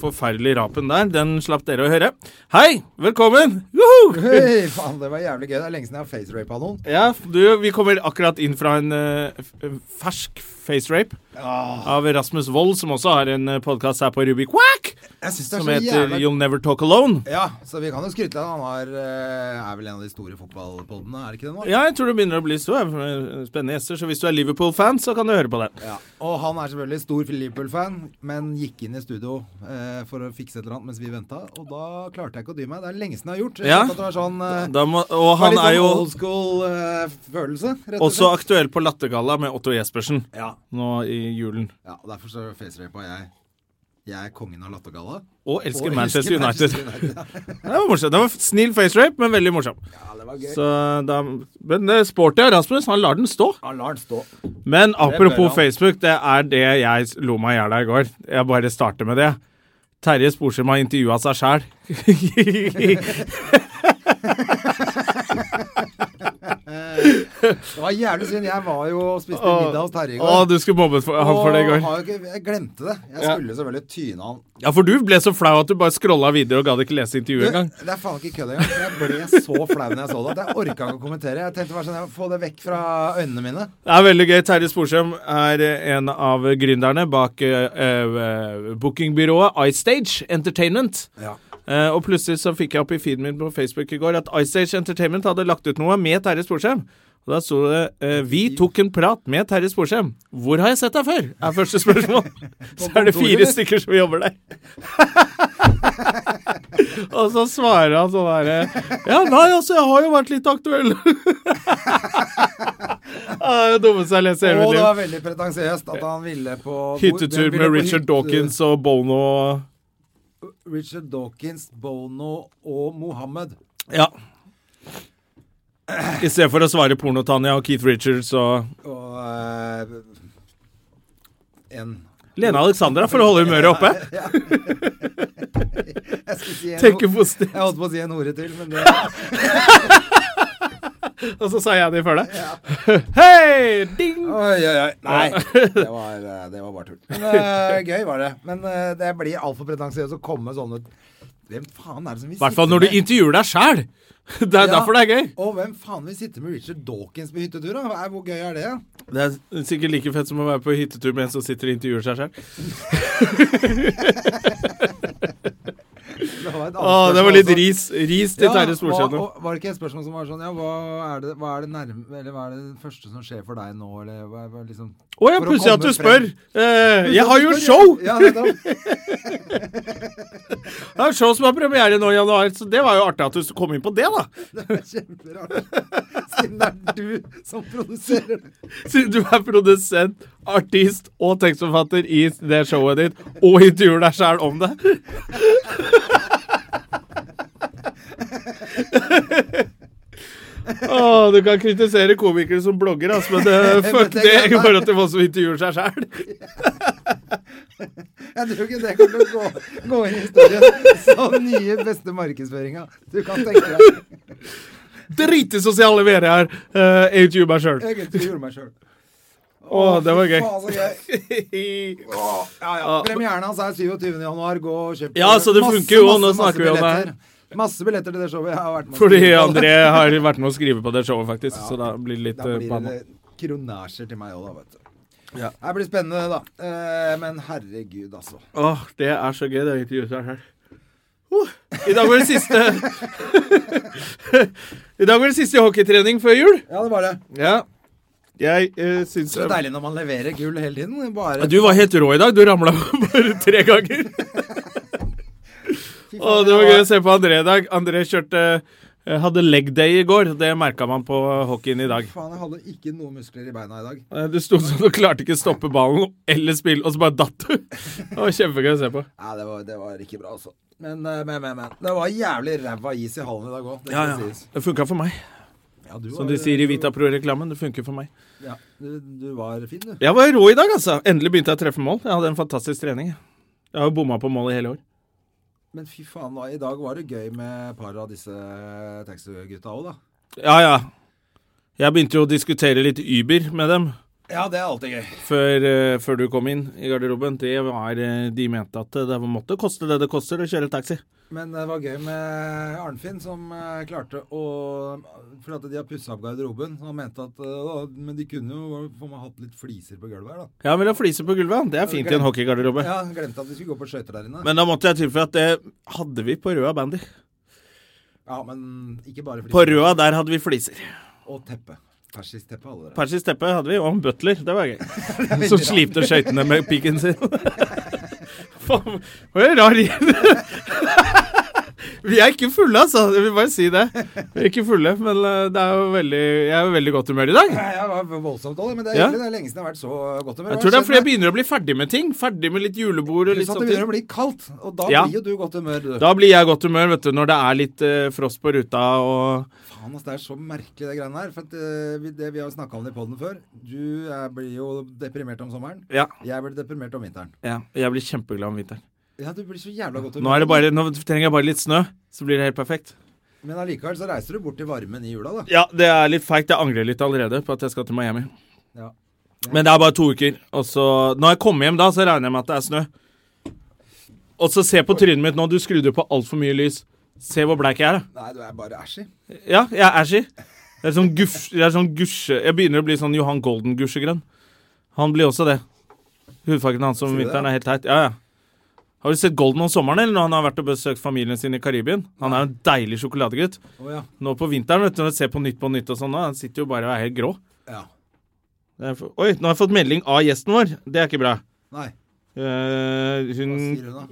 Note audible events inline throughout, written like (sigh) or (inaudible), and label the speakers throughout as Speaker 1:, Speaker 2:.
Speaker 1: Forferdelig rapen der. Den slapp dere å høre. Hei! Velkommen! Joho!
Speaker 2: (laughs) Hei, faen, det var jævlig gøy. Det er lenge siden jeg har facerapa noen.
Speaker 1: Ja, du, vi kommer akkurat inn fra en eh, f- en fersk facerape
Speaker 2: Ah.
Speaker 1: av Rasmus Wold, som også har en podkast her på Rubik Quack,
Speaker 2: Jeg synes det er
Speaker 1: som
Speaker 2: så
Speaker 1: heter
Speaker 2: jævla...
Speaker 1: You'll Never Talk Alone.
Speaker 2: Ja, så vi kan jo skryte litt. Han har, eh, er vel en av de store fotballpodene, er det ikke det nå?
Speaker 1: Ja, jeg tror det begynner å bli stor. eh, Spennende gjester, så hvis du er Liverpool-fan, så kan du høre på den.
Speaker 2: Ja. Og han er selvfølgelig stor Liverpool-fan, men gikk inn i studio eh, for å fikse et eller annet mens vi venta, og da klarte jeg ikke å dy meg. Det er lenge siden jeg har gjort. Jeg
Speaker 1: Ja.
Speaker 2: skjønte at det var sånn... eh,
Speaker 1: Da må, og
Speaker 2: det var
Speaker 1: han
Speaker 2: litt
Speaker 1: er jo
Speaker 2: sånn old school-følelse, rett og
Speaker 1: også
Speaker 2: slett.
Speaker 1: aktuell på Lattergalla med Otto Jespersen
Speaker 2: Ja.
Speaker 1: nå i julen.
Speaker 2: ja, derfor så facerapa jeg. Jeg er kongen av lattergalla.
Speaker 1: Og elsker
Speaker 2: Og
Speaker 1: Manchester
Speaker 2: elsker
Speaker 1: United.
Speaker 2: Manchester United.
Speaker 1: Det var morsomt. Det var snill facerape, men veldig morsom.
Speaker 2: Ja, det var gøy.
Speaker 1: Så da, men det er sporty av Rasmus. Han lar den stå.
Speaker 2: Ja, la den stå.
Speaker 1: Men
Speaker 2: bør
Speaker 1: apropos
Speaker 2: han.
Speaker 1: Facebook, det er det jeg s- lo meg i hjel av i går. Jeg bare starter med det. Terje Sporsem har intervjua seg sjæl.
Speaker 2: (laughs) Det var jævlig synd. Jeg var jo og spiste middag hos Terje i
Speaker 1: Å, du skulle mobbet for, han for det i
Speaker 2: Og
Speaker 1: går.
Speaker 2: har jo ikke- Jeg glemte det. Jeg
Speaker 1: Ja.
Speaker 2: skulle selvfølgelig tyne han.
Speaker 1: Ja, for du ble så flau at du bare scrolla videre og gadd ikke lese intervjuet
Speaker 2: Du,
Speaker 1: engang.
Speaker 2: det er faen ikke kødd engang. for Jeg ble så flau når jeg så det at jeg orka ikke å kommentere. Jeg tenkte bare sånn jeg må Få det vekk fra øynene mine.
Speaker 1: Det er veldig gøy. Terje Sporsem er eh, en av gründerne bak eh, eh, bookingbyrået iStage Entertainment.
Speaker 2: Ja.
Speaker 1: Eh, og plutselig så fikk jeg opp i feeden min på Facebook i går at iStage Entertainment hadde lagt ut noe med Terje Sporsem. Og da sto det eh, 'Vi tok en prat med Terje Sporsem'. Hvor har jeg sett deg før? er første (laughs) spørsmål. Så er det fire stykker som jobber der. (laughs) og så svarer han sånn herre Ja, nei, altså, jeg har jo vært litt aktuell. (laughs) ah, det er det dummeste jeg har lest i hele
Speaker 2: Og
Speaker 1: mitt
Speaker 2: det
Speaker 1: liv.
Speaker 2: var veldig pretensiøst at han ville på
Speaker 1: Hyttetur
Speaker 2: den ville
Speaker 1: med
Speaker 2: på
Speaker 1: Richard
Speaker 2: hytte-
Speaker 1: Dawkins og Bono og
Speaker 2: Richard Dawkins, Bono og Mohammed.
Speaker 1: Ja. I stedet for å svare porno-Tanja og Keith Richards og
Speaker 2: Og eh, en
Speaker 1: Lene Alexandra for å holde humøret oppe.
Speaker 2: Jeg skulle si en
Speaker 1: Tenke
Speaker 2: ho-
Speaker 1: positivt.
Speaker 2: Jeg holdt på å si en hore til, men det
Speaker 1: Og så sa jeg det før deg. (laughs) Hei! Ding!
Speaker 2: Oi, oi, oi. Nei, (laughs) det var, eh, det var bare tull. Men
Speaker 1: (laughs)
Speaker 2: eh, gøy var det. Men eh, det blir altfor pretensiøst å komme sånn ut. Hvem faen er det som vil
Speaker 1: I hvert fall når du intervjuer deg sjæl. (laughs) Det er derfor det er gøy.
Speaker 2: Og hvem faen vil sitte med Richard Dawkins på hyttetur? da? Hva er- Hvor gøy er det?
Speaker 1: Det er sikkert like fett som å være på hyttetur med en som sitter og intervjuer seg sjæl.
Speaker 2: Det var, et annet
Speaker 1: Å, det
Speaker 2: spørsmål
Speaker 1: var litt
Speaker 2: også.
Speaker 1: ris. Ris til Terje Sporsem nå.
Speaker 2: altså- hva- og Var det ikke et spørsmål som var sånn Ja, hva er det, hva er det nærme Eller hva er det første som skjer for deg nå, eller hva, hva liksom
Speaker 1: Å ja,
Speaker 2: for å
Speaker 1: pussig at
Speaker 2: komme
Speaker 1: du
Speaker 2: frem.
Speaker 1: spør. Eh, jeg har jo show!
Speaker 2: Ja, nettopp.
Speaker 1: Jeg har show som har premiere nå i januar, så det var jo artig at du kom inn på det, da.
Speaker 2: Det er kjemperart. Siden det er du som produserer det.
Speaker 1: Siden du er produsent, artist og tekstforfatter i det showet ditt, og intervjuer deg sjæl om det. (laughs) Å, du kan kritisere komikere som blogger, ass,
Speaker 2: (laughs)
Speaker 1: men det, fuck det i forhold til hva som intervjuer seg sjæl.
Speaker 2: Jeg tror ikke det kommer til å gå, gå inn i historien som den nye beste markedsføringa. Du kan tenke deg.
Speaker 1: Drit i sosiale medier. Uh, jeg intervjuer meg sjøl.
Speaker 2: Egentlig gjorde meg sjøl.
Speaker 1: Å, det var gøy.
Speaker 2: Faen, altså. så gøy. Ja, ja. Premieren hans er 27. januar. Gå og kjøp.
Speaker 1: Ja, så det
Speaker 2: Masse,
Speaker 1: funker jo,
Speaker 2: masse,
Speaker 1: nå
Speaker 2: masse
Speaker 1: snakker vi om det her.
Speaker 2: billetter. Masse billetter til det showet jeg har vært med å
Speaker 1: (laughs) Fordi
Speaker 2: skrive på.
Speaker 1: André har vært med å skrive på det showet, faktisk, så da blir det litt
Speaker 2: Da
Speaker 1: eh,
Speaker 2: blir
Speaker 1: banna.
Speaker 2: det kronasjer til meg òg, da, vet du.
Speaker 1: Ja.
Speaker 2: Det blir spennende, da. Eh, men herregud, altså.
Speaker 1: Åh, det er så gøy det å intervjue seg selv. Uh, I dag var det siste (laughs) I dag var det siste hockeytrening før jul.
Speaker 2: Ja, det var det.
Speaker 1: Ja. Jeg uh, syns
Speaker 2: Så deilig når man leverer gull hele tiden. Bare
Speaker 1: Du var helt rå i dag. Du ramla (laughs) bare tre ganger.
Speaker 2: Fy faen,
Speaker 1: Åh, det var gøy å se på André i dag. André kjørte eh, Jeg hadde leg day i går. Det merka man på hockeyen i dag.
Speaker 2: Faen, jeg hadde ikke noen muskler i beina i dag.
Speaker 1: Eh, Du sto sånn og klarte ikke stoppe ballen eller spille, og så bare datt du. (laughs) Det var kjempegøy å se på.
Speaker 2: Nei, det var, det var ikke bra, altså. Men, eh, men, men, men. Det var jævlig ræva is i hallen i dag òg.
Speaker 1: Ja, ja. Det funka for meg.
Speaker 2: Ja, du
Speaker 1: Som
Speaker 2: var-
Speaker 1: de sier i Vita Pro-reklamen, det funker for meg.
Speaker 2: Ja, du, du var fin, du.
Speaker 1: Jeg var rå i dag, altså. Endelig begynte jeg å treffe mål. Jeg hadde en fantastisk trening. Jeg har jo bomma på mål i hele år.
Speaker 2: Men fy faen, da, i dag var det gøy med et par av disse eh, taxigutta òg, da.
Speaker 1: Ja, ja. Jeg begynte jo å diskutere litt Uber med dem
Speaker 2: Ja, det er alltid gøy.
Speaker 1: før, eh, før du kom inn i garderoben. Det var, eh, de mente at det måtte koste det det koster å kjøre taxi.
Speaker 2: Men eh, det var gøy med Arnfinn, som eh, klarte å For at de har pussa opp garderoben. så Han mente at eh, Men de kunne jo få meg hatt litt fliser på gulvet her, da.
Speaker 1: Ja, vil ha fliser på gulvet. Det er fint i en hockeygarderobe.
Speaker 2: Ja, Glemte at vi skulle gå på skøyter der inne.
Speaker 1: Men da måtte jeg tilføye at det hadde vi på Røa Bandy.
Speaker 2: ja, men ikke bare
Speaker 1: På
Speaker 2: fliser.
Speaker 1: Røa der hadde vi fliser.
Speaker 2: Og teppe. Persisk teppe, alle dere.
Speaker 1: Persis teppe hadde vi, og en butler. Det
Speaker 2: (laughs)
Speaker 1: var (laughs) gøy. Som slipte skøytene med piken sin. (laughs) Faen, det var en rar gjeng. (laughs) Vi er ikke fulle, altså. Jeg vil bare si det. Vi er ikke fulle, men eh, det er jo veldig, jeg er jo veldig godt humør i
Speaker 2: (clears throat)
Speaker 1: dag.
Speaker 2: Nei, Jeg var voldsomt dårlig, men det er,
Speaker 1: Ja.
Speaker 2: hyggelig, det er lenge siden jeg har vært så godt humør.
Speaker 1: Jeg tror det er fordi jeg begynner å bli ferdig med ting. Ferdig med litt julebord og
Speaker 2: Pluss
Speaker 1: litt
Speaker 2: at det
Speaker 1: sånt.
Speaker 2: begynner å bli kaldt, og da
Speaker 1: Ja.
Speaker 2: blir jo du i godt humør. Du.
Speaker 1: Da blir jeg i godt humør, vet du, når det er litt eh, frost på ruta og
Speaker 2: Faen, altså, det er så merkelig det greiene her. For at, eh, vi, det, vi har snakka om det i poden før. Du eh, blir jo deprimert om sommeren.
Speaker 1: Ja.
Speaker 2: Jeg blir deprimert om vinteren.
Speaker 1: ja. Jeg blir kjempeglad om vinteren.
Speaker 2: Ja, du blir så jævla godt
Speaker 1: Nå, er det bare, nå trenger jeg bare litt snø, så blir det helt perfekt.
Speaker 2: Men allikevel så reiser du bort til varmen i jula, da.
Speaker 1: Ja, det er litt feigt. Jeg angrer litt allerede på at jeg skal til Miami.
Speaker 2: Ja.
Speaker 1: Men det er bare to uker. Og så, når jeg kommer hjem da, så regner jeg med at det er snø. Og så se på trynet mitt nå. Du skrudde jo på altfor mye lys. Se hvor bleik jeg er. da.
Speaker 2: Nei, du er bare æsj i.
Speaker 1: Ja, jeg er ashy. Det er sånn, guff, det er sånn gusje... Jeg begynner å bli sånn Johan Golden-gusjegrønn. Han blir også det. Hudfargen hans om
Speaker 2: Sier du det?
Speaker 1: vinteren er helt teit. Ja, ja. Har du sett Golden om sommeren, eller når han har vært og besøkt familien sin i Karibien? Han er jo en deilig sjokoladegutt.
Speaker 2: Å ja.
Speaker 1: Nå på vinteren, vet du, når jeg ser på Nytt på Nytt og sånn, da, han sitter jo bare og er helt grå.
Speaker 2: Ja.
Speaker 1: Det er for- Oi, nå har jeg fått melding av gjesten vår. Det er ikke bra.
Speaker 2: Nei,
Speaker 1: Eh,
Speaker 2: hva
Speaker 1: hun
Speaker 2: sier hun da?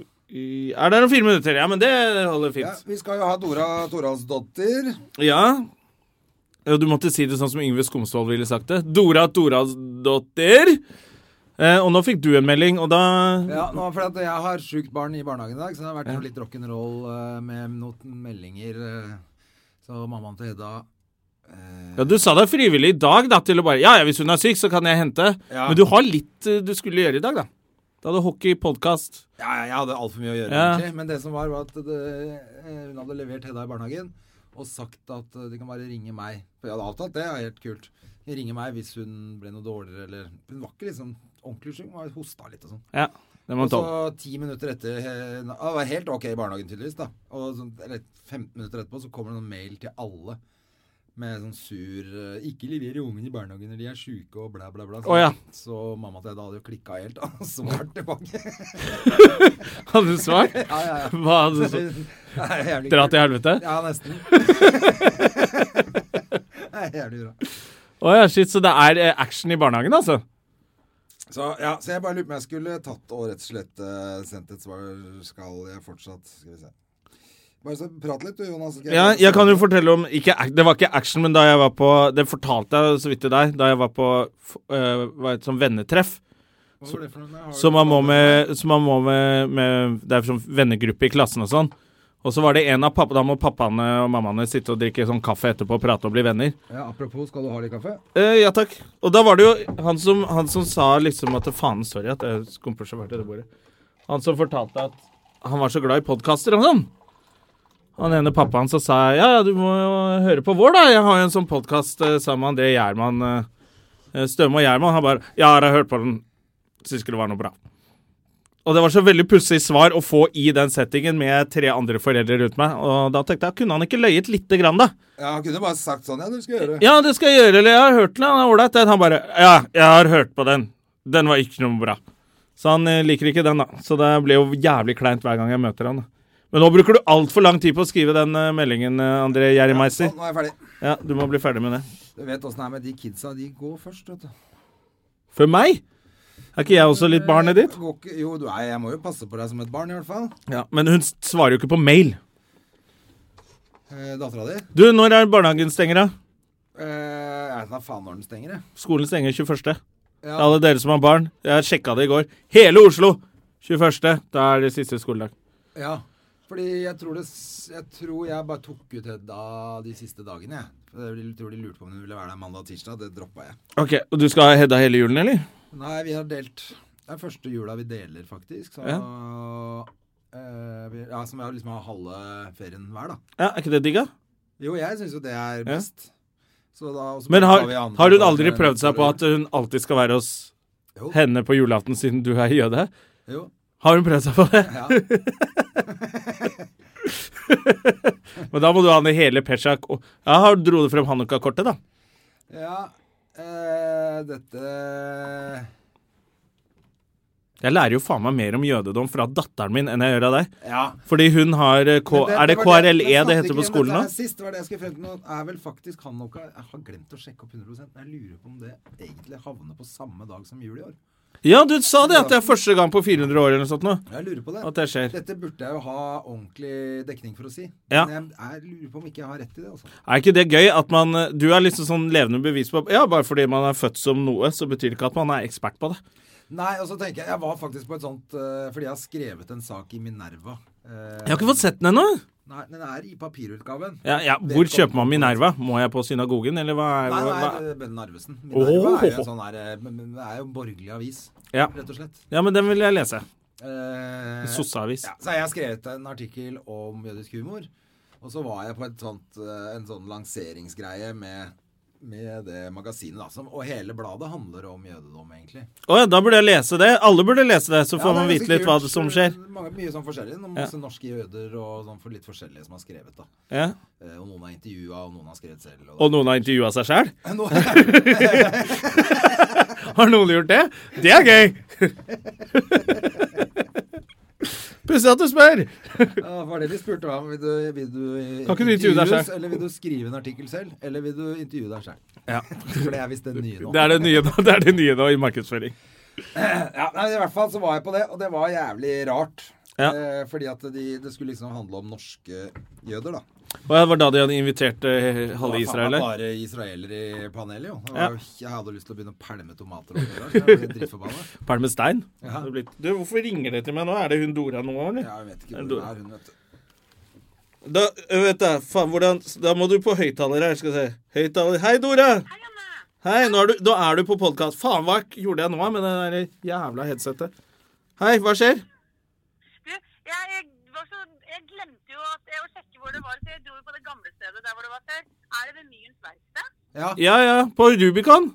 Speaker 1: er der om fire minutter. Ja, men det holder
Speaker 2: Ja,
Speaker 1: fint.
Speaker 2: vi skal jo ha Dora Toralsdottir.
Speaker 1: Ja. Ja, Du måtte si det sånn som Yngve Skomsvold ville sagt det. Dora Toralsdottir. Eh, og nå fikk du en melding, og da
Speaker 2: Ja, nå, for at jeg har sjukt barn i barnehagen i dag, så det har vært litt rock'n'roll eh, med noen meldinger. eh, Så mammaen til Hedda eh,
Speaker 1: Ja, Du sa deg frivillig i dag da, til å bare Ja ja, hvis hun er syk, så kan jeg hente.
Speaker 2: Ja.
Speaker 1: Men du har litt eh, du skulle gjøre i dag, da. Da hadde hockey, podkast
Speaker 2: Ja, ja, jeg hadde altfor mye å gjøre,
Speaker 1: Ja.
Speaker 2: egentlig. Men det som var, var at det, eh, hun hadde levert Hedda i barnehagen og sagt at eh, de kan bare ringe meg. For jeg hadde avtalt det, er helt kult. De ringer meg hvis hun ble noe dårligere eller Hun var ikke liksom ordentlig syk, hun var hosta litt og sånn.
Speaker 1: Ja, det må
Speaker 2: Og
Speaker 1: hun
Speaker 2: så
Speaker 1: tåle.
Speaker 2: ti minutter etter eh, na- ah, Det var helt ok i barnehagen, tydeligvis. da Og sånn, eller 15 minutter etterpå så kommer det noen mail til alle med sånn sur eh, 'Ikke leverer ungene i barnehagen når de er sjuke', og bla, bla, bla. Så,
Speaker 1: Å, ja.
Speaker 2: så mamma til Hedda hadde jo klikka helt (laughs) og svart tilbake.
Speaker 1: Hadde du svart?
Speaker 2: ja, ja, (laughs) ja.
Speaker 1: Hva hadde du
Speaker 2: Det
Speaker 1: svart?
Speaker 2: er jævlig
Speaker 1: Dra
Speaker 2: kult.
Speaker 1: til helvete?
Speaker 2: Ja,
Speaker 1: (laughs)
Speaker 2: nesten. det er jævlig bra.
Speaker 1: Å ja, shit, så det er eh, action i barnehagen, altså?
Speaker 2: Så, ja, så jeg bare lurer på om jeg skulle tatt og rett og slett eh, sendt et svar. Skal jeg fortsatt Skal vi se. Bare så prat litt, du, Jonas. skal
Speaker 1: Ja, jeg kan jo fortelle om ikke, ac- Det var ikke action, men da jeg var på Det fortalte jeg så vidt til deg. Da jeg var på f- eh, var et sånn vennetreff.
Speaker 2: Hva var det for noe? Har du
Speaker 1: Som man må
Speaker 2: fortalt
Speaker 1: med, som man må med, med Det er sånn vennegruppe i klassen og sånn. Og så var det en av pappa, Da må pappaene og mammaene sitte og drikke sånn kaffe etterpå og prate og bli venner.
Speaker 2: det? Ja, apropos, skal du ha litt kaffe?
Speaker 1: Eh, ja takk. Og da var det jo han som, han som sa liksom at Faen, sorry at jeg skumper så fælt i det bordet. Han som fortalte at han var så glad i podkaster og sånn. Han ene pappaen så sa jeg, ja, ja, du må jo høre på vår, da. Jeg har jo en sånn podkast sammen med André Gjerman. eh, Støme og Gjerman. Han bare Ja, jeg har hørt på den. Syns ikke det var noe bra. Og det var så veldig pussig svar å få i den settingen med tre andre foreldre rundt meg. Og da tenkte jeg, kunne han ikke løyet lite grann, da?
Speaker 2: Ja, han kunne bare sagt sånn, ja, du skal gjøre.
Speaker 1: Ja, det skal jeg gjøre, eller jeg har hørt den, han er ålreit. den». Han bare Ja, jeg har hørt på den. Den var ikke noe bra. Så han eh, liker ikke den, da. Så det ble jo jævlig kleint hver gang jeg møter han. da. Men nå bruker du altfor lang tid på å skrive den eh, meldingen, eh, André Gjerrimeiser.
Speaker 2: Sånn, nå er jeg ferdig.
Speaker 1: Ja, du må bli ferdig med det.
Speaker 2: Du vet åssen det er med de kidsa. De går først, vet du.
Speaker 1: For meg? Er ikke jeg også litt barnet ditt?
Speaker 2: Går ikke, jo, du er, jeg må jo passe på deg som et barn, i hvert fall.
Speaker 1: Ja, Men hun s- svarer jo ikke på mail.
Speaker 2: eh, dattera di.
Speaker 1: Du, når er barnehagen stenger, da?
Speaker 2: Eh, jeg vet da faen når den stenger, jeg.
Speaker 1: Skolen stenger 21.
Speaker 2: Ja.
Speaker 1: Alle dere som har barn, jeg sjekka det i går. Hele Oslo! 21. Da er det siste skoledag.
Speaker 2: Ja, fordi jeg tror, det, s- jeg tror jeg bare tok ut Hedda de siste dagene, jeg. For Jeg tror de lurte på om hun ville være der mandag og tirsdag. Det droppa jeg.
Speaker 1: Ok, og Du skal ha Hedda hele julen, eller?
Speaker 2: Nei, vi har delt Det er første jula vi deler, faktisk. Så, eh, vi, ja, som jeg liksom har halve ferien hver, da.
Speaker 1: Ja, Er ikke det digg, da?
Speaker 2: Jo, jeg syns jo det er best. Så da, og så
Speaker 1: Men har,
Speaker 2: tar vi andre
Speaker 1: har hun
Speaker 2: dager
Speaker 1: aldri
Speaker 2: enn
Speaker 1: prøvd seg på
Speaker 2: forrige
Speaker 1: at hun alltid skal være hos
Speaker 2: Jo.
Speaker 1: henne på julaften, siden du er jøde?
Speaker 2: jul? Jo.
Speaker 1: Har hun prøvd seg på det? (laughs)
Speaker 2: Ja.
Speaker 1: Men da må du ha ned hele Pesjak. og- Ja, har dro du frem Hanukka-kortet, da?
Speaker 2: ja eh, dette
Speaker 1: Jeg lærer jo faen meg mer om jødedom fra datteren min enn jeg gjør av deg.
Speaker 2: Ja.
Speaker 1: Fordi hun har eh, K...
Speaker 2: Men
Speaker 1: er det
Speaker 2: var men
Speaker 1: KRLE det
Speaker 2: snakket
Speaker 1: heter
Speaker 2: ikke
Speaker 1: på
Speaker 2: om
Speaker 1: skolen nå?
Speaker 2: dette her Sist det var det jeg skulle frem til nå. Er vel faktisk Hanukka Jeg har glemt å sjekke opp 100 men Jeg lurer på om det egentlig havner på samme dag som jul i år.
Speaker 1: Ja, du sa det at det er første gang på 400 år eller noe sånt nå.
Speaker 2: Jeg lurer på det.
Speaker 1: At det skjer.
Speaker 2: Dette burde jeg jo ha ordentlig dekning for å si.
Speaker 1: Ja.
Speaker 2: Men jeg, jeg lurer på om ikke jeg har rett i det, altså.
Speaker 1: Er ikke det gøy at man eh, Du er liksom sånn levende bevis på Ja, bare fordi man er født som noe, så betyr det ikke at man er ekspert på det.
Speaker 2: Nei, og så tenker jeg Jeg var faktisk på et sånt eh, Fordi jeg har skrevet en sak i Minerva. Eh,
Speaker 1: Jeg har ikke fått sett den ennå.
Speaker 2: Nei, den er i papirutgaven.
Speaker 1: Ja, ja, hvor kjøper man Minerva? Må jeg på synagogen, eller hva er
Speaker 2: Nei,
Speaker 1: hva?
Speaker 2: nei, Bønn Narvesen. Minerva
Speaker 1: Åh.
Speaker 2: er jo en sånn her, eh, men- men Det er jo en borgerlig avis,
Speaker 1: Ja.
Speaker 2: rett og slett.
Speaker 1: ja, men den vil jeg lese.
Speaker 2: Eh,
Speaker 1: Sosseavis.
Speaker 2: Ja, så har jeg skrevet en artikkel om jødisk humor. Og så var jeg på et sånt, eh, en sånn lanseringsgreie med, med det magasinet. Da, som, og hele bladet handler om jødedom, egentlig.
Speaker 1: Å ja, da burde jeg lese det. Alle burde lese det, så
Speaker 2: Ja,
Speaker 1: får
Speaker 2: det er
Speaker 1: man vite
Speaker 2: ganske
Speaker 1: litt hva
Speaker 2: kult.
Speaker 1: som skjer.
Speaker 2: Mange, mye sånn forskjellig. Noen masse norske jøder og sånn for litt forskjellige som har skrevet. da.
Speaker 1: Ja.
Speaker 2: Eh, Og noen er intervjua, og noen har skrevet selv. Og, (laughs)
Speaker 1: Og noen har intervjua seg sjæl?
Speaker 2: Noen-
Speaker 1: Har noen gjort det? Det er gøy!
Speaker 2: (laughs)
Speaker 1: Pussig at du spør.
Speaker 2: Ja, var det de spurte om? Vil du, vil du
Speaker 1: Kan ikke du intervjue deg
Speaker 2: intervjues,
Speaker 1: selv?
Speaker 2: Eller vil du skrive en artikkel selv? Eller vil du intervjue deg selv?
Speaker 1: Ja.
Speaker 2: For det er visst det nye nå.
Speaker 1: Det er det nye nå, det er det nye nå i markedsføring.
Speaker 2: Ja, nei, I hvert fall så var jeg på det, og det var jævlig rart.
Speaker 1: Ja.
Speaker 2: Eh, fordi at de, det skulle liksom handle om norske jøder, da.
Speaker 1: Og det var da de hadde invitert eh, halve
Speaker 2: Det var faen
Speaker 1: Israel
Speaker 2: meg
Speaker 1: her.
Speaker 2: Bare israelere i panelet, jo. Det
Speaker 1: Ja.
Speaker 2: Var, jo- Jeg hadde lyst til å begynne å pælme tomater oppi der. så Jeg ble
Speaker 1: (laughs)
Speaker 2: drittforbanna.
Speaker 1: Palme Stein.
Speaker 2: Ja.
Speaker 1: Det er blitt- Du, hvorfor ringer det til meg nå? Er det hun Dora nå, eller?
Speaker 2: Ja, jeg vet ikke hvor hun er, hun, vet du.
Speaker 1: Da, øh, vet jeg, faen, hvordan, da må du på høyttaler her, skal vi se. Høyttaler. Hei, Dora! Hei, Anna! Hei, nå er du, nå er du på podkast. Faen, hva gjorde jeg nå med det der jævla headsetet? Hei, hva skjer?
Speaker 3: Du, jeg, jeg, var så, jeg glemte jo at, å sjekke hvor det var, så jeg dro jo på det gamle stedet der hvor det var før. Er det ved Myens verksted?
Speaker 2: Ja.
Speaker 1: Ja ja, på Rubicon?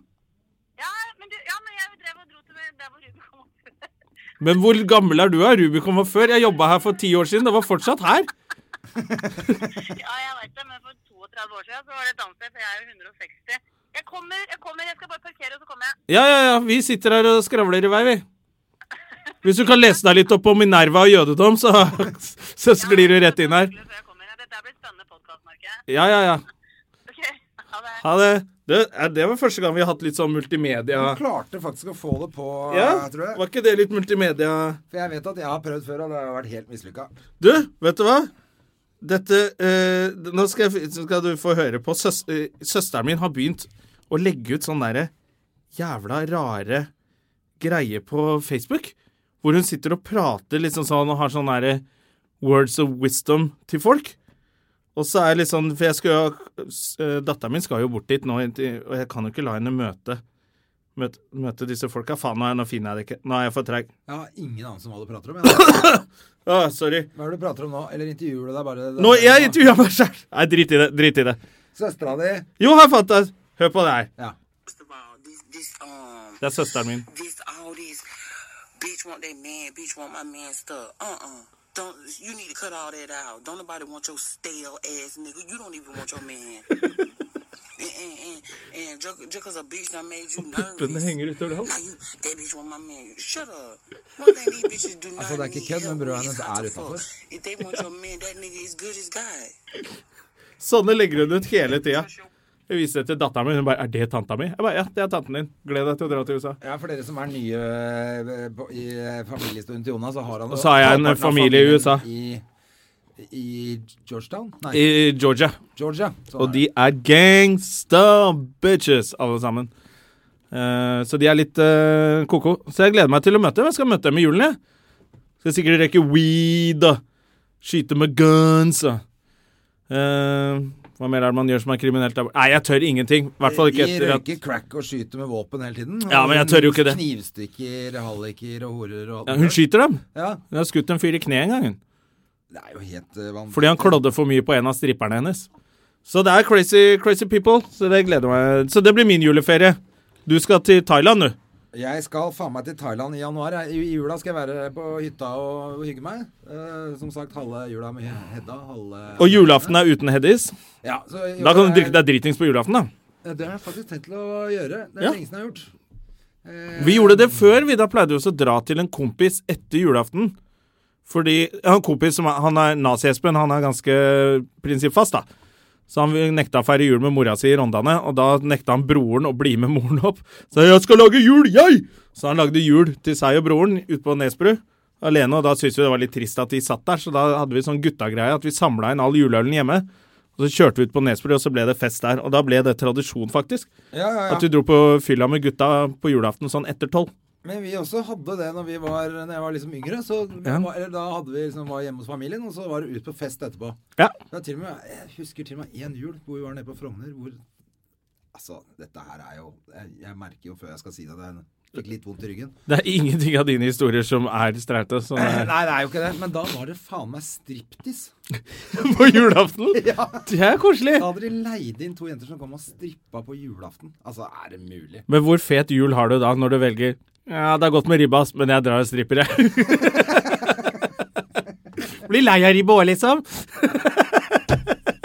Speaker 3: Ja, men du, ja, men jeg drev og dro til det der hvor Ruben kom opp. (laughs)
Speaker 1: Men hvor gammel er du? da? Rubicon var før. Jeg jobba her for ti år siden. Det var fortsatt her.
Speaker 3: Ja, jeg vet det, men for 32 år siden så var det et annet sted, for jeg er jo 160. Jeg kommer, jeg kommer, jeg skal bare parkere, og så kommer jeg.
Speaker 1: Ja ja ja, vi sitter her og skravler i vei, vi. Hvis du kan lese deg litt opp på Minerva og jødedom, så, (laughs) så sklir du rett inn her.
Speaker 3: Før jeg kommer. Ja, Dette blir et spennende podcast, merker jeg.
Speaker 1: Ja ja ja.
Speaker 3: Ok, ha det.
Speaker 1: Ha det. Du, er- det var første gang vi har hatt litt sånn multimedia...
Speaker 2: Hun klarte faktisk å få det på,
Speaker 1: Ja,
Speaker 2: eh, tror jeg.
Speaker 1: var ikke det litt multimedia?
Speaker 2: For jeg vet at jeg har prøvd før, og det har vært helt mislykka.
Speaker 1: Du, vet du hva? Dette eh, Nå skal, jeg, så skal du få høre på. Søs, eh, søsteren min har begynt å legge ut sånn derre jævla rare greie på Facebook. Hvor hun sitter og prater liksom sånn og har sånn derre words of wisdom til folk. Og så er det litt sånn For jeg skal jo eh, Datteren min skal jo bort dit nå, og jeg kan jo ikke la henne møte Møte, møte disse folka. Faen, nå er- nå finner jeg det ikke. Nå er jeg for treig.
Speaker 2: Jeg har ingen anelse om hva du prater om. Jeg.
Speaker 1: Å, sorry.
Speaker 2: Hva er det du prater om nå? Eller intervjuer du deg bare?
Speaker 1: Nå, jeg intervjua meg sjøl! Nei, drit i det. drit i det.
Speaker 2: Søstera di?
Speaker 1: Jo, her fant jeg Hør på det her.
Speaker 2: Ja.
Speaker 4: First of all, this this um
Speaker 1: Det er søsteren min.
Speaker 4: this all this bitch want that man, bitch want my man stuff. Uh uh-uh. uh. do not you need to cut all that out. Don't nobody want your stale ass nigga. You don't even want your man. and and and, and just, just cause a bitch done made you nervous.
Speaker 1: utover
Speaker 4: Now you that bitch want my man. Shut up. One thing these bitches do not
Speaker 2: thought that
Speaker 4: need
Speaker 2: kid killed
Speaker 4: help
Speaker 2: my brother
Speaker 4: with
Speaker 2: and
Speaker 4: is
Speaker 2: his
Speaker 4: how
Speaker 2: eye
Speaker 4: to
Speaker 2: is
Speaker 4: fuck.
Speaker 2: open.
Speaker 4: If they want your man, that nigga is good as God.
Speaker 1: Sånne legger hun ut hele tida. Jeg viste det til datteren min. Hun bare 'Er det tanta mi?' Jeg bare 'Ja, det er tanten din. Gled deg til å dra til USA'.
Speaker 2: Ja, for dere som er nye eh, på- i eh, familiestunden til Jonas, så har han
Speaker 1: Og så har jeg en
Speaker 2: halvparten av
Speaker 1: familie i
Speaker 2: familien
Speaker 1: USA.
Speaker 2: I I Georgetown? Nei,
Speaker 1: I Georgia.
Speaker 2: Georgia. Så
Speaker 1: Og
Speaker 2: er
Speaker 1: de er gangsta bitches, alle sammen. Eh, så de er litt eh, koko. Så jeg gleder meg til å møte dem. Jeg skal møte dem i julen, jeg. Skal sikkert rekke weed og skyte med guns og Eh, Hva mer er det man gjør som er kriminelt der borte? Nei, jeg tør ingenting. I hvert fall ikke
Speaker 2: de
Speaker 1: etter at
Speaker 2: røyker crack og skyter med våpen hele tiden.
Speaker 1: Ja, men jeg tør jo ikke det.
Speaker 2: Knivstikker, halliker og horer og alt
Speaker 1: ja,
Speaker 2: mulig.
Speaker 1: Hun skyter dem.
Speaker 2: Ja,
Speaker 1: Hun har skutt en fyr i kneet en gang. hun.
Speaker 2: det er jo helt eh, vanvittig.
Speaker 1: Fordi han klådde for mye på en av stripperne hennes. Så det er crazy, crazy people. Så det gleder meg Så det blir min juleferie. Du skal til Thailand, du.
Speaker 2: Jeg skal faen meg til Thailand i januar. jeg. I i jula skal jeg være på hytta og hygge meg. Eh, som sagt, halve jula med Hedda. Halve
Speaker 1: Og julaften er uten Heddis.
Speaker 2: Ja, så i
Speaker 1: Da kan
Speaker 2: år
Speaker 1: du drikke
Speaker 2: er-
Speaker 1: deg dritings på julaften, da.
Speaker 2: Ja, Det har jeg faktisk tenkt til å gjøre. Det er
Speaker 1: Ja.
Speaker 2: lenge siden jeg har gjort.
Speaker 1: Vi gjorde det før. Vi da pleide vi også å dra til en kompis etter julaften. Fordi han kompis som er, han er nazi-Espen, han er ganske prinsippfast, da. Så han nekta å feire jul med mora si i Rondane, og da nekta han broren å bli med moren opp. Så jeg skal lage jul, jeg! Så han lagde jul til seg og broren ute på Nesbru alene, og da syntes vi det var litt trist at de satt der, så da hadde vi sånn guttagreie at vi samla inn all juleølen hjemme. Og så kjørte vi ut på Nesbru, og så ble det fest der. Og da ble det tradisjon, faktisk.
Speaker 2: Ja, ja, ja.
Speaker 1: At vi dro på fylla med gutta på julaften sånn etter tolv.
Speaker 2: Men vi også hadde det når, vi var, når jeg var liksom yngre. Så var, eller da hadde vi liksom, var hjemme hos familien, og så var det ut på fest etterpå.
Speaker 1: Ja.
Speaker 2: Det er til og med, jeg husker til og med én jul hvor vi var nede på Frogner. hvor Altså, dette her er jo Jeg, jeg merker jo før jeg skal si det, at jeg fikk litt vondt i ryggen.
Speaker 1: Det er ingenting av dine historier som er streite sånn er-
Speaker 2: Nei, det er jo ikke det. Men da var det faen meg striptease.
Speaker 1: (laughs) på julaften.
Speaker 2: (laughs) Ja.
Speaker 1: Det er koselig.
Speaker 2: Da hadde de leid inn to jenter som kom og strippa på julaften. Altså, er det mulig?
Speaker 1: Men hvor fet jul har du da, når du velger Ja, det er godt med ribbe, ass, men jeg drar og stripper, jeg. (laughs) Blir lei av ribbe òg, liksom. (laughs)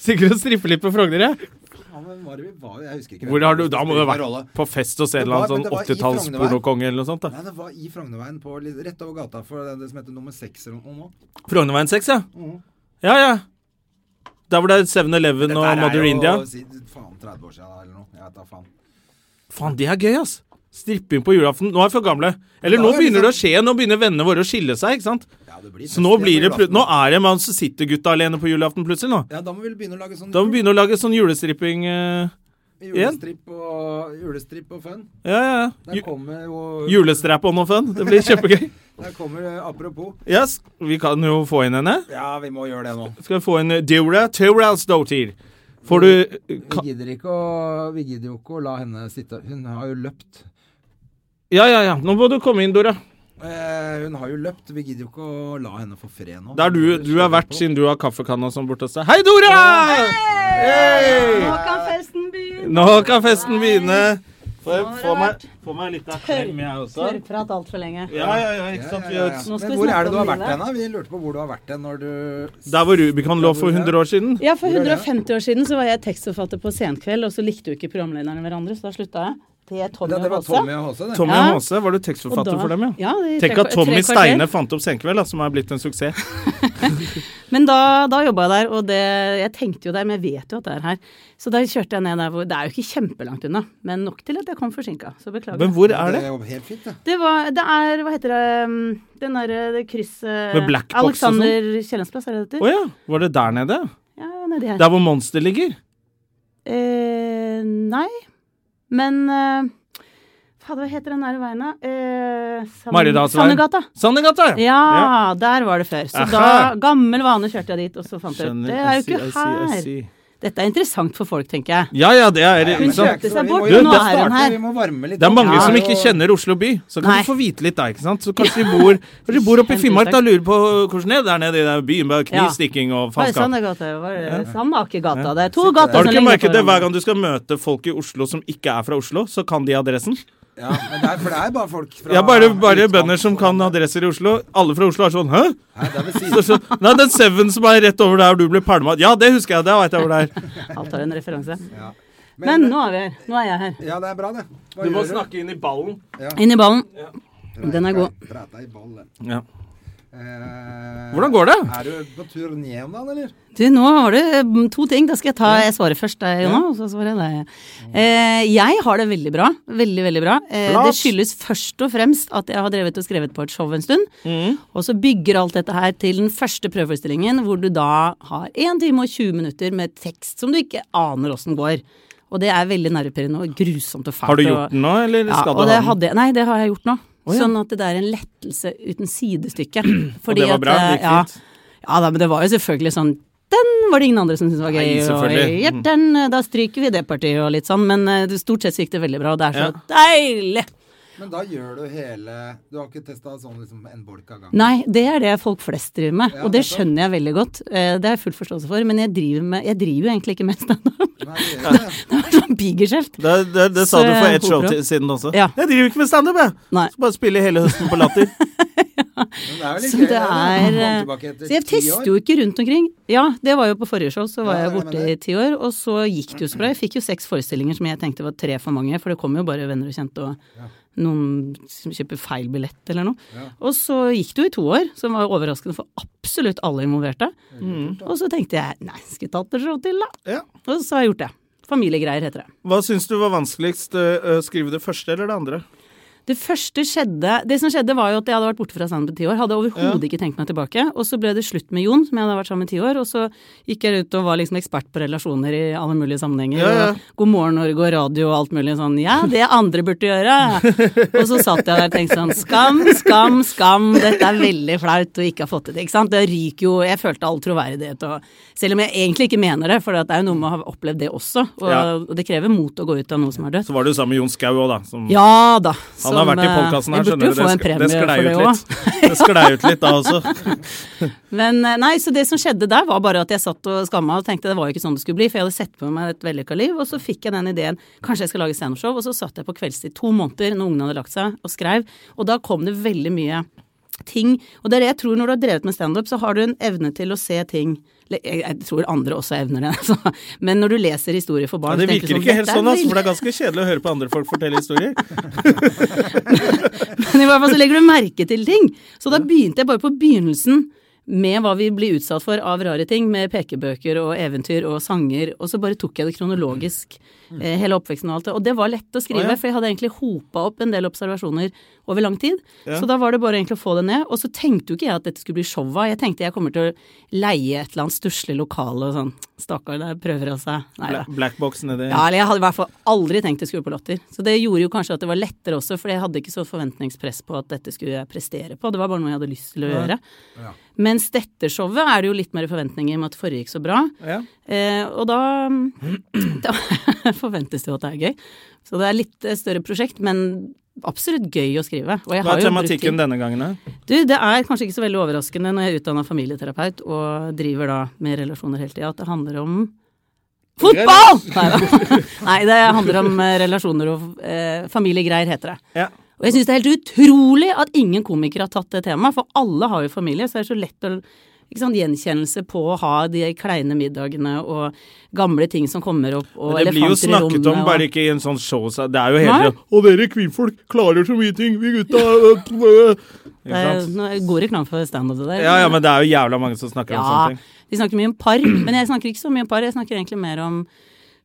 Speaker 1: Sikkert å strippe litt på Frogner, jeg.
Speaker 2: Ja, men var det vi var? Jeg husker ikke.
Speaker 1: Hvor har du, da må du ha
Speaker 2: Spiller ingen
Speaker 1: vært
Speaker 2: rolle.
Speaker 1: på fest hos en
Speaker 2: Det
Speaker 1: eller annen
Speaker 2: var- men
Speaker 1: sånn
Speaker 2: det var i
Speaker 1: 80-talls
Speaker 2: Frognerveien.
Speaker 1: pornokonge eller noe sånt. da
Speaker 2: Nei, det var i Frognerveien, på, litt- rett over gata for det, det som heter nummer seks eller noe nå.
Speaker 1: Frognerveien 6, ja.
Speaker 2: Mm.
Speaker 1: Ja, ja. Der hvor det er 7-Eleven og
Speaker 2: Dette her er
Speaker 1: Mother
Speaker 2: jo
Speaker 1: India.
Speaker 2: siden Faen, 30 år siden eller noe. Jeg vet da faen.
Speaker 1: Faen, det er gøy, ass. Stripping på julaften. Nå er vi for gamle. Eller nå
Speaker 2: Da er vi
Speaker 1: begynner det å
Speaker 2: liksom-
Speaker 1: skje. Nå begynner vennene våre å skille seg, ikke sant.
Speaker 2: Ja, det blir
Speaker 1: Så nå
Speaker 2: fest
Speaker 1: blir det
Speaker 2: på
Speaker 1: plut-
Speaker 2: julaften.
Speaker 1: Nå er det man som sitter gutta alene på julaften plutselig nå.
Speaker 2: Ja, da må vi vel begynne å lage sånn
Speaker 1: Da må vi begynne å lage sånn julestripping eh,
Speaker 2: julestripp, og, julestripp og fun.
Speaker 1: Ja, ja, ja.
Speaker 2: Der
Speaker 1: Ju
Speaker 2: kommer jo
Speaker 1: Julestrap on og fun. Det blir
Speaker 2: (laughs)
Speaker 1: kjempegøy.
Speaker 2: Der kommer eh, Apropos.
Speaker 1: Yes, vi kan jo få inn henne.
Speaker 2: Ja, vi må gjøre det nå.
Speaker 1: Skal vi få inn eh, Deora Terrells Dotir. Får du eh,
Speaker 2: Vi
Speaker 1: ka
Speaker 2: gidder, ikke å, vi gidder jo ikke å la henne sitte Hun har jo løpt.
Speaker 1: Ja, ja, ja. Nå må du komme inn, Dora.
Speaker 2: Eh, hun har jo løpt. Vi gidder jo ikke å la henne få fred nå.
Speaker 1: Der du, du er vert, siden du har kaffekanna sånn borte hos deg. Hei, Dora! Hei!
Speaker 5: Nå kan festen begynne.
Speaker 1: Nå kan festen begynne. Få, få, meg, få meg litt av klem, jeg også.
Speaker 5: Tørrprat altfor lenge.
Speaker 1: Ja, ja, ja, ikke
Speaker 6: Sånn
Speaker 1: sant? Vi
Speaker 2: Ja,
Speaker 1: har-
Speaker 2: ja.
Speaker 5: Nå skal
Speaker 2: Men
Speaker 5: vi
Speaker 2: hvor
Speaker 5: snakke
Speaker 2: er det du
Speaker 5: om
Speaker 2: har vært
Speaker 5: livet.
Speaker 2: hen? da? Vi lurte på hvor du har vært hen når du
Speaker 1: Der hvor Rubicon lå for 100 år siden.
Speaker 6: Ja, for 150 år siden så var jeg tekstforfatter på Senkveld, og så likte jo ikke programlederne hverandre, så da slutta jeg. Det er Tommy
Speaker 2: ja, Det
Speaker 6: og
Speaker 2: var
Speaker 6: Håse.
Speaker 2: Tommy og Håse, det.
Speaker 1: Tommy
Speaker 6: Ja.
Speaker 1: Haase, var du tekstforfatter
Speaker 6: Og da-
Speaker 1: for dem, ja?
Speaker 6: ja, i
Speaker 1: Tenk
Speaker 6: tre-
Speaker 1: at Tommy
Speaker 6: tre kvarter.
Speaker 1: Steine fant opp Senkveld, da, som er blitt en suksess.
Speaker 6: Men da, da jobba jeg der, og det, jeg tenkte jo der, men jeg vet jo at det er her. Så da kjørte jeg ned der hvor Det er jo ikke kjempelangt unna, men nok til at jeg kom forsinka. Så beklager.
Speaker 1: Men hvor er det?
Speaker 2: er jo helt fint, det.
Speaker 6: Det, var, det er Hva heter det um, Den derre det krysset
Speaker 1: Med black box og
Speaker 6: Alexander Kiellands plass, er det det
Speaker 1: Å
Speaker 6: heter?
Speaker 1: ja, var det der nede?
Speaker 6: Ja, nedi her.
Speaker 1: Der hvor Monster ligger?
Speaker 6: Eh, nei, men eh, Fader, hva heter den der veien, da? Eh, Sand-
Speaker 1: Maridalsveien.
Speaker 6: Sandegata.
Speaker 1: Sandegata!
Speaker 6: Ja, der var det før. Så
Speaker 1: Aha.
Speaker 6: da, gammel vane kjørte jeg dit, og så fant jeg ut
Speaker 1: Skjønner.
Speaker 6: Det er
Speaker 1: I
Speaker 6: jo
Speaker 1: see,
Speaker 6: ikke
Speaker 1: I see, I
Speaker 6: her.
Speaker 1: see.
Speaker 6: Dette er interessant for folk, tenker jeg.
Speaker 1: Ja ja, det er
Speaker 6: Hun
Speaker 1: ikke sant?
Speaker 6: kjøpte seg bort,
Speaker 1: Du,
Speaker 6: og nå
Speaker 1: det
Speaker 6: er hun her.
Speaker 2: Vi må varme litt
Speaker 1: Det er mange
Speaker 6: Ja.
Speaker 1: som ikke kjenner Oslo by, så kan
Speaker 6: Nei.
Speaker 1: du få vite litt der, ikke sant? Så kanskje de bor, kanskje de bor oppe i Finnmark da og lurer på hvordan det er der nede i den byen med
Speaker 6: Ja.
Speaker 1: knivstikking og
Speaker 6: Var det
Speaker 1: faenskap.
Speaker 6: Sandegata? Var det Sandakergata? Det er to gater
Speaker 1: Har du
Speaker 6: som
Speaker 1: ikke
Speaker 6: ligner på
Speaker 1: merket det hver
Speaker 6: hverandre.
Speaker 1: gang du skal møte folk i Oslo som ikke er fra Oslo, så kan de adressen?
Speaker 2: Ja, men det er, for det er bare folk fra
Speaker 1: Ja, bare, bare
Speaker 2: utkant.
Speaker 1: bønder som kan adresser i Oslo. Alle fra Oslo er sånn Hæ?
Speaker 2: Nei, det er
Speaker 1: (laughs)
Speaker 2: ved
Speaker 1: Så,
Speaker 2: siden.
Speaker 1: så, nei, den Seven som er rett over der hvor du ble pælma Ja, det husker jeg, det veit jeg hvor det er.
Speaker 6: Alt har en referanse.
Speaker 2: Ja.
Speaker 6: Men nå er vi her. Nå er jeg her.
Speaker 2: Ja, det er bra, det. Hva
Speaker 1: Du må
Speaker 2: gjør
Speaker 1: snakke inn i ballen.
Speaker 6: Inn i ballen.
Speaker 2: Nei,
Speaker 6: Den er god.
Speaker 2: prata i ballen.
Speaker 1: Ja.
Speaker 2: Eh,
Speaker 1: Hvordan går det?
Speaker 2: Er du på turné om dagen, eller?
Speaker 6: Du, nå har du mm, to ting. Da skal jeg ta jeg svaret først, eh, Jonna, og så svarer jeg deg. Eh, jeg har det veldig bra. Veldig, veldig bra. Eh, det
Speaker 1: Flott.
Speaker 6: skyldes først og fremst at jeg har drevet og skrevet på et show en stund.
Speaker 1: Mm.
Speaker 6: Og så bygger alt dette her til den første prøveforestillingen, hvor du da har 1 time og 20 minutter med tekst som du ikke aner åssen går. Og det er veldig nervepirrende og grusomt og fælt.
Speaker 1: Har du
Speaker 6: og-
Speaker 1: gjort den nå, eller
Speaker 6: ja,
Speaker 1: skal
Speaker 6: og
Speaker 1: du
Speaker 6: det
Speaker 1: ha den?
Speaker 6: hadde, jeg- Nei, det har jeg gjort nå.
Speaker 1: ja.
Speaker 6: Sånn at det der er en lettelse uten sidestykke. Fordi
Speaker 1: Og det var
Speaker 6: at,
Speaker 1: bra? Det
Speaker 6: eh,
Speaker 1: gikk
Speaker 6: ja,
Speaker 1: fint?
Speaker 6: ja da, men det var jo selvfølgelig sånn Den var det ingen andre som syntes var gøy.
Speaker 1: Nei, selvfølgelig. Mm.
Speaker 6: Og, ja, den, eh, da stryker vi det partiet og litt sånn. Men eh, det- stort sett så gikk det veldig bra, og det er så deilig!
Speaker 2: Men da gjør du hele Du har ikke testa sånn liksom en bolk av gangen?
Speaker 6: Nei, det er det folk flest driver med,
Speaker 2: Ja,
Speaker 6: og det
Speaker 2: nettopp.
Speaker 6: skjønner jeg veldig godt. Eh, Det har jeg full forståelse for, men jeg driver, med, jeg driver jo egentlig ikke med standup.
Speaker 2: Nei, det gjør ikke det.
Speaker 6: (laughs) Det er sånn pigerskjeft.
Speaker 1: Det, det, det sa
Speaker 6: Så
Speaker 1: du for
Speaker 6: jeg
Speaker 1: ett show
Speaker 6: håper
Speaker 1: til, siden også.
Speaker 6: Ja.
Speaker 1: Jeg driver ikke med standup, jeg.
Speaker 6: Nei.
Speaker 1: Så bare spille hele høsten på latter. (laughs)
Speaker 2: Men det er jo litt
Speaker 6: Så
Speaker 2: gøy.
Speaker 6: det er eh, Så jeg tester jo ikke rundt omkring. Ja, det var jo på forrige show, så var
Speaker 2: Ja,
Speaker 6: jeg
Speaker 2: jeg
Speaker 6: borte
Speaker 2: mener.
Speaker 6: i ti år. Og så gikk det jo så bra. Jeg fikk jo seks forestillinger som jeg tenkte var tre for mange, for det kom jo bare venner og kjente og noen som kjøper feil billett eller noe. Og så gikk det jo i to år, som var overraskende for absolutt alle involverte. Og så tenkte jeg nei, skal vi ta et show til, da?
Speaker 1: Ja.
Speaker 6: Og så har jeg gjort det. Familiegreier heter det.
Speaker 1: Hva syns du var vanskeligst? øh, øh, Skrive det første eller det andre?
Speaker 6: Det første skjedde Det som skjedde var jo at jeg hadde vært borte fra standup i ti år. Hadde overhodet ikke tenkt meg tilbake. Og så ble det slutt med Jon, som jeg hadde vært sammen med i ti år. Og så gikk jeg rundt og var liksom ekspert på relasjoner i alle mulige sammenhenger.
Speaker 1: Ja, ja.
Speaker 6: Og God morgen Norge og radio og alt mulig sånn. Ja, det andre burde gjøre.
Speaker 1: (laughs)
Speaker 6: og så satt jeg der og tenkte sånn skam, skam, skam. Dette er veldig flaut og ikke har fått det til. Ikke sant. Det ryker jo Jeg følte all troverdighet og Selv om jeg egentlig ikke mener det, for det er jo noe med å ha opplevd det også. Og,
Speaker 1: Ja.
Speaker 6: og det krever mot å gå ut av noe som er dødt.
Speaker 1: Så var du sammen med Jon Skau òg, da. Som
Speaker 6: Ja da.
Speaker 1: Mm.
Speaker 6: eh,
Speaker 1: Han har vært i podkasten her, skjønner du. sk-
Speaker 6: Jeg burde jo få en premie
Speaker 1: sklei
Speaker 6: for det
Speaker 1: ut
Speaker 6: òg.
Speaker 1: litt. (laughs) Det sklei ut litt da også.
Speaker 6: (laughs) Men eh, nei, så det som skjedde der var bare at jeg satt og skamma og tenkte det var jo ikke sånn det skulle bli, for jeg hadde sett på meg et vellykka liv, og så fikk jeg den ideen kanskje jeg skal lage standup-show, og så satt jeg på kveldstid to måneder når ungene hadde lagt seg, og skrev, og da kom det veldig mye ting, og det er det jeg tror når du har drevet med standup, så har du en evne til å se ting eller, jeg jeg tror andre også evner det, (laughs) altså. men når du leser historier for
Speaker 1: Ja,
Speaker 6: barn
Speaker 1: det
Speaker 6: så tenker du
Speaker 1: virker ikke helt
Speaker 6: dette er
Speaker 1: sånn, altså, for det
Speaker 6: veldig-
Speaker 1: er ganske kjedelig å høre på andre folk fortelle
Speaker 6: (laughs)
Speaker 1: historier.
Speaker 6: Men i hvert fall så legger du merke til ting. Så da begynte jeg bare på begynnelsen med hva vi blir utsatt for av rare ting, med pekebøker og eventyr og sanger, og så bare tok jeg det kronologisk, eh, hele oppveksten og alt det. Og det var lett å skrive,
Speaker 1: Å, ja.
Speaker 6: for jeg hadde egentlig hopa opp en del observasjoner over lang tid.
Speaker 1: Ja.
Speaker 6: Så da var det bare egentlig å få det ned. Og så tenkte jo ikke jeg at dette skulle bli show av, jeg tenkte jeg kommer til å leie et eller annet stusslig lokale og sånn. Stakkar, der prøver altså. han seg. Nei da.
Speaker 1: Bla- Blackbox nedi
Speaker 6: Ja, eller jeg hadde i hvert fall aldri tenkt jeg skulle på Latter. Så det gjorde jo kanskje at det var lettere også, for jeg hadde ikke så forventningspress på at dette skulle jeg prestere på. Det var bare noe jeg hadde lyst til å gjøre. Mens dette showet er det jo litt mer forventninger med at forrige gikk så bra.
Speaker 1: Ja.
Speaker 6: Eh, og da, (clears throat) da (laughs) forventes det jo at det er gøy. Så det er litt eh, større prosjekt, men absolutt gøy å skrive. Og jeg
Speaker 1: Hva
Speaker 6: har
Speaker 1: er
Speaker 6: jo brukt tid-
Speaker 1: tematikken denne gangen, da?
Speaker 6: du, det er kanskje ikke så veldig overraskende når jeg er utdanna familieterapeut og driver da med relasjoner hele tida, at det handler om fotball!
Speaker 1: (laughs)
Speaker 6: Neida. Nei, det handler om eh, relasjoner og eh, familiegreier, heter det.
Speaker 1: Ja.
Speaker 6: Og jeg syns det er helt utrolig at ingen komikere har tatt det temaet, for alle har jo familie, så det er så lett å ikke sant, Gjenkjennelse på å ha de kleine middagene og gamle ting som kommer opp, og
Speaker 1: Men det blir jo
Speaker 6: elefanter i rommet.
Speaker 1: snakket om,
Speaker 6: og-
Speaker 1: bare ikke i en sånn show. så Det er jo hele
Speaker 6: Nei.
Speaker 1: tiden Å, dere kvinnfolk klarer så mye ting, vi gutta
Speaker 6: (laughs)
Speaker 1: øh, øh». Ikke
Speaker 6: Det er
Speaker 1: sant?
Speaker 6: noe- god reklame for standup, det der.
Speaker 1: Ja, ja, men det er jo jævla mange som snakker om sånne ting.
Speaker 6: de snakker mye om par, men jeg snakker ikke så mye om par. Jeg snakker egentlig mer om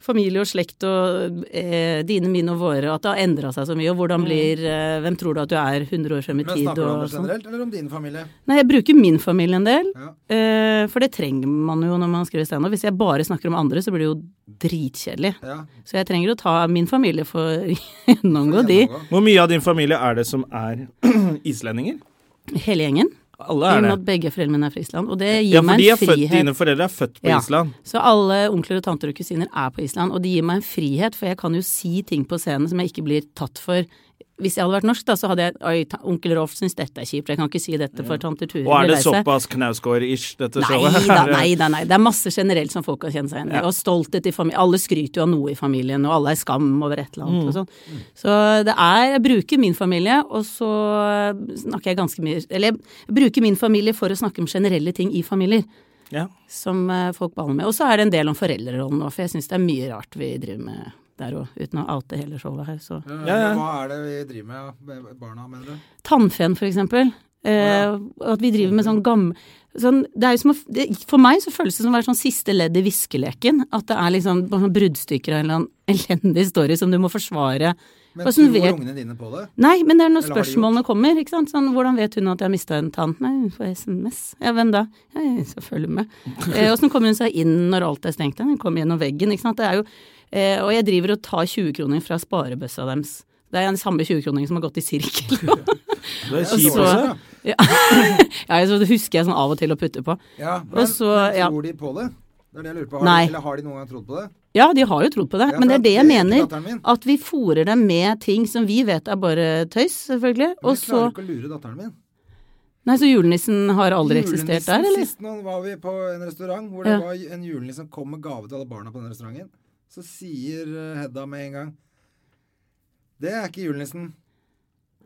Speaker 6: familie og slekt og eh, dine, mine og våre, og at det har endra seg så mye, og hvordan blir eh, Hvem tror du at du er 100 år frem i
Speaker 2: Men
Speaker 6: tid?
Speaker 2: snakker du om
Speaker 6: Og
Speaker 2: det
Speaker 6: sånn.
Speaker 2: generelt, eller om din familie?
Speaker 6: Nei, jeg bruker min familie en del,
Speaker 2: Ja.
Speaker 6: eh, for det trenger man jo når man skriver standup. Hvis jeg bare snakker om andre, så blir det jo dritkjedelig.
Speaker 2: Ja.
Speaker 6: Så jeg trenger å ta min familie for (laughs) å gjennomgå de,
Speaker 2: Gjennomgå.
Speaker 1: Hvor mye av din familie er det som er (clears throat) islendinger?
Speaker 6: hele gjengen.
Speaker 1: Alle
Speaker 6: I og
Speaker 1: er
Speaker 6: med
Speaker 1: det.
Speaker 6: at begge foreldrene mine er fra Island, og det gir
Speaker 1: Ja, for
Speaker 6: meg
Speaker 1: de er
Speaker 6: en
Speaker 1: født,
Speaker 6: frihet.
Speaker 1: dine foreldre er født på
Speaker 6: Ja.
Speaker 1: Island.
Speaker 6: Så alle onkler og tanter og kusiner er på Island, og det gir meg en frihet, for jeg kan jo si ting på scenen som jeg ikke blir tatt for. Hvis jeg hadde vært norsk, da, så hadde jeg Oi, ta- onkel Rolf syns dette er kjipt, jeg kan ikke si dette for tante Ture
Speaker 1: Og er
Speaker 6: blir
Speaker 1: det
Speaker 6: lei seg.
Speaker 1: såpass Knausgård-ish, dette
Speaker 6: Nei
Speaker 1: showet? (laughs)
Speaker 6: da, nei da, nei. Det er masse generelt som folk kan kjenne seg igjen i. Og stolthet i familien. Alle skryter jo av noe i familien, og alle er skam over et eller annet
Speaker 1: Mm.
Speaker 6: og sånn. Så det er Jeg bruker min familie, og så snakker jeg ganske mye Eller jeg bruker min familie for å snakke om generelle ting i familier
Speaker 1: Ja.
Speaker 6: som eh, folk baller med. Og så er det en del om foreldrerollen nå, for jeg syns det er mye rart vi driver med der òg, uten å oute hele showet her. Så.
Speaker 2: Eh,
Speaker 1: Ja, ja.
Speaker 2: Hva er det vi driver med, ja, med barna, mener du?
Speaker 6: Tannfen, for eksempel. Eh, og at vi driver med sånn gam... Sånn, det er jo som å, det, for meg så føles det som å være sånn siste ledd i viskeleken. At det er liksom bare sånn bruddstykker av en eller annen elendig story som du må forsvare.
Speaker 2: Men
Speaker 6: Hvordan
Speaker 2: tror
Speaker 6: vet-
Speaker 2: ungene dine på det?
Speaker 6: Nei, men det er når
Speaker 2: Eller har de
Speaker 6: spørsmålene kommer. ikke sant? Sånn, 'Hvordan vet hun at jeg har mista en tann?' Nei, hun får SMS. Ja, hvem da? Ja, jeg skal følge med.
Speaker 2: (laughs)
Speaker 6: Eh, Åssen kommer hun seg inn når alt er stengt? Ja, Hun kommer gjennom veggen. ikke sant? Det er jo, eh, og jeg driver og tar 20-kroninger fra sparebøssa deres. Det er den samme 20-kroningen som har gått
Speaker 2: (laughs)
Speaker 6: i sirkel.
Speaker 1: Det er
Speaker 6: Og
Speaker 1: kjipt
Speaker 6: så-
Speaker 1: også.
Speaker 6: ja, (laughs) ja så det husker jeg sånn av og til å putte på.
Speaker 2: Ja,
Speaker 6: Og så, ja.
Speaker 2: Tror de på det? Det er det jeg lurer på. Har
Speaker 6: Nei.
Speaker 2: De, eller har de noen gang trodd på det?
Speaker 6: Ja, de har jo trodd på det,
Speaker 2: Ja,
Speaker 6: men det
Speaker 2: for
Speaker 6: er det jeg
Speaker 2: det er ikke
Speaker 6: mener.
Speaker 2: datteren min.
Speaker 6: At vi fòrer dem med ting som vi vet er bare tøys, selvfølgelig.
Speaker 2: Men
Speaker 6: Og
Speaker 2: jeg klarer
Speaker 6: så
Speaker 2: ikke å lure datteren min.
Speaker 6: Nei, så julenissen har aldri eksistert der,
Speaker 2: Julenissen
Speaker 6: eller?
Speaker 2: Sist nå var vi på en restaurant hvor
Speaker 6: Ja.
Speaker 2: det var en julenisse som kom med gave til alle barna på den restauranten. Så sier eh, Hedda med en gang Det er ikke julenissen.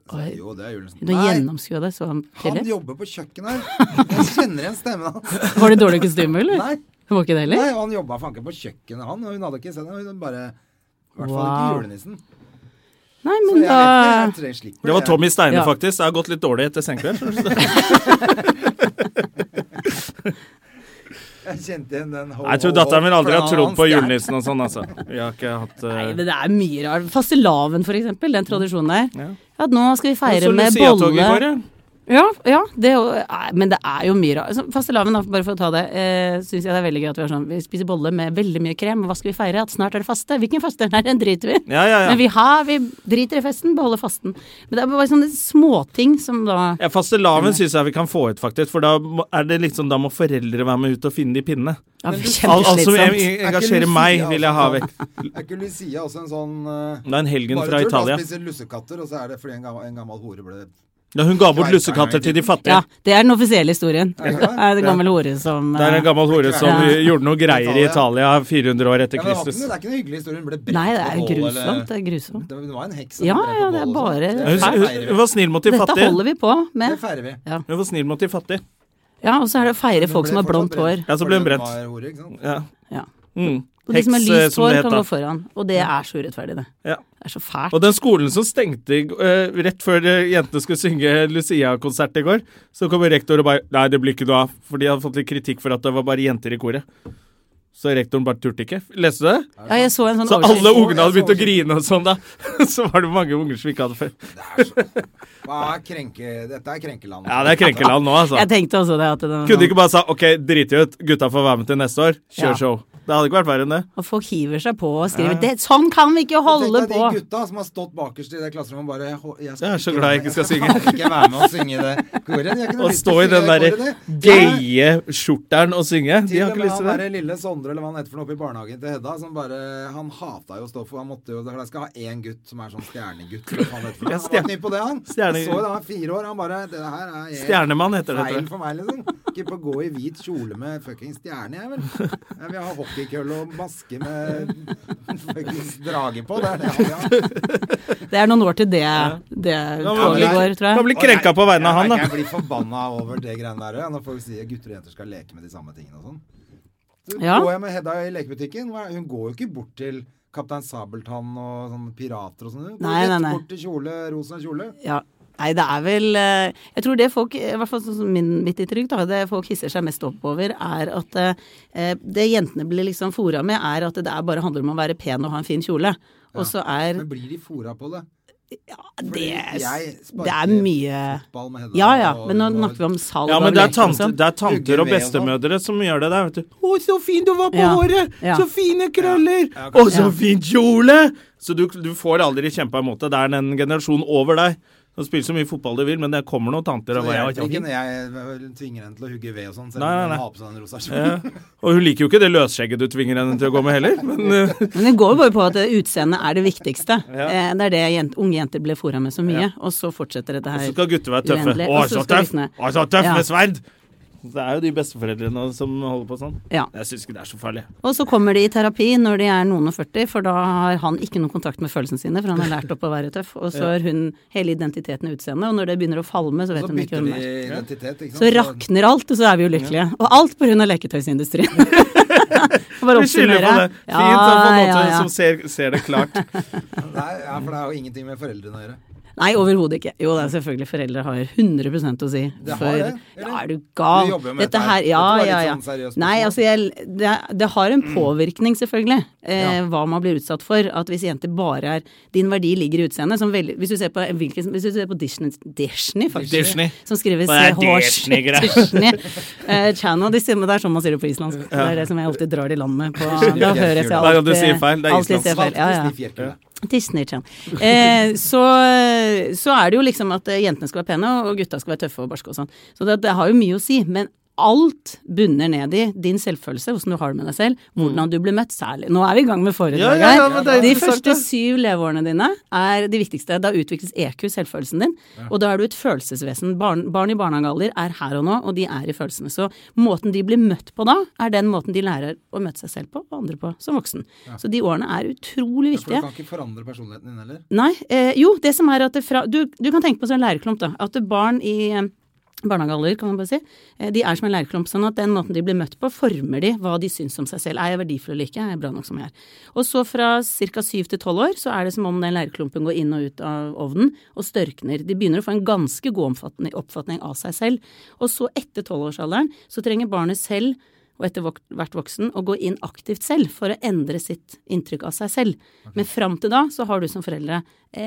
Speaker 2: Så,
Speaker 6: Oi.
Speaker 2: jo, det er julenissen.
Speaker 6: Hun har gjennomskua det så
Speaker 2: han
Speaker 6: tidlig.
Speaker 2: jobber på kjøkkenet her. Jeg kjenner igjen stemmen hans.
Speaker 6: Var det dårlig kostyme, (laughs) eller?
Speaker 2: Nei,
Speaker 6: Det var ikke det heller?
Speaker 2: nei, og han jobba fanken på kjøkkenet, han. Og hun hadde ikke sett det. Hun bare I hvert fall
Speaker 6: Wow.
Speaker 2: ikke julenissen.
Speaker 6: Nei,
Speaker 2: Så
Speaker 6: men
Speaker 2: jeg
Speaker 6: da
Speaker 2: vet ikke, jeg slipper
Speaker 1: Det var Tommy Steine,
Speaker 6: Ja.
Speaker 1: faktisk. Det har gått litt dårlig etter
Speaker 6: (laughs)
Speaker 1: senkveld.
Speaker 2: Jeg kjente igjen den ho,
Speaker 1: Jeg tror
Speaker 2: ho, ho
Speaker 1: datteren min aldri
Speaker 2: fra
Speaker 1: har trodd
Speaker 2: hans
Speaker 1: på
Speaker 2: hjerte.
Speaker 1: julenissen og sånn, altså. Vi har ikke hatt eh,
Speaker 6: Nei, men det er mye rart. Fastelavn, for eksempel. Den tradisjonen der.
Speaker 1: Ja.
Speaker 6: At nå skal vi
Speaker 1: Så
Speaker 6: feire med
Speaker 1: Lucia-toget
Speaker 6: bolle.
Speaker 1: går, ja.
Speaker 6: Ja, ja det er jo, nei, men det er jo mye rart. Altså, Fastelavn, da, bare for å ta det, eh, syns jeg det er veldig gøy at vi har sånn Vi spiser bolle med veldig mye krem, og hva skal vi feire? At snart er det faste? Hvilken faste? Nei, den driter vi i.
Speaker 1: Ja, ja,
Speaker 6: Men
Speaker 1: ja.
Speaker 6: vi har, vi driter i festen, beholder fasten. Men det er bare sånne småting som da
Speaker 1: ja Fastelavn syns jeg vi kan få ut, faktisk. For da må, er det liksom, da må foreldre være med ut og finne de pinnene. Al
Speaker 6: ja,
Speaker 1: altså, alt som
Speaker 6: kjempeslitsomt.
Speaker 1: en-
Speaker 2: Er ikke
Speaker 1: engasjerer
Speaker 2: Lucia
Speaker 1: meg, vil jeg ha
Speaker 2: også
Speaker 1: vekk.
Speaker 2: sånn- Er ikke Lucia også en sånn eh,
Speaker 1: Det er en helgen
Speaker 2: bare
Speaker 1: fra
Speaker 2: tull, da,
Speaker 1: Italia.
Speaker 2: spiser lussekatter, og så er det fordi en gammel, en gammel hore ble
Speaker 1: Da hun ga bort lussekatter til de fattige.
Speaker 6: Ja, det er den offisielle historien.
Speaker 2: Er
Speaker 6: (laughs)
Speaker 2: det det?
Speaker 6: Er det gammel hore som
Speaker 1: Det er en
Speaker 6: eh,
Speaker 1: gammel hore som
Speaker 6: Ja.
Speaker 1: gjorde noe greier i Italia 400 år
Speaker 2: ja,
Speaker 1: etter
Speaker 2: men det, var ikke,
Speaker 1: Kristus.
Speaker 2: noe- det er ikke noe hyggelig historie. Hun ble brent
Speaker 6: Nei, det
Speaker 2: på
Speaker 6: er
Speaker 2: bål,
Speaker 6: grusomt. Det
Speaker 2: eller-
Speaker 6: er grusomt.
Speaker 2: Det var en heks
Speaker 6: Ja,
Speaker 2: ble brent på
Speaker 6: ja, det er
Speaker 2: bål og sånn.
Speaker 6: bare
Speaker 2: Det
Speaker 1: Hun,
Speaker 6: feil.
Speaker 2: feirer vi.
Speaker 1: hun var snill mot de
Speaker 6: Dette
Speaker 1: fattige.
Speaker 6: holder vi på
Speaker 2: Det
Speaker 6: med.
Speaker 2: feirer vi.
Speaker 1: Hun var snill mot de fattige.
Speaker 6: Ja, og så er det å feire folk som har blondt hår.
Speaker 1: Ja, så ble hun brent.
Speaker 2: brent.
Speaker 1: Ja.
Speaker 6: Ja.
Speaker 1: Mm.
Speaker 6: Og de som har
Speaker 1: Heks, eh,
Speaker 6: lyst
Speaker 1: som
Speaker 6: hår,
Speaker 1: det het
Speaker 6: kan
Speaker 1: da.
Speaker 6: gå foran. Og det er så urettferdig, det.
Speaker 1: Ja.
Speaker 6: Det er så fælt.
Speaker 1: Og den skolen som stengte i g- eh, rett før eh, jentene skulle synge Lucia-konsert i går, så kommer rektor og bare Nei, det blir ikke noe av. For de hadde fått litt kritikk for at det var bare jenter i koret. Så rektoren bare turte ikke. Leste du det?
Speaker 6: Ja, jeg så en sånn
Speaker 1: Så alle
Speaker 6: overskrift.
Speaker 1: ungene hadde begynt å grine og sånn, da. (laughs) Så var det mange unger som ikke hadde før.
Speaker 2: Hva er krenke... Dette er krenkeland.
Speaker 1: Ja, det er
Speaker 6: (laughs)
Speaker 1: krenkeland nå, altså.
Speaker 6: Jeg tenkte også det. At det
Speaker 1: Kunne de ikke bare sa OK, drit i ut, gutta får være med til neste år, kjør
Speaker 6: Ja.
Speaker 1: show. Det hadde ikke vært verre enn det.
Speaker 6: Og folk hiver seg på og skriver det, Sånn kan vi ikke
Speaker 2: Tenk
Speaker 6: holde
Speaker 2: deg
Speaker 6: på!
Speaker 2: de gutta som har stått bakerst i det klasserommet og bare jeg, hå-
Speaker 1: Jeg er så
Speaker 2: ikke-
Speaker 1: glad jeg ikke skal synge.
Speaker 2: Jeg skal ikke være med og synge det koret. Jeg har ikke noe
Speaker 1: Å
Speaker 2: lyst
Speaker 1: stå
Speaker 2: til å
Speaker 1: i den
Speaker 2: synge det
Speaker 1: derre
Speaker 2: koret, det. Nei.
Speaker 1: gaye skjorteren og synge, de
Speaker 2: Til
Speaker 1: har
Speaker 2: og
Speaker 1: ikke
Speaker 2: med
Speaker 1: lyst
Speaker 2: han
Speaker 1: til
Speaker 2: derre
Speaker 1: det.
Speaker 2: lille Sondre eller hva han heter for noe oppe i barnehagen til Hedda, som bare Han hata jo å stå for Han måtte jo Jeg skal ha én gutt som er sånn stjernegutt. eller hva faen heter det
Speaker 1: Ja,
Speaker 2: for noe. Han var ikke ny på det, han.
Speaker 1: Stjerne-
Speaker 2: Jeg så jo da han var fire år. Han bare Det her er helt
Speaker 1: Stjernemann heter det. tror
Speaker 2: feil
Speaker 1: jeg.
Speaker 2: for meg, liksom. Ikke på å gå i hvit kjole med fuckings stjerne, jeg, vel. Jeg vil ha hockeykølle og maske med fuckings drage på. Det er det jeg vil ha.
Speaker 1: (laughs)
Speaker 6: Det er noen år til det, det toget
Speaker 2: men-
Speaker 6: går, tror
Speaker 1: Kan
Speaker 6: jeg.
Speaker 1: bli krenka på vegne av
Speaker 2: Jeg
Speaker 1: han,
Speaker 2: merker
Speaker 1: da.
Speaker 2: Jeg blir forbanna over det greiene der òg, ja, når folk sier gutter og jenter skal leke med de samme tingene og sånn. Så
Speaker 6: Ja.
Speaker 2: går jeg med Hedda i lekebutikken, hva er- hun går jo ikke bort til Kaptein Sabeltann og sånne pirater og sånn. Hun går
Speaker 6: Nei, nei,
Speaker 2: rett
Speaker 6: nei.
Speaker 2: bort til kjole, rosa kjole.
Speaker 6: Ja. Nei, det er vel eh, Jeg tror det folk, i hvert fall sånn som min, mitt inntrykk, da, det folk hisser seg mest opp over, er at eh, det jentene blir liksom fora med, er at det der bare handler om å være pen og ha en fin kjole. Og så er
Speaker 2: Men blir de fora på det?
Speaker 6: Ja,
Speaker 2: Fordi jeg
Speaker 6: det, det er
Speaker 2: sparker
Speaker 6: mye
Speaker 2: fotball med Hedda,
Speaker 6: Ja ja,
Speaker 2: og
Speaker 6: men nå
Speaker 2: hun var-
Speaker 6: snakker vi om salg
Speaker 1: Ja,
Speaker 6: av
Speaker 1: men det er,
Speaker 6: leker og
Speaker 1: tante,
Speaker 6: sånn.
Speaker 1: det er tanter og
Speaker 2: Ugger ved og sånn.
Speaker 1: bestemødre som gjør det der, vet du. 'Å, så fin du var på
Speaker 6: Ja.
Speaker 1: håret!
Speaker 6: Ja.
Speaker 1: Så fine krøller!
Speaker 2: Ja,
Speaker 1: Å,
Speaker 2: kanskje.
Speaker 1: så fin kjole!' Så du, du får aldri kjempa imot det. Det er den generasjonen over deg. Du spiller så mye fotball du vil, men det kommer noen tanter. Og,
Speaker 2: Så det
Speaker 1: bare,
Speaker 2: hjelper ikke
Speaker 1: «Ja,
Speaker 2: når jeg tvinger henne til å hugge ved og sånn, selv
Speaker 1: Nei, nei,
Speaker 2: om hun
Speaker 1: nei.
Speaker 2: har på seg den rosa kjolen.
Speaker 1: ja. og hun liker jo ikke det løsskjegget du tvinger henne til å gå med heller. Men eh,
Speaker 6: Men det går jo bare på at eh, utseendet er det viktigste.
Speaker 1: (laughs)
Speaker 6: Eh, Det er det jent, unge jenter ble fora med så mye, og så fortsetter dette her.
Speaker 1: så skal gutter være tøffe.
Speaker 6: uendelig.
Speaker 1: Å,
Speaker 6: Og så
Speaker 1: så
Speaker 6: skal
Speaker 1: tøff!
Speaker 6: guttene-
Speaker 1: Å, så tøff
Speaker 6: Ja.
Speaker 1: med sverd! Det er jo de besteforeldrene som holder på sånn.
Speaker 6: Ja.
Speaker 1: Jeg syns ikke det er så farlig.
Speaker 6: Og så kommer de i terapi når de er noen og 40, for da har han ikke noen kontakt med følelsene sine, for han har lært opp å være tøff. Og så er hun hele identiteten i utseendet, og når det begynner å falme, så vet
Speaker 2: Så
Speaker 6: hun
Speaker 2: bytter
Speaker 6: ikke hvem
Speaker 2: de
Speaker 6: det er.
Speaker 2: identitet, ikke sant.
Speaker 6: Så rakner alt, og så er vi ulykkelige. Og alt på grunn av leketøysindustrien. For å
Speaker 1: Vi skylder på det.
Speaker 6: oppsummere.
Speaker 1: Fint da, på en måte
Speaker 6: ja, ja. (laughs)
Speaker 1: som ser, ser det klart.
Speaker 2: Nei, ja, for det har jo ingenting med foreldrene å gjøre.
Speaker 6: Nei, overhodet ikke. Jo da, selvfølgelig. Foreldre har 100 å si.
Speaker 2: Det har
Speaker 6: For-
Speaker 2: det, eller?
Speaker 6: Ja, er du
Speaker 2: Du
Speaker 6: gal?
Speaker 2: jobber jo med dette
Speaker 6: dette
Speaker 2: her.
Speaker 6: her. Ja,
Speaker 2: Dette var litt
Speaker 6: ja, ja.
Speaker 2: sånn seriøst
Speaker 6: Nei,
Speaker 2: spørsmål.
Speaker 6: altså, jeg, det, det har en påvirkning, selvfølgelig, eh, hva man blir utsatt for. At hvis jenter bare er Din verdi ligger i utseendet. Som veldig- hvis, du ser på, en hvilken- hvis du ser på Disney, Disney faktisk.
Speaker 1: Disney.
Speaker 6: Som skrives
Speaker 1: Hva er
Speaker 6: CH
Speaker 1: Disney-greia?
Speaker 6: (laughs) Disney. Eh, Channel, de stemmer der, som man sier det på islandsk. Det er det som jeg alltid drar det i land med. På, da høres jeg
Speaker 1: Hver gang du
Speaker 6: alltid
Speaker 1: sier feil, det er
Speaker 6: alltid
Speaker 1: islandsk.
Speaker 6: sier feil. Ja, ja.
Speaker 2: Disney Fjerkule.
Speaker 6: Disney-chan. Eh, så, så er det jo liksom at eh, jentene skal være pene, og gutta skal være tøffe og barske og sånn. Så det, det har jo mye å si. men Alt bunner ned i din selvfølelse, hvordan du har det med deg selv, hvordan du blir møtt særlig. Nå er vi i gang
Speaker 1: Mm.
Speaker 6: med
Speaker 1: Ja,
Speaker 6: foredraget
Speaker 1: ja, ja, men det er
Speaker 6: her. De
Speaker 1: interessant,
Speaker 6: første
Speaker 1: det.
Speaker 6: syv leveårene dine er de viktigste. Da utvikles EQ, selvfølelsen din, og da er du et følelsesvesen. Barn, barn i barnehagealder er her og nå, og de er i følelsene. Så måten de blir møtt på da, er den måten de lærer å møte seg selv på, og andre på, som voksen. Så de årene er
Speaker 2: For du
Speaker 6: utrolig viktige.
Speaker 2: kan ikke forandre personligheten din heller.
Speaker 6: Nei. Eh, jo, det som er at det fra, du, du kan tenke på som en lærerklump, da. At barn i eh, barnehagealder, kan man bare si, eh, de er som en lærerklump. Sånn at den måten de blir møtt på, former de hva de syns om seg selv. Er jeg verdifull eller ikke? Er jeg bra nok som jeg er? Og så fra ca. syv til tolv år så er det som om den lærerklumpen går inn og ut av ovnen og størkner. De begynner å få en ganske god omfattende- oppfatning av seg selv. Og så etter tolvårsalderen så trenger barnet selv og etter vok- hvert voksen å gå inn aktivt selv for å endre sitt inntrykk av seg selv. Men fram til da så har du som foreldre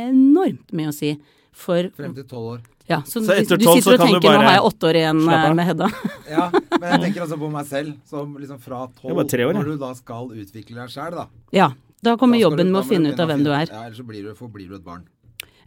Speaker 6: enormt mye å si for
Speaker 2: Frem til tolv
Speaker 6: (laughs)
Speaker 2: år.
Speaker 6: ja, så,
Speaker 1: Så etter
Speaker 6: du, du
Speaker 1: 12 så
Speaker 6: sitter og
Speaker 1: kan du
Speaker 6: tenker
Speaker 1: bare
Speaker 6: nå har jeg åtte år igjen
Speaker 1: slappe
Speaker 6: eh,
Speaker 1: av.
Speaker 6: med Hedda. (laughs)
Speaker 2: Ja, men jeg tenker altså på meg selv, som liksom fra
Speaker 1: Jeg er
Speaker 2: tolv,
Speaker 1: bare tre år, jeg.
Speaker 2: når du da skal utvikle deg sjæl, da.
Speaker 6: ja, da kommer
Speaker 2: Da skal
Speaker 6: jobben
Speaker 2: du-
Speaker 6: med
Speaker 2: da
Speaker 6: å
Speaker 2: må
Speaker 6: finne ut
Speaker 2: begynne
Speaker 6: av hvem du
Speaker 2: finne-
Speaker 6: er.
Speaker 2: Ja, ellers så blir du, forblir du et barn.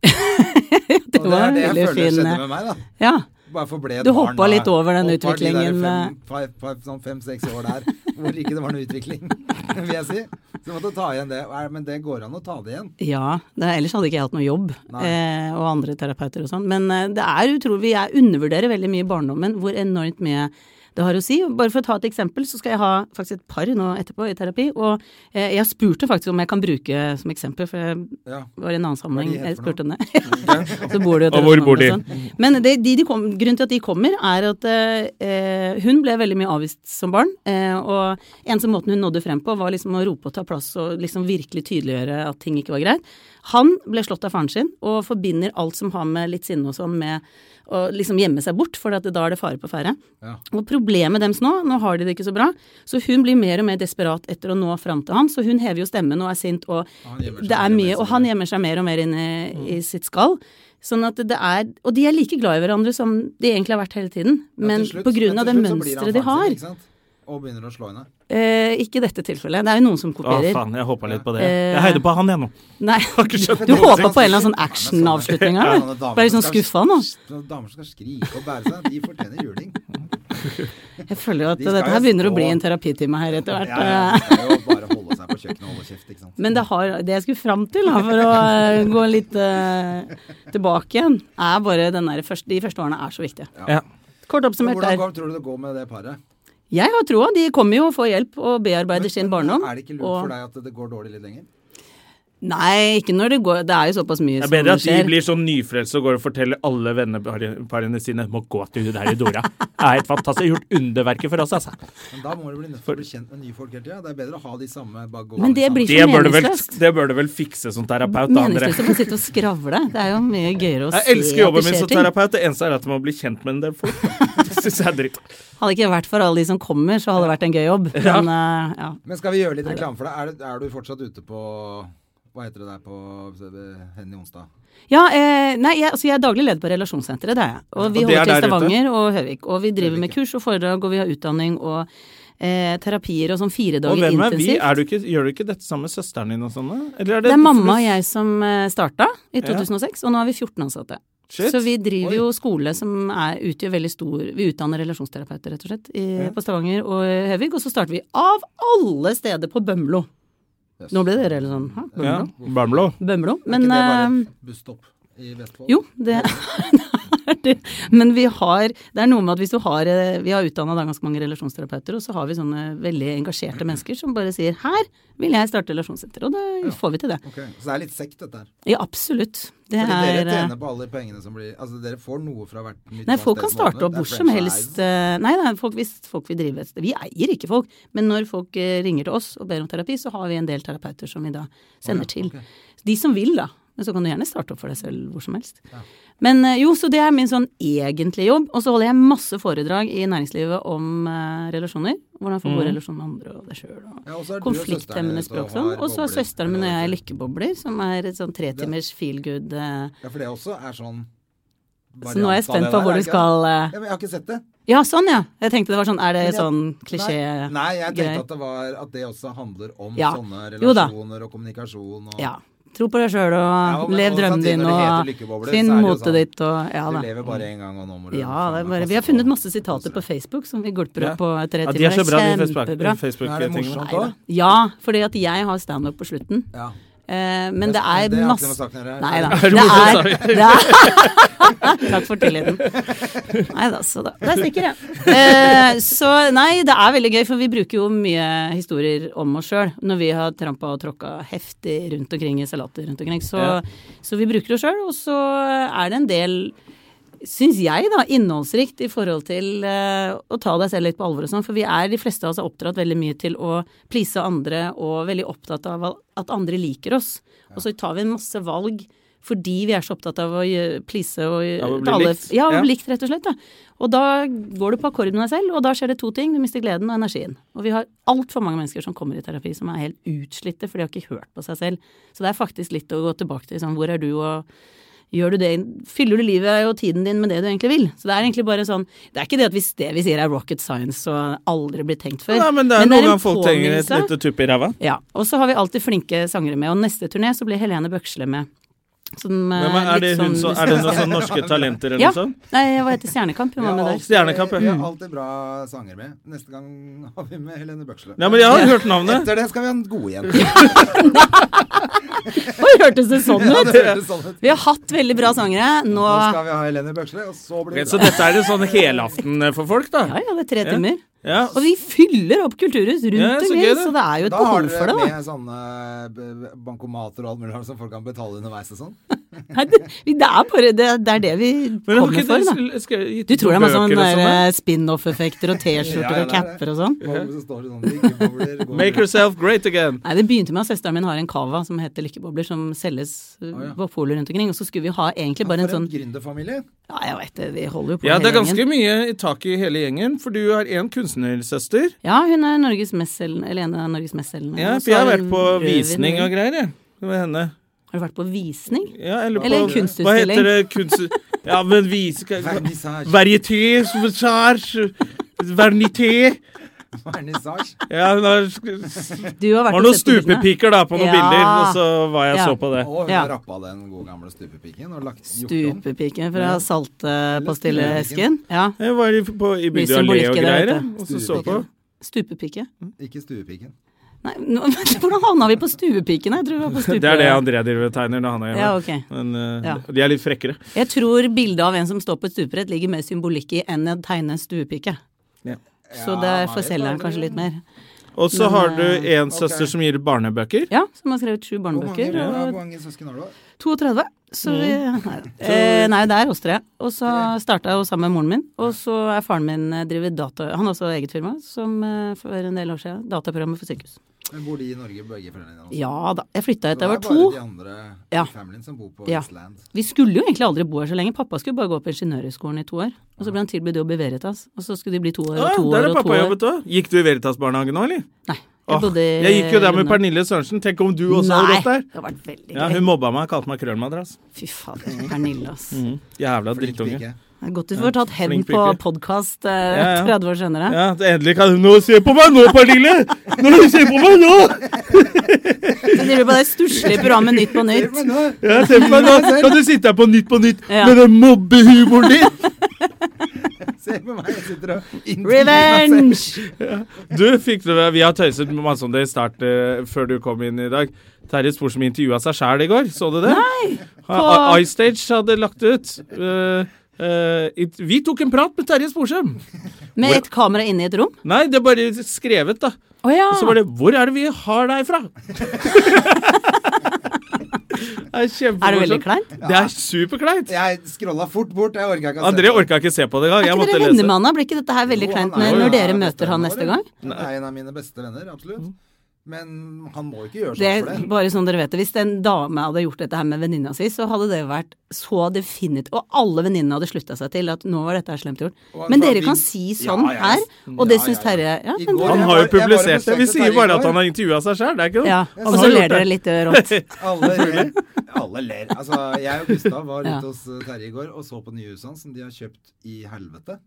Speaker 6: Det
Speaker 2: Og
Speaker 6: var en
Speaker 2: det er det
Speaker 6: veldig
Speaker 2: jeg føler
Speaker 6: fin
Speaker 2: skjedde
Speaker 6: eh,
Speaker 2: med meg, da.
Speaker 6: Ja.
Speaker 2: Bare forble et
Speaker 6: Du
Speaker 2: barn, da.
Speaker 6: hoppa litt over den
Speaker 2: Hoppa de der
Speaker 6: utviklingen, eh.
Speaker 2: fem- fem- fem- Sånn fem-seks år der hvor ikke det var noe utvikling, (laughs) vil jeg si. Så måtte jeg ta igjen det. Nei, Men det går an å ta det igjen.
Speaker 6: ja det, ellers hadde ikke jeg hatt noe jobb,
Speaker 2: Nei.
Speaker 6: eh, og andre terapeuter og sånn. Men eh, det er utrolig, jeg undervurderer veldig mye barndommen, hvor enormt mye det har å si. Bare for å ta et eksempel, så skal jeg ha faktisk et par nå etterpå i terapi, og eh, jeg spurte faktisk om jeg kan bruke som eksempel, for jeg
Speaker 2: Ja.
Speaker 6: Det var i en annen
Speaker 2: Hva er
Speaker 6: sammenheng.
Speaker 2: de
Speaker 6: Jeg
Speaker 2: het
Speaker 6: spurte om det. (laughs) så bor det jo
Speaker 1: Og hvor
Speaker 6: telefoner
Speaker 1: bor de?
Speaker 6: og sånn. Men det, de, de kom, grunnen til at de kommer, er at eh, hun ble veldig mye avvist som barn. Eh, og eneste måten hun nådde frem på, var liksom å rope og ta plass og liksom virkelig tydeliggjøre at ting ikke var greit. Han ble slått av faren sin, og forbinder alt som har med litt sinne og sånn, med å liksom gjemme seg bort, for at da er det fare på ferde.
Speaker 2: Ja.
Speaker 6: Og problemet deres nå, nå har de det ikke så bra, så hun blir mer og mer desperat etter å nå fram til han, så hun hever jo stemmen og er sint og
Speaker 2: Han gjemmer seg mer og
Speaker 6: det er
Speaker 2: mer,
Speaker 6: mye, og han gjemmer seg mer og mer inne
Speaker 2: Mm.
Speaker 6: i sitt skall. Sånn at det er, Og de er like glad i hverandre som de egentlig har vært hele tiden,
Speaker 2: Ja,
Speaker 6: men
Speaker 2: til slutt-
Speaker 6: på grunn
Speaker 2: men
Speaker 6: av
Speaker 2: til
Speaker 6: det
Speaker 2: slutt så blir han
Speaker 6: mønsteret de
Speaker 2: faren sin,
Speaker 6: har.
Speaker 2: ikke sant? Og begynner å slå henne.
Speaker 6: Eh, ikke i dette tilfellet, det er jo noen som
Speaker 1: Å,
Speaker 6: kopierer.
Speaker 1: faen, jeg hoppa litt på det.
Speaker 6: Eh.
Speaker 1: Jeg heide på han, jeg nå.
Speaker 6: (laughs) Nei,
Speaker 1: ikke skjønt
Speaker 6: (laughs) Du
Speaker 1: noe.
Speaker 6: håpa på en eller annen sånn actionavslutning her,
Speaker 2: Ja,
Speaker 6: du.
Speaker 2: sånne damer
Speaker 6: Ble litt
Speaker 2: som
Speaker 6: sånn
Speaker 2: skal-
Speaker 6: skuffa nå.
Speaker 2: sånne Damer som skal skrike og bære seg, de fortjener juling.
Speaker 6: Jeg føler jo at
Speaker 2: De skal
Speaker 6: dette
Speaker 2: jo
Speaker 6: her begynner å
Speaker 2: stå-
Speaker 6: bli en terapitime her etter hvert.
Speaker 2: Ja, ja, det er jo bare å holde seg på kjøkkenet og holde kjeft, ikke sant.
Speaker 6: Men det, har, det jeg skulle fram til, da, for å eh, gå litt eh, tilbake igjen, er bare den der første, de første årene er så viktige.
Speaker 1: Ja.
Speaker 6: Kort
Speaker 2: Men
Speaker 6: oppsummert
Speaker 2: hvordan
Speaker 6: der.
Speaker 2: går, tror du det går med det paret?
Speaker 6: Jeg har troa. De kommer jo og får hjelp og bearbeider sin
Speaker 2: Men
Speaker 6: barndom.
Speaker 2: Er det ikke lurt
Speaker 6: og-
Speaker 2: for deg at det går dårlig litt lenger?
Speaker 6: Nei, ikke når det går Det er jo såpass mye
Speaker 1: Det er
Speaker 6: som
Speaker 1: bedre at de
Speaker 6: skjer.
Speaker 1: blir sånn nyfrelste og går og forteller alle venneparene sine må gå til hun der i Dora. Det er helt fantastisk. Gjort underverker for oss, altså.
Speaker 2: Men da må du bli nødt til å bli kjent med nye folk hele tida. Det er bedre å ha de samme bare gå
Speaker 6: Men
Speaker 2: de
Speaker 6: det
Speaker 2: samme.
Speaker 6: blir
Speaker 1: Det
Speaker 6: så
Speaker 1: bør, du vel,
Speaker 6: meningsløst.
Speaker 1: det bør du vel fikse som terapeut, da, André.
Speaker 6: Meningsløst å få sitte og skravle. Det er jo mye gøyere å
Speaker 1: Jeg
Speaker 6: se at det
Speaker 1: elsker jobben min
Speaker 6: skjer
Speaker 1: som
Speaker 6: ting.
Speaker 1: terapeut. Det eneste er at man blir kjent med en del folk. (laughs) Det syns jeg er dritt.
Speaker 6: Hadde det ikke vært for alle de som kommer, så hadde det vært en gøy jobb. Men eh, ja.
Speaker 2: Men skal vi gjøre litt reklame for deg? Er, det- er du fortsatt ute på Hva heter det der på Henny Onsdag?
Speaker 6: Ja, eh, nei, jeg, altså jeg er daglig leder på Relasjonssenteret, det er jeg. Og vi
Speaker 1: Og det er
Speaker 6: holder til
Speaker 1: der ute?
Speaker 6: Stavanger og Høvik. Og vi driver med
Speaker 2: Høvik,
Speaker 6: kurs og foredrag, og vi har utdanning og eh, terapier og sånn fire
Speaker 1: Og
Speaker 6: dager
Speaker 1: hvem er
Speaker 6: intensivt.
Speaker 1: vi? Er du ikke, gjør du ikke dette sammen med søsteren din og sånn? da? Eller
Speaker 6: Det er mamma og jeg som eh, starta i 2006, og nå har vi 14 ansatte.
Speaker 1: Shit.
Speaker 6: Så vi driver
Speaker 2: Oi.
Speaker 6: jo skole som er, utgjør veldig stor Vi utdanner relasjonsterapeuter, rett og slett, i, på Stavanger og Høvik. Og så starter vi av alle steder på Bømlo.
Speaker 2: Yes.
Speaker 6: Nå ble dere litt sånn Hæ,
Speaker 1: Ja.
Speaker 6: Bømlo?
Speaker 1: Bamlo.
Speaker 6: Bømlo.
Speaker 2: Er ikke
Speaker 6: Men
Speaker 2: det bare
Speaker 6: eh,
Speaker 2: et busstopp i Vestfold?
Speaker 6: Jo, (laughs) det er det. Men vi har Det er noe med at hvis du har eh, Vi har utdanna ganske mange relasjonsterapeuter, og så har vi sånne veldig engasjerte mennesker som bare sier 'her vil jeg starte relasjonssenter', og da får vi til det.
Speaker 2: Ok, Så det er litt sekt, dette her.
Speaker 6: Ja, absolutt. Det
Speaker 2: Fordi
Speaker 6: er
Speaker 2: dere
Speaker 6: eh,
Speaker 2: tjener på alle pengene som blir Altså, dere får noe fra hvert nytt
Speaker 6: Nei,
Speaker 2: hvert
Speaker 6: folk kan
Speaker 2: sted som åpner.
Speaker 6: starte opp
Speaker 2: Det er
Speaker 6: hvor som helst.
Speaker 2: franchise.
Speaker 6: eh, Nei, nei folk, hvis folk vil drive et sted Vi eier ikke folk, men når folk eh, ringer til oss og ber om terapi, så har vi en del terapeuter som vi da sender til. De som vil, da. Men så kan du gjerne starte opp for deg selv hvor som helst. Men eh, jo, så det er min sånn egentlige jobb. Og så holder jeg masse foredrag i næringslivet om eh, relasjoner. Hvordan få god relasjon med andre og deg sjøl. og
Speaker 2: Mm. Ja, og så er du og søsteren
Speaker 6: Konflikthemmende
Speaker 2: deres
Speaker 6: språk
Speaker 2: og
Speaker 6: sånn.
Speaker 2: har
Speaker 6: Og så er
Speaker 2: bobler.
Speaker 6: søsteren min og jeg lykkebobler, som er et sånn tretimers feel good. eh,
Speaker 2: Ja, for det også er sånn
Speaker 6: Så nå er
Speaker 2: variant av
Speaker 6: jeg
Speaker 2: det
Speaker 6: spent på
Speaker 2: der,
Speaker 6: hvor
Speaker 2: er
Speaker 6: du
Speaker 2: ikke det?
Speaker 6: skal eh,
Speaker 2: Ja, men Jeg har ikke sett det.
Speaker 6: Ja, sånn ja. Jeg tenkte det var sånn Er det
Speaker 2: Men jeg-
Speaker 6: sånn
Speaker 2: Nei,
Speaker 6: klisjé?
Speaker 2: nei jeg tenkte
Speaker 6: greier.
Speaker 2: at det, var, at det også handler om
Speaker 6: Ja.
Speaker 2: sånne
Speaker 6: Jo da.
Speaker 2: relasjoner og kommunikasjon. Og,
Speaker 6: Ja. Tro på deg sjøl
Speaker 2: og-
Speaker 6: og
Speaker 2: men-
Speaker 6: lev
Speaker 2: og
Speaker 6: drømmen
Speaker 2: samtidig
Speaker 6: din
Speaker 2: når det heter
Speaker 6: og
Speaker 2: lykkebobler,
Speaker 6: finn
Speaker 2: så er det jo
Speaker 6: motet
Speaker 2: sånn,
Speaker 6: ditt og Ja
Speaker 2: Du
Speaker 6: da.
Speaker 2: lever bare én gang, og nå må du
Speaker 6: Ja,
Speaker 2: faen
Speaker 6: det
Speaker 2: meg
Speaker 6: er bare,
Speaker 2: passe
Speaker 6: vi har funnet
Speaker 2: på.
Speaker 6: masse sitater på Facebook som vi gulper opp på tre
Speaker 1: Ja,
Speaker 6: timer.
Speaker 1: de er så bra, de
Speaker 6: Kjempebra.
Speaker 2: Men Er det
Speaker 1: Facebook-tingene.
Speaker 2: morsomt òg?
Speaker 6: Ja, fordi at jeg har standup på slutten.
Speaker 2: Ja.
Speaker 6: Eh, men det
Speaker 2: Men
Speaker 6: er
Speaker 2: det har ikke noe med
Speaker 6: masse
Speaker 2: saken å gjøre.
Speaker 6: Nei da.
Speaker 1: Er det
Speaker 6: Det er,
Speaker 1: morsomt,
Speaker 6: det er Takk for tilliten. Nei da, så da. Da stikker jeg. Eh, så nei, det er veldig gøy, for vi bruker jo mye historier om oss sjøl når vi har trampa og tråkka heftig rundt omkring i salater rundt omkring. Så,
Speaker 1: Ja.
Speaker 6: så vi bruker oss sjøl, og så er det en del Syns jeg, da, innholdsrikt i forhold til eh, å ta deg selv litt på alvor og sånn. For vi er, de fleste av oss er oppdratt veldig mye til å please andre og veldig opptatt av at andre liker oss. Og så tar vi en masse valg fordi vi er så opptatt av å gjø- please og
Speaker 1: Ja, å bli
Speaker 6: til alle-
Speaker 1: likt.
Speaker 6: Ja, å
Speaker 1: Ja.
Speaker 6: bli likt, rett og slett. Da. Og da går du på akkord med deg selv, og da skjer det to ting. Du mister gleden og energien. Og vi har altfor mange mennesker som kommer i terapi som er helt utslitte, for de har ikke hørt på seg selv. Så det er faktisk litt å gå tilbake til sånn, hvor er du og Gjør du det, fyller du livet og tiden din med det du egentlig vil? Så det er egentlig bare sånn Det er ikke det at hvis det vi sier er rocket science og aldri blitt tenkt før.
Speaker 1: Nei, men det er noen
Speaker 6: en
Speaker 1: ganger folk trenger et
Speaker 6: påminnelse.
Speaker 1: lite tupp i ræva.
Speaker 6: Ja, og så har vi alltid flinke sangere med, og neste turné så blir Helene Bøksle med. Som, eh,
Speaker 1: Hvem er, er, det
Speaker 6: litt
Speaker 1: hun
Speaker 6: sånn-
Speaker 1: som, er det noen sånne norske talenter eller
Speaker 6: (laughs) Ja.
Speaker 1: noe sånt?
Speaker 6: Nei, hva heter Stjernekamp? Hun
Speaker 2: Vi
Speaker 6: var
Speaker 2: har
Speaker 6: med der.
Speaker 2: alltid-
Speaker 1: Stjernekamp, ja. altså.
Speaker 2: Vi har alltid bra sanger med. Neste gang har vi med Helene Bøksle.
Speaker 1: Ja, men jeg har hørt navnet.
Speaker 2: Etter det skal vi ha en god
Speaker 1: (laughs)
Speaker 2: igjen.
Speaker 6: Oi, hørtes det
Speaker 1: (laughs)
Speaker 6: sånn
Speaker 2: Ja,
Speaker 6: ut?
Speaker 2: det høres sånn ut.
Speaker 6: Vi har hatt veldig bra sangere.
Speaker 2: Nå
Speaker 6: Nå
Speaker 2: skal vi ha Helene Bøksle, og så blir
Speaker 1: Ok,
Speaker 2: det
Speaker 1: Så
Speaker 2: bra.
Speaker 1: dette er en sånn helaften for folk,
Speaker 6: Ja,
Speaker 1: da?
Speaker 6: ja, det er tre timer.
Speaker 1: Ja.
Speaker 6: Og vi fyller opp kulturhus rundt
Speaker 1: Ja, så
Speaker 6: omkring,
Speaker 1: gøy, det.
Speaker 6: så det er jo et
Speaker 2: Da har
Speaker 6: behov
Speaker 2: dere
Speaker 6: for det. da.
Speaker 2: med sånne eh, b- bankomater og alt mulig rart som folk kan betale underveis og sånn.
Speaker 6: Nei, det, vi- det er bare det, det, er det vi
Speaker 1: Men har
Speaker 6: kommer
Speaker 1: ikke
Speaker 6: for,
Speaker 1: dere
Speaker 6: da.
Speaker 1: sk- skal- gitt
Speaker 6: Du tror det er masse
Speaker 1: bøker og
Speaker 6: sånn
Speaker 1: sånn, da?
Speaker 6: der, eh, spin-off-effekter og
Speaker 2: Ja, ja,
Speaker 6: T-skjorter og
Speaker 2: det er det.
Speaker 6: capper og sånn?
Speaker 2: Bobler så står det sånn drikkebobler, går-
Speaker 1: Make yourself great again.
Speaker 6: Nei, Det begynte med at søsteren min har en cava som heter Lykkebobler, som selges eh,
Speaker 2: Å, ja.
Speaker 6: på polet rundt omkring. Og så skulle vi ha egentlig bare
Speaker 2: For
Speaker 6: en
Speaker 2: en
Speaker 6: sånn
Speaker 2: gründerfamilie.
Speaker 6: Ja, jeg vet det, vi holder jo på
Speaker 1: Ja, det
Speaker 6: hele
Speaker 1: er ganske
Speaker 6: gjengen.
Speaker 1: mye i tak i hele gjengen, for du har én kunstnersøster.
Speaker 6: Ja, hun er Norges mestselgende, eller en av Norges mestselgende.
Speaker 1: Ja,
Speaker 6: Og så
Speaker 1: for jeg har
Speaker 6: er
Speaker 1: vært
Speaker 6: hun
Speaker 1: på
Speaker 6: rødvin-
Speaker 1: visning og greier, jeg. Med henne.
Speaker 6: Har du vært på visning?
Speaker 1: Ja, eller på
Speaker 6: Eller en
Speaker 1: Hva
Speaker 6: kunstutstilling.
Speaker 1: heter det? Kunst... Ja, men vise...
Speaker 2: Vernissage.
Speaker 1: Varieté, charge, vernité.
Speaker 2: Vernissage.
Speaker 1: Ja, hun har sk-
Speaker 6: Du har vært
Speaker 1: var
Speaker 6: og
Speaker 1: noen
Speaker 6: sett på bildene.
Speaker 1: stupepiker da, på noen
Speaker 6: Ja.
Speaker 1: bilder, og så var jeg og
Speaker 6: Ja.
Speaker 1: så på det.
Speaker 2: Og hun
Speaker 6: Ja.
Speaker 2: har rappa den gode gamle stupepiken og lagt gjort om.
Speaker 6: Stupepiken fra Saltpastillesken. Ja.
Speaker 1: Jeg var i- på, i
Speaker 6: Mye
Speaker 1: Bygdøy allé
Speaker 6: symbolikk
Speaker 1: og
Speaker 6: i det, vet
Speaker 1: greier,
Speaker 6: du.
Speaker 1: jeg, og så så på.
Speaker 6: Stupepike.
Speaker 2: Ikke stuepiken.
Speaker 6: Nei, nå, (laughs) hvordan havna vi på stuepiken? Jeg tror vi var på
Speaker 1: (laughs)
Speaker 6: stupe...
Speaker 1: Det er det André driver og tegner når han er hjemme.
Speaker 6: Ja, ok.
Speaker 1: Men eh,
Speaker 6: Ja.
Speaker 1: de er litt frekkere.
Speaker 6: Jeg tror bildet av en som står på et stupebrett ligger mer symbolikk i enn å tegne en stuepike.
Speaker 1: Ja.
Speaker 6: Så
Speaker 2: Ja,
Speaker 6: derfor
Speaker 2: nei,
Speaker 6: selger han
Speaker 2: det-
Speaker 6: kanskje litt mer.
Speaker 1: Og så
Speaker 6: Men,
Speaker 1: har du
Speaker 6: eh,
Speaker 1: en søster
Speaker 2: ok.
Speaker 1: som gir ut barnebøker.
Speaker 6: Ja, som har skrevet sju
Speaker 2: Hvor mange, Mm.
Speaker 6: barnebøker.
Speaker 2: ja,
Speaker 6: Og
Speaker 2: hvor mange søsken har du? da?
Speaker 6: 32. Så vi, nei, eh, nei, der hoster jeg. Og så starta jeg jo sammen med moren min. Og så er faren min eh, driver data... Han har også eget firma, som eh, for en del år siden. Dataprogrammet for sykehus.
Speaker 2: Men Bor de i Norge, begge foreldrene dine? også?
Speaker 6: Ja da. Jeg flytta
Speaker 2: Så
Speaker 6: hit da jeg var
Speaker 2: Det er
Speaker 6: to.
Speaker 2: bare de andre i
Speaker 6: Ja.
Speaker 2: familien som bor på
Speaker 6: Ja.
Speaker 2: Island.
Speaker 6: Vi skulle jo egentlig aldri bo her så lenge. Pappa skulle bare gå på ingeniørhøgskolen i to år. Og så ble han tilbudt jobb i Veritas. Og så skulle de bli to år
Speaker 1: Ja,
Speaker 6: og to
Speaker 1: der
Speaker 6: år
Speaker 1: har
Speaker 6: og to
Speaker 1: pappa
Speaker 6: år.
Speaker 1: jobbet òg. Gikk du i Veritas-barnehagen nå, eller?
Speaker 6: Nei.
Speaker 1: Åh,
Speaker 6: Jeg bodde i
Speaker 1: jeg gikk jo der med
Speaker 6: London.
Speaker 1: Pernille Sørensen. Tenk om du også hadde
Speaker 6: Nei,
Speaker 1: gått der.
Speaker 6: det har vært veldig
Speaker 1: Ja,
Speaker 6: gøy.
Speaker 1: Hun mobba meg og kalte meg krøllmadrass.
Speaker 6: Fy fader, Pernille, ass.
Speaker 1: Mm. Jævla
Speaker 2: Flink
Speaker 1: drittunge.
Speaker 2: pike.
Speaker 6: Det er godt du får tatt hevn
Speaker 1: flink
Speaker 6: på
Speaker 1: pike.
Speaker 6: podkast
Speaker 1: Ja, ja.
Speaker 6: (laughs) 30 år senere.
Speaker 1: Ja, så endelig kan hun Nå se på meg nå, Pernille! Nå se på meg nå!
Speaker 6: Så driver du på det stusslige programmet Nytt på
Speaker 1: (laughs)
Speaker 6: Nytt.
Speaker 2: Men nå-
Speaker 1: Ja, se på meg nå! Kan du sitte her på Nytt på Nytt
Speaker 6: Ja.
Speaker 1: med den mobbehumoren din?
Speaker 2: Se på meg, jeg sitter og intervjuer meg selv.
Speaker 6: Revenge!
Speaker 1: Du, fikk du Vi har tøyset masse om det i start eh, før du kom inn i dag. Terje Sporsem intervjua seg sjæl i går. Så du det? Nei!
Speaker 6: på-
Speaker 1: iStage hadde lagt ut eh, eh, it- Vi tok en prat med Terje Sporsem.
Speaker 6: Med et kamera inne i et rom.
Speaker 1: Nei, det er bare skrevet, da.
Speaker 6: Å ja!
Speaker 1: Og så var det 'Hvor er det vi har deg fra?' (laughs) det er
Speaker 6: Er det veldig
Speaker 1: kjempemorsomt.
Speaker 6: kleint?
Speaker 1: Det er superkleint.
Speaker 2: Jeg scrolla fort bort, jeg orka ikke å se
Speaker 1: André
Speaker 2: på.
Speaker 1: orka ikke se på det engang.
Speaker 6: Er
Speaker 1: Jeg
Speaker 6: ikke
Speaker 1: måtte
Speaker 6: dere venner
Speaker 1: lese.
Speaker 6: med han da? Blir ikke dette her veldig
Speaker 2: Jo,
Speaker 6: kleint
Speaker 2: han er
Speaker 6: når,
Speaker 2: jo
Speaker 6: når
Speaker 2: en
Speaker 6: dere
Speaker 2: av
Speaker 6: møter han
Speaker 2: bestevennene
Speaker 6: neste
Speaker 2: våre.
Speaker 6: gang?
Speaker 2: Han er en av mine beste venner, absolutt. Men han må ikke gjøre
Speaker 6: Det,
Speaker 2: sånn for det.
Speaker 6: bare sånn dere vet det, Hvis en dame hadde gjort dette her med venninna si, så hadde det vært så definitivt Og alle venninnene hadde slutta seg til at nå var dette her slemt gjort.
Speaker 2: Og
Speaker 6: Men
Speaker 2: for
Speaker 6: dere
Speaker 2: vi-
Speaker 6: kan si sånn
Speaker 2: Ja, ja,
Speaker 6: her, og det
Speaker 2: ja,
Speaker 6: syns
Speaker 2: ja, ja.
Speaker 6: Terje ja,
Speaker 2: I går-
Speaker 6: men det-
Speaker 1: Han har
Speaker 2: Jeg
Speaker 1: jo
Speaker 2: var- jeg var
Speaker 1: publisert det.
Speaker 2: besøkte
Speaker 1: Vi sier
Speaker 2: Terje i
Speaker 1: bare at
Speaker 2: går.
Speaker 1: han har intervjua seg sjøl, det er ikke noe?
Speaker 6: ja.
Speaker 2: Jeg
Speaker 6: Og
Speaker 2: sa
Speaker 6: så
Speaker 2: jo
Speaker 6: ler
Speaker 2: det.
Speaker 6: dere litt eh,
Speaker 1: (laughs)
Speaker 6: rått.
Speaker 2: Alle ler. Alle ler. Altså, jeg og Gustav var
Speaker 6: Ja.
Speaker 2: ute hos eh, Terje i går og så på nye husene som de har kjøpt i helvete.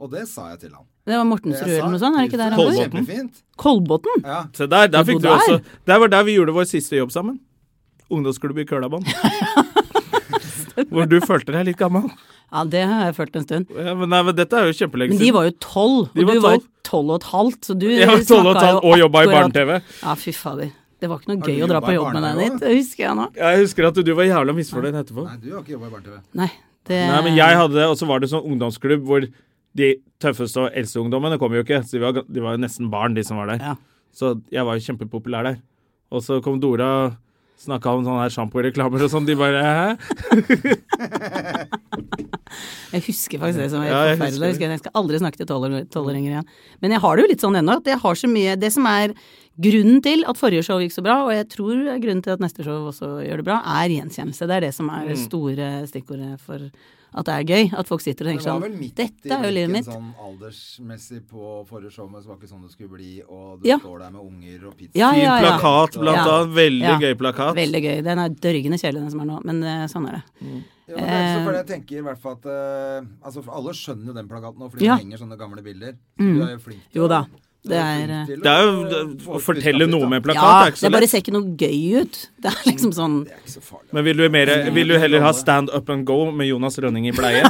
Speaker 2: Og det sa jeg til han.
Speaker 6: Det var
Speaker 2: Jeg
Speaker 6: Mortensrud
Speaker 2: sa,
Speaker 6: eller noe sånt, er det ikke der han
Speaker 2: «Huset
Speaker 6: bor?
Speaker 2: er Kjempefint.
Speaker 6: Kolbotn?
Speaker 2: Ja.
Speaker 1: Se der, der fikk
Speaker 6: bodde
Speaker 1: du også Der var der vi gjorde vår siste jobb sammen. Ungdomsklubb i
Speaker 6: (laughs)
Speaker 1: Kølabanen. Hvor du følte deg litt gammel.
Speaker 6: Ja, det har jeg følt en stund.
Speaker 1: Ja, men, nei, men dette er jo kjempelenge
Speaker 6: Men de var jo tolv, og
Speaker 1: De var
Speaker 6: du var jo
Speaker 1: 12.
Speaker 6: tolv og et halvt, så du
Speaker 1: Jeg var tolv og et
Speaker 6: snakka
Speaker 1: halvt og jobba i
Speaker 6: akkurat-
Speaker 1: barne-TV.
Speaker 6: Ja, fy fader. Det var ikke noe
Speaker 2: Har du
Speaker 6: gøy å dra
Speaker 2: jobbet
Speaker 6: på
Speaker 2: i
Speaker 6: jobb med deg
Speaker 2: barne-TV
Speaker 6: dit, det husker jeg nå.
Speaker 1: Jeg husker at du var jævla misfornøyd etterpå.
Speaker 2: Nei, du har ikke jobba i barne-TV.
Speaker 6: Nei, det
Speaker 1: Nei, men jeg hadde Og så var det sånn ungdomsklubb hvor de tøffeste og eldste ungdommene kom jo ikke. Så de var, de var jo nesten barn, de som var der.
Speaker 6: Ja.
Speaker 1: Så jeg var jo kjempepopulær der. Og så kom Dora snakka om sånne her sjamporeklamer og sånn. De bare Hæ?
Speaker 6: Jeg husker faktisk det som er
Speaker 1: Ja, jeg husker
Speaker 6: helt forferdelig.
Speaker 1: det.
Speaker 6: Jeg, husker, jeg skal aldri snakke til tolv- tolvåringer igjen. Men jeg har det jo litt sånn ennå. at jeg har så mye, Det som er grunnen til at forrige show gikk så bra, og jeg tror er grunnen til at neste show også gjør det bra, er gjenkjennelse. Det er det som er
Speaker 1: Mm.
Speaker 6: det store stikkordet for at det er gøy. At folk sitter og
Speaker 2: Det
Speaker 6: tenker
Speaker 2: var vel
Speaker 6: sånn
Speaker 2: midt
Speaker 6: Dette er jo
Speaker 2: hvilken
Speaker 6: livet mitt.
Speaker 2: sånn aldersmessig på forrige show, men det var ikke sånn det skulle bli, og du
Speaker 6: Ja.
Speaker 2: står der med unger og pizza.
Speaker 6: Ja,
Speaker 1: Fin
Speaker 6: ja, ja.
Speaker 1: plakat, blant
Speaker 6: Ja.
Speaker 1: annet. Veldig
Speaker 6: Ja.
Speaker 1: gøy plakat.
Speaker 6: Veldig gøy. Den er dørgende kjedelig, den som er nå, men eh, sånn er det.
Speaker 2: Ja, men det er
Speaker 6: Eh.
Speaker 2: ikke så farlig. jeg tenker i hvert fall at eh, altså, for Alle skjønner jo den plakaten nå, fordi
Speaker 6: Ja. Mm.
Speaker 2: det henger sånne gamle bilder. Du er jo flink til
Speaker 6: Jo
Speaker 2: å-
Speaker 6: da,
Speaker 2: du er
Speaker 6: det er, eh,
Speaker 2: flink til
Speaker 1: Det er
Speaker 2: å-
Speaker 1: jo
Speaker 2: få
Speaker 1: Å
Speaker 2: ut
Speaker 1: fortelle
Speaker 2: budskapet ditt,
Speaker 1: noe
Speaker 2: da.
Speaker 1: med plakat
Speaker 6: Ja,
Speaker 1: er ikke så
Speaker 6: det bare
Speaker 1: lett.
Speaker 6: ser ikke noe gøy ut.
Speaker 1: (laughs)
Speaker 6: Det er liksom sånn
Speaker 2: Det er ikke så farlig.
Speaker 1: Men vil du, (laughs) mer, vil du heller ha Stand Up and Go med Jonas Rønning i pleie?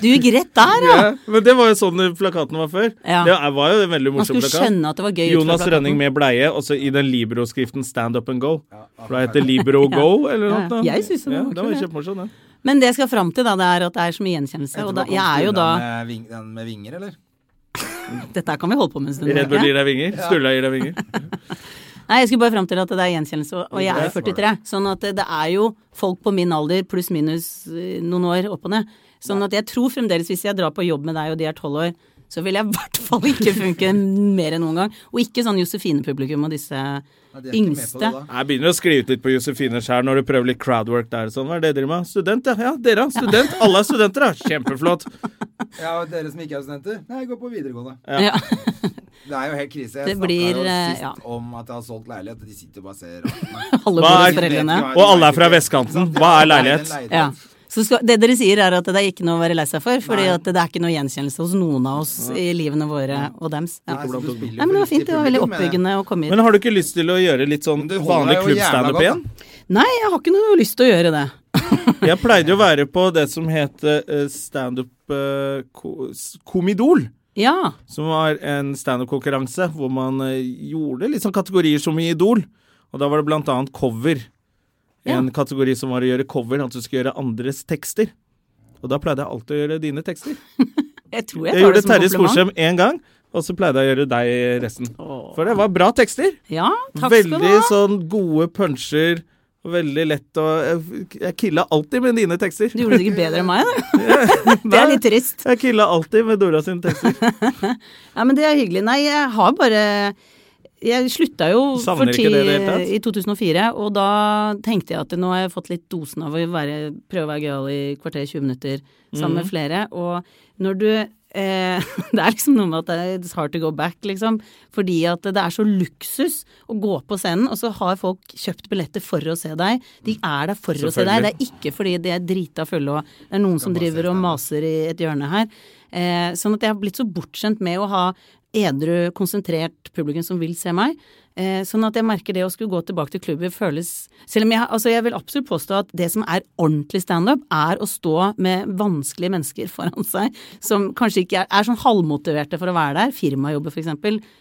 Speaker 6: Du gikk rett der,
Speaker 1: (laughs)
Speaker 6: ja!
Speaker 1: ja, men det var jo sånn plakaten var før.
Speaker 6: Ja.
Speaker 1: Det var jo en veldig
Speaker 6: Man
Speaker 1: morsom
Speaker 6: skulle
Speaker 1: plakat.
Speaker 6: skjønne at det var gøy. ut fra
Speaker 1: Jonas
Speaker 6: plakaten.
Speaker 1: Rønning med bleie, og så i den Libro-skriften Stand Up and Go.
Speaker 2: ja,
Speaker 1: For da heter (laughs) Libro Go, eller
Speaker 6: Ja,
Speaker 1: noe
Speaker 6: ja.
Speaker 1: sånt.
Speaker 6: Jeg synes den var
Speaker 1: ja, det var
Speaker 6: kul,
Speaker 1: kjempemorsom, den.
Speaker 6: Men det jeg skal fram til, da, det er at det er så mye gjenkjennelse.
Speaker 2: Etterpå
Speaker 6: Og da,
Speaker 2: kom
Speaker 6: jeg er jo da
Speaker 2: Sturla med ving, Den med vinger, eller?
Speaker 6: Dette her kan vi holde på med en stund.
Speaker 1: Red Bull
Speaker 6: tenker
Speaker 1: gir
Speaker 6: jeg.
Speaker 1: deg vinger. Sturla gir deg vinger.
Speaker 6: Nei, jeg skulle bare fram til at det er gjenkjennelse, og- og jeg er jo
Speaker 2: Det er smart.
Speaker 6: 43. Sånn at det er jo folk på min alder pluss minus eh, noen år opp og ned. Sånn at jeg tror fremdeles hvis jeg drar på jobb med deg og de er tolv år, så vil jeg i hvert fall ikke funke (laughs) mer enn noen gang. Og ikke sånn Josefine-publikum og disse
Speaker 2: de er ikke med på det,
Speaker 6: yngste.
Speaker 2: da.
Speaker 1: Jeg begynner å skrive ut litt på Josefine skjær når du prøver litt crowdwork der. Sånn, hva er det dere med? Student, ja. ja dere, ja. Student. Alle er studenter, da. Kjempeflott.
Speaker 2: Ja, og dere som ikke er studenter? Nei, jeg går på videregående.
Speaker 6: Ja. (laughs)
Speaker 2: Det er jo helt krise. Jeg
Speaker 6: Det
Speaker 2: snakka
Speaker 6: blir,
Speaker 2: jo
Speaker 6: eh,
Speaker 2: sist
Speaker 6: ja.
Speaker 2: om at jeg har solgt leilighet, og de sitter jo bare og ser rart.
Speaker 1: (laughs)
Speaker 2: på meg.
Speaker 6: Alle
Speaker 1: Hva er-
Speaker 6: foreldrene.
Speaker 1: Og alle er fra vestkanten. Hva er leilighet?
Speaker 2: Leilighet.
Speaker 6: Ja. Så skal, det dere sier er at det er ikke noe å være lei seg for, fordi at det er ikke noe gjenkjennelse hos noen av oss i livene våre og dems.
Speaker 2: Nei,
Speaker 6: Ja.
Speaker 2: så du spiller jo
Speaker 6: Nei, men det
Speaker 2: for
Speaker 6: var
Speaker 2: riktig
Speaker 6: fint. Det var veldig
Speaker 2: publikum, mener jeg.
Speaker 6: oppbyggende å komme hit.
Speaker 1: Men har du ikke lyst til å gjøre litt sånn
Speaker 2: Du holder
Speaker 1: vanlig
Speaker 2: deg jo jævla
Speaker 1: klubbstandup
Speaker 2: godt,
Speaker 1: igjen?
Speaker 6: Nei, jeg har ikke noe lyst til å gjøre det.
Speaker 1: Jeg pleide jo å være på det som het eh, standup eh, ko- s- Komidol.
Speaker 6: Ja.
Speaker 1: Som var en standup-konkurranse hvor man eh, gjorde litt sånn kategorier som i Idol. Og da var det blant annet cover. En kategori som var å gjøre cover, at du skulle gjøre andres tekster. Og da pleide jeg alltid å gjøre dine tekster.
Speaker 6: Jeg tror
Speaker 1: Jeg,
Speaker 6: jeg tar det
Speaker 1: gjorde
Speaker 6: som
Speaker 1: Terje
Speaker 6: kompliment.
Speaker 1: Sporsem én gang, og så pleide jeg å gjøre deg resten. For det var bra tekster.
Speaker 6: Ja, takk skal du
Speaker 1: Veldig
Speaker 6: ha.
Speaker 1: sånn gode puncher. og Veldig lett å Jeg, jeg killa alltid med dine tekster.
Speaker 6: Du gjorde det sikkert bedre enn meg, da.
Speaker 1: (laughs)
Speaker 6: Det er litt trist.
Speaker 1: Jeg killa alltid med Dora sine tekster.
Speaker 6: Ja, men det er hyggelig. Nei, jeg har bare Jeg slutta jo
Speaker 1: Savner
Speaker 6: for
Speaker 1: ikke
Speaker 6: ti
Speaker 1: det i det hele tatt?
Speaker 6: i 2004, og da tenkte jeg at nå har jeg fått litt dosen av å være, prøve å være gøyal i kvarter 20 minutter sammen
Speaker 1: Mhm.
Speaker 6: med flere, og når du eh, (laughs) Det er liksom noe med at det er hard to go back, liksom, fordi at det er så luksus å gå på scenen, og så har folk kjøpt billetter for å se deg. De er der for å se deg, det er ikke fordi de er drita fulle og det er noen som driver og maser i et hjørne her. Eh, sånn at jeg har blitt så bortskjemt med å ha edru, konsentrert publikum som vil se meg. Eh, sånn at jeg merker det å skulle gå tilbake til klubben føles Selv om jeg, altså jeg vil absolutt påstå at det som er ordentlig standup, er å stå med vanskelige mennesker foran seg, som kanskje ikke er, er sånn halvmotiverte for å være der. Firmajobber, f.eks.,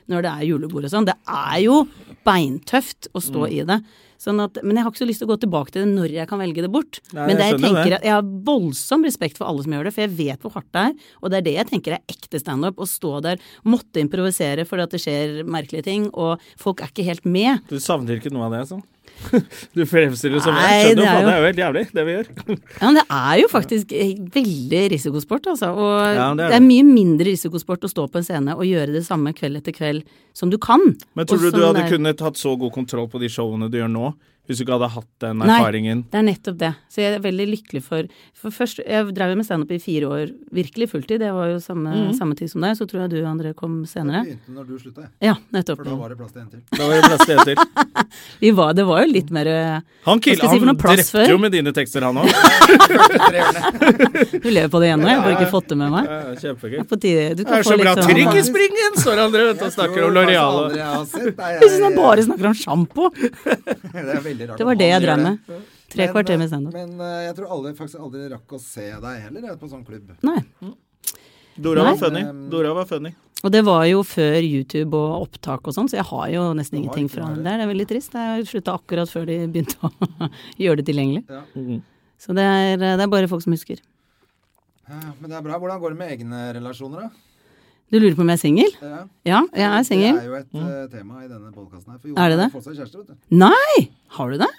Speaker 6: når det er julebord og sånn. Det er jo beintøft å stå i det. Sånn at, men jeg har ikke så lyst til å gå tilbake til det når jeg kan velge det bort.
Speaker 1: Nei,
Speaker 6: men det
Speaker 1: jeg
Speaker 6: jeg
Speaker 1: skjønner
Speaker 6: tenker
Speaker 1: det.
Speaker 6: at jeg har voldsom respekt for alle som gjør det, for jeg vet hvor hardt det er. Og det er det jeg tenker er ekte standup. Å stå der, måtte improvisere fordi at det skjer merkelige ting, og folk er ikke helt med.
Speaker 1: Du savner ikke noe av det, sånn? (laughs) Du fremstiller det som
Speaker 6: Nei,
Speaker 1: jeg skjønner
Speaker 6: det
Speaker 1: jo faen,
Speaker 6: er jo-
Speaker 1: det er jo helt jævlig, det vi gjør.
Speaker 6: Ja, men det er jo faktisk eh, veldig risikosport, altså. Og
Speaker 1: Ja, men det
Speaker 6: det,
Speaker 1: er
Speaker 6: er
Speaker 1: det.
Speaker 6: mye mindre risikosport å stå på en scene og gjøre det samme kveld etter kveld som du kan.
Speaker 1: (laughs) Men tror
Speaker 6: Og
Speaker 1: du du
Speaker 6: som
Speaker 1: hadde
Speaker 6: det er-
Speaker 1: kunnet hatt så god kontroll på de showene du gjør nå, hvis du ikke hadde hatt den
Speaker 6: Nei.
Speaker 1: erfaringen?
Speaker 6: Det er nettopp det. Så jeg er veldig lykkelig for For først, jeg drev jo med standup i fire år, virkelig fulltid, det var jo samme, samme tid som deg, så tror jeg du, André, kom senere.
Speaker 2: Begynte når du slutta, jeg.
Speaker 6: Ja, nettopp.
Speaker 2: For
Speaker 1: Mm.
Speaker 2: da var det plass til en til.
Speaker 1: Da var det plass til etter.
Speaker 6: Vi var, det var jo litt mer eh,
Speaker 1: Han,
Speaker 6: Hva
Speaker 1: kill,
Speaker 6: skal jeg si for
Speaker 1: han
Speaker 6: noe plass
Speaker 1: drepte jo
Speaker 6: før?
Speaker 1: med dine tekster, han òg.
Speaker 6: (laughs) Du lever på det igjen nå, jeg har bare ikke fått det med meg.
Speaker 1: Kjempegøy.
Speaker 6: På tide. Du
Speaker 1: Det
Speaker 6: kan
Speaker 1: er
Speaker 6: få
Speaker 1: så bra
Speaker 6: litt sånn-
Speaker 1: trykk i springen, står André vet, du, og snakker om Loreal.
Speaker 2: altså,
Speaker 1: og-
Speaker 6: (laughs) Jeg
Speaker 2: Loreal.
Speaker 6: synes han bare snakker om sjampo!
Speaker 2: (laughs) Det er veldig rart.
Speaker 6: Det var
Speaker 2: at
Speaker 6: det
Speaker 2: han
Speaker 6: jeg
Speaker 2: gjør
Speaker 6: drev
Speaker 2: det.
Speaker 6: med. Tre
Speaker 2: Men,
Speaker 6: kvarter med
Speaker 2: eh,
Speaker 6: standup.
Speaker 2: Men eh, jeg tror alle faktisk aldri rakk å se deg heller jeg, på sånn klubb.
Speaker 6: Nei.
Speaker 1: Dora var
Speaker 6: Nei.
Speaker 1: funny. Dora var funny.
Speaker 6: Og det var jo før YouTube og opptak og sånn, så jeg har jo nesten
Speaker 2: Du har
Speaker 6: ingenting
Speaker 2: ikke
Speaker 6: fra
Speaker 2: noe
Speaker 6: det der. Det er veldig trist. Jeg slutta akkurat før de begynte å (laughs) gjøre det tilgjengelig.
Speaker 2: Ja.
Speaker 6: Så det er, det er bare folk som husker.
Speaker 2: Eh, Men det er bra. Hvordan går det med egne relasjoner, da?
Speaker 6: Du lurer på om jeg er singel?
Speaker 2: Ja.
Speaker 6: Ja, jeg er singel. Mm.
Speaker 2: Det er jo et eh, tema i denne podkasten her. For
Speaker 6: Er
Speaker 2: har
Speaker 6: det det?
Speaker 2: fått seg kjæreste,
Speaker 6: (laughs)
Speaker 2: vet du.
Speaker 6: Nei! Har du det?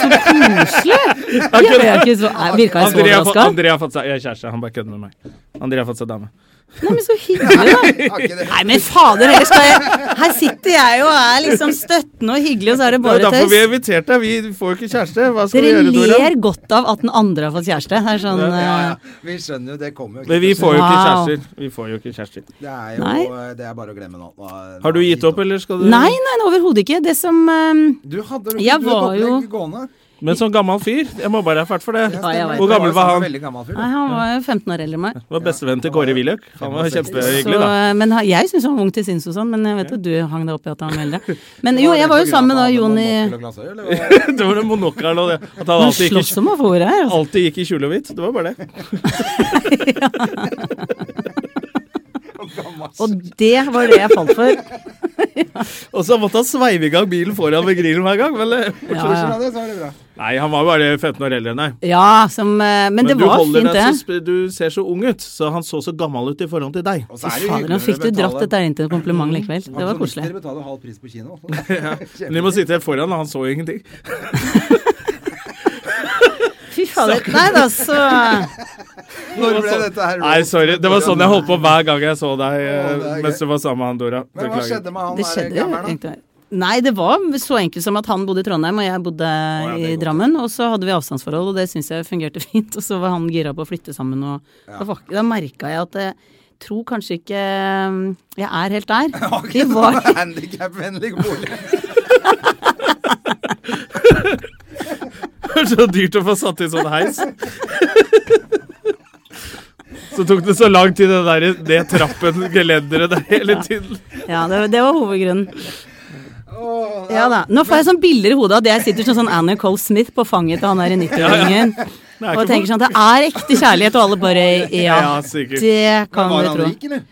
Speaker 6: Så koselig! Jeg ble ikke så, jeg virka
Speaker 1: André
Speaker 6: jeg så
Speaker 1: har, fått,
Speaker 6: overraska?
Speaker 1: André har fått seg Jeg er kjæreste, han bare kødder med meg. André har fått seg dame.
Speaker 6: Nei, men så hyggelig, da.
Speaker 2: Har ikke det?
Speaker 6: Nei, men fader heller, skal jeg Her sitter jeg og er liksom støttende og hyggelig, og så er
Speaker 1: Det
Speaker 6: det
Speaker 1: er
Speaker 6: bare
Speaker 1: derfor vi
Speaker 6: tøys.
Speaker 1: inviterte deg. Vi får jo ikke kjæreste. Hva skal vi
Speaker 6: Dere
Speaker 1: gjøre, Dora?
Speaker 6: ler godt av at den andre har fått kjæreste. Det er sånn
Speaker 2: Ja,
Speaker 6: eh,
Speaker 2: ja. Vi skjønner jo, det kommer jo
Speaker 1: Men vi får jo ikke
Speaker 6: Wow.
Speaker 1: kjærester. Vi får jo ikke kjærester.
Speaker 2: Det er jo eh,
Speaker 6: Nei.
Speaker 2: det er bare å glemme nå. Nå-
Speaker 1: Har du
Speaker 2: nå er
Speaker 1: gitt opp, eller skal du
Speaker 6: Nei, nei, nei, overhodet ikke. Det som eh,
Speaker 2: Du hadde du
Speaker 6: Jeg
Speaker 2: du hadde
Speaker 6: var
Speaker 2: et
Speaker 6: jo-
Speaker 2: opplegg gående.
Speaker 1: Men som sånn gammel fyr, jeg må bare ha fart for det.
Speaker 2: Ja,
Speaker 6: Ja, jeg
Speaker 2: stemmer.
Speaker 6: vet.
Speaker 1: Hvor gammel
Speaker 2: Du
Speaker 1: var han?
Speaker 2: jo Veldig gammel fyr.
Speaker 6: Nei, han var jo 15 år eldre enn meg.
Speaker 1: Var bestevennen til Kåre Willoch. Han var
Speaker 2: 65.
Speaker 6: Så, eh,
Speaker 1: kjempehyggelig,
Speaker 6: (laughs)
Speaker 1: da.
Speaker 6: men ha- jeg syns han var ung til sinns og sånn, men jeg vet at du hang deg opp i at han var eldre. Men jo, jeg var jo sammen med da Jon i
Speaker 2: Jonny
Speaker 1: Det var det monokkelen og det. At han
Speaker 6: Han
Speaker 1: alltid gikk,
Speaker 6: slåss om å få ordet her.
Speaker 1: i-
Speaker 6: altså.
Speaker 1: alltid gikk i kjole og hvitt. Det var bare det.
Speaker 6: Og det var det jeg falt for.
Speaker 1: Og så måtte han sveive i gang bilen foran ved grillen hver gang. Vel?
Speaker 6: (laughs) Ja, ja.
Speaker 1: Nei, han var jo bare 15 år eldre enn deg.
Speaker 6: ja som, eh, men det
Speaker 1: du
Speaker 6: var
Speaker 1: holder
Speaker 6: fint,
Speaker 1: deg
Speaker 6: det.
Speaker 1: så sp- Du ser så ung ut, så han så så gammel ut i forhold til deg.
Speaker 2: Og så er det
Speaker 6: Fy
Speaker 2: jo
Speaker 6: fader, nå
Speaker 2: hyggeligere
Speaker 6: fikk du
Speaker 2: å
Speaker 6: dratt
Speaker 2: betale-
Speaker 6: dette her inn til et kompliment likevel. Det var
Speaker 2: Pensjonister
Speaker 6: koselig.
Speaker 2: betaler halv pris på
Speaker 6: (laughs)
Speaker 2: kino. (laughs)
Speaker 1: Men de må sitte helt foran, og han så ingenting.
Speaker 6: Fy fader. Nei da, så eh,
Speaker 2: Når ble dette her?
Speaker 1: Altså, Nei, sorry. Det var sånn jeg holdt på hver gang jeg så deg
Speaker 2: Å, det
Speaker 1: eh,
Speaker 2: er
Speaker 1: mens du var sammen med han Dora.
Speaker 2: Men hva
Speaker 1: Beklager.
Speaker 2: skjedde med han
Speaker 6: Det
Speaker 2: der
Speaker 6: skjedde jo
Speaker 2: gammelen, da?
Speaker 6: egentlig. Nei, det var så enkelt som at han bodde i Trondheim, og jeg bodde
Speaker 1: ja, det er
Speaker 6: i
Speaker 1: godt.
Speaker 6: Drammen. Og så hadde vi avstandsforhold, og det syns jeg fungerte (laughs) fint. Og så var han gira på å flytte sammen, og da, var- da merka jeg at jeg tror kanskje ikke um, jeg er
Speaker 2: (laughs)
Speaker 6: helt der. Vi var
Speaker 2: Handikapvennlig bolig.
Speaker 1: (laughs) Det var så dyrt å få satt i sånn heis. (laughs) Så tok det så lang tid, det der det trappen, gelenderet der hele tiden.
Speaker 6: Ja, det, det var hovedgrunnen.
Speaker 2: Åh,
Speaker 6: Ja da. Nå får jeg sånn bilder i hodet av at jeg sitter som sånn Anna Cole Smith på fanget til
Speaker 2: (laughs)
Speaker 6: han der i 90-åringen og
Speaker 1: ikke
Speaker 6: tenker sånn at det er ekte kjærlighet, og alle bare
Speaker 2: (laughs)
Speaker 6: Ja,
Speaker 1: Ja, sikkert.
Speaker 6: det kan
Speaker 2: Var
Speaker 6: du
Speaker 2: han
Speaker 6: tro.
Speaker 2: rik, eller?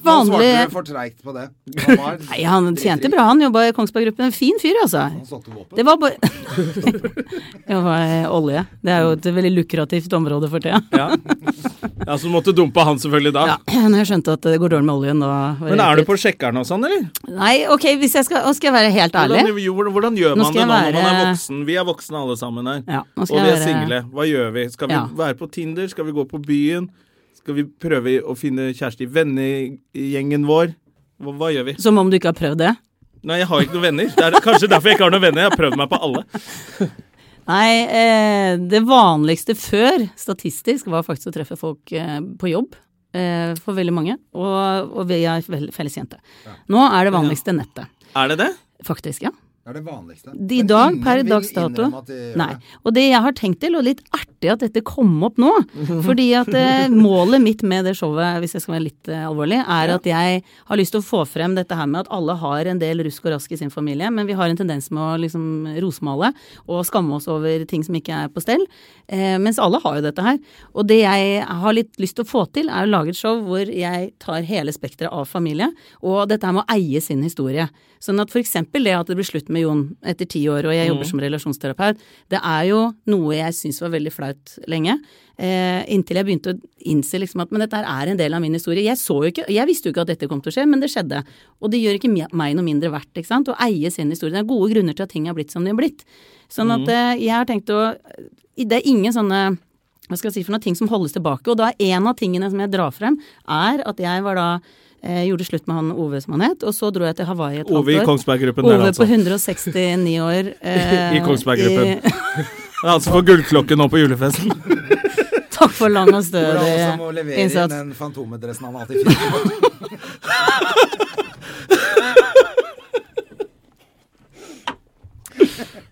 Speaker 2: Nå svarte
Speaker 6: vanlig
Speaker 2: du for treigt
Speaker 6: (laughs)
Speaker 2: på det. Han var
Speaker 6: Nei, han tjente bra, han jobba i Kongsberg Gruppen. En fin fyr, altså.
Speaker 2: Han satte våpen.
Speaker 6: Det var bare (laughs) Jobba i olje. Det er jo et veldig lukrativt område for tida.
Speaker 1: Ja. ja, Så måtte dumpe han selvfølgelig da.
Speaker 6: Ja, (clears throat) når jeg skjønte at det går dårlig med oljen, da var
Speaker 1: Men
Speaker 6: det
Speaker 1: er du
Speaker 6: litt-
Speaker 1: på sjekkeren og sånn, eller?
Speaker 6: Nei, ok, hvis jeg skal, og skal jeg være helt ærlig
Speaker 1: Hvordan, jo, hvordan gjør
Speaker 6: Nå
Speaker 1: man det
Speaker 6: skal
Speaker 1: nå
Speaker 6: jeg
Speaker 1: når man er
Speaker 6: være-
Speaker 1: voksen? Vi er voksne alle sammen her.
Speaker 6: Ja, nå
Speaker 1: og
Speaker 6: skal
Speaker 1: vi
Speaker 6: jeg
Speaker 1: er
Speaker 6: være-
Speaker 1: single. Hva gjør vi? Skal vi
Speaker 6: Ja.
Speaker 1: være på Tinder? Skal vi gå på byen? Skal vi prøve å finne kjæreste i vennegjengen vår? Hva, hva gjør vi?
Speaker 6: Som om du ikke har prøvd det?
Speaker 1: Nei, jeg har ikke noen venner. Det er kanskje derfor jeg ikke har noen venner. Jeg har prøvd meg på alle.
Speaker 6: Nei, eh, det vanligste før, statistisk, var faktisk å treffe folk eh, på jobb. Eh, for veldig mange. Og, og vi er vel- felles jente. Nå er det vanligste nettet.
Speaker 1: Er det det?
Speaker 6: Faktisk, ja.
Speaker 2: Det er det vanligste.
Speaker 6: De
Speaker 2: Men
Speaker 6: dag,
Speaker 2: ingen
Speaker 6: per
Speaker 2: vil
Speaker 6: dags dato.
Speaker 2: innrømme at de gjør
Speaker 6: Nei.
Speaker 2: det.
Speaker 6: Og det jeg har tenkt til, og litt artig at dette kom opp
Speaker 2: (laughs)
Speaker 6: nå, fordi at eh, målet mitt med det showet, hvis jeg skal være litt eh, alvorlig, er at jeg har lyst til å få frem dette her med at alle har en del rusk og rask i sin familie, men vi har en tendens med å liksom rosmale og skamme oss over ting som ikke er på stell, eh, mens alle har jo dette her. Og det jeg har litt lyst til å få til, er å lage et show hvor jeg tar hele spekteret av familie, og dette her med å eie sin historie. Sånn at for eksempel det at det blir slutt med Jon etter ti år, og jeg jobber
Speaker 1: Mm.
Speaker 6: som relasjonsterapeut, det er jo noe jeg syns var veldig flaut lenge. Eh, inntil jeg begynte å innse liksom at men dette her er en del av min historie. Jeg, så jo ikke, jeg visste jo ikke at dette kom til å skje, men det skjedde. Og det gjør ikke me- meg noe mindre verdt ikke sant? å eie sin historie. Det er gode grunner til at ting har blitt som de har blitt. Sånn
Speaker 1: Mm.
Speaker 6: at eh, jeg har tenkt å Det er ingen sånne hva skal jeg si for noe, ting som holdes tilbake. Og da er en av tingene som jeg drar frem, er at jeg var da eh, gjorde slutt med han Ove som han het, og så dro jeg til Hawaii et
Speaker 1: Ove i
Speaker 6: halvt år.
Speaker 1: Kongsberg-gruppen der,
Speaker 6: Ove
Speaker 1: altså.
Speaker 6: på
Speaker 1: (laughs)
Speaker 6: 169 år. eh,
Speaker 1: I Kongsberg-gruppen.
Speaker 6: i- (laughs)
Speaker 1: Altså for gullklokke nå på julefesten.
Speaker 6: Takk for lang og
Speaker 2: Hvor er han som må
Speaker 6: stødig
Speaker 2: levere inn
Speaker 6: innsats.
Speaker 2: den fantomedressen han alltid
Speaker 6: (laughs)
Speaker 2: fikk?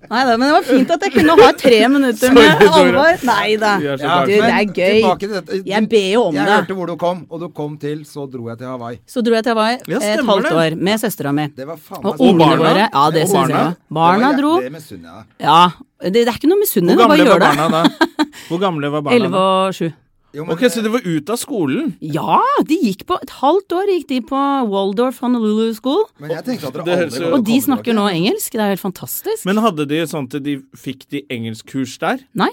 Speaker 6: Nei da, men det var fint at jeg kunne ha tre minutter med
Speaker 1: Sorry, Dora.
Speaker 6: alvor. Nei da.
Speaker 1: Vi er så
Speaker 6: Du,
Speaker 1: fæle.
Speaker 6: det er
Speaker 2: Men tilbake til
Speaker 6: gøy.
Speaker 2: dette.
Speaker 6: Jeg ber jo om
Speaker 2: Jeg
Speaker 6: det.
Speaker 2: hørte hvor du kom, og du kom til, så dro jeg til Hawaii.
Speaker 6: Så dro jeg til Hawaii
Speaker 1: Ja,
Speaker 6: et
Speaker 1: stemmer
Speaker 6: halvt
Speaker 1: det.
Speaker 6: år med søstera mi.
Speaker 2: Det var faen
Speaker 6: Og
Speaker 2: så-
Speaker 6: ungene våre. Ja, det
Speaker 2: Og
Speaker 6: synes jeg
Speaker 2: barna.
Speaker 6: var.
Speaker 2: Det
Speaker 6: Barna
Speaker 2: var-
Speaker 6: dro.
Speaker 2: Det misunner jeg deg.
Speaker 6: Ja, det, det er ikke noe misunnelig.
Speaker 1: Hvor
Speaker 6: det Bare
Speaker 1: gamle var
Speaker 6: gjør det.
Speaker 1: barna
Speaker 6: (laughs)
Speaker 1: da? Hvor gamle var barna
Speaker 6: Elleve
Speaker 1: da?
Speaker 6: og sju.
Speaker 2: Jo, men
Speaker 1: Ok, så de var ute av skolen?
Speaker 6: Ja, de gikk på et halvt år gikk de på Waldorf Honolulu School.
Speaker 2: Men jeg tenkte at
Speaker 1: Det
Speaker 2: dere
Speaker 1: høres
Speaker 2: aldri kom
Speaker 1: jo-
Speaker 2: til å
Speaker 6: Og de
Speaker 2: komme
Speaker 6: snakker nå
Speaker 2: tilbake.
Speaker 6: engelsk. Det er helt fantastisk.
Speaker 1: Men hadde de sånn at de fikk de engelskkurs der?
Speaker 6: Nei.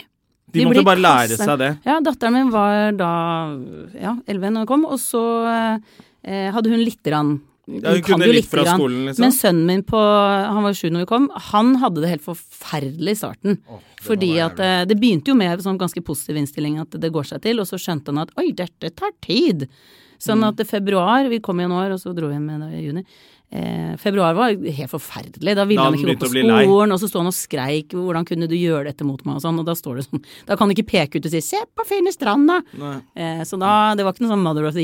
Speaker 1: De
Speaker 6: De
Speaker 1: måtte
Speaker 6: blir
Speaker 1: bare lære
Speaker 6: klasse-
Speaker 1: seg det.
Speaker 6: Ja, datteren min var da ja, 11 når hun kom, og så eh, hadde hun litt rann.
Speaker 1: Ja, hun kunne litt fra skolen, liksom.
Speaker 6: Men sønnen min på, han var sju når vi kom, han hadde det helt forferdelig i starten. fordi at eh, det begynte jo med sånn ganske positiv innstilling at det går seg til, og så skjønte han at oi, dette tar tid. Sånn
Speaker 1: Mm.
Speaker 6: at i februar, vi kom i januar, og så dro vi hjem i da- i juni. Eh, februar var helt forferdelig. Da ville
Speaker 1: Da
Speaker 6: han
Speaker 1: han
Speaker 6: ikke gå
Speaker 1: begynte
Speaker 6: på
Speaker 1: å bli lei.
Speaker 6: skolen skolen, og så sto han og skreik 'hvordan kunne du gjøre dette mot meg' og sånn, og da står det sånn Da kan du ikke peke ut og si 'se på fine stranda'. Eh, så da Det var ikke noen sånn Mother of the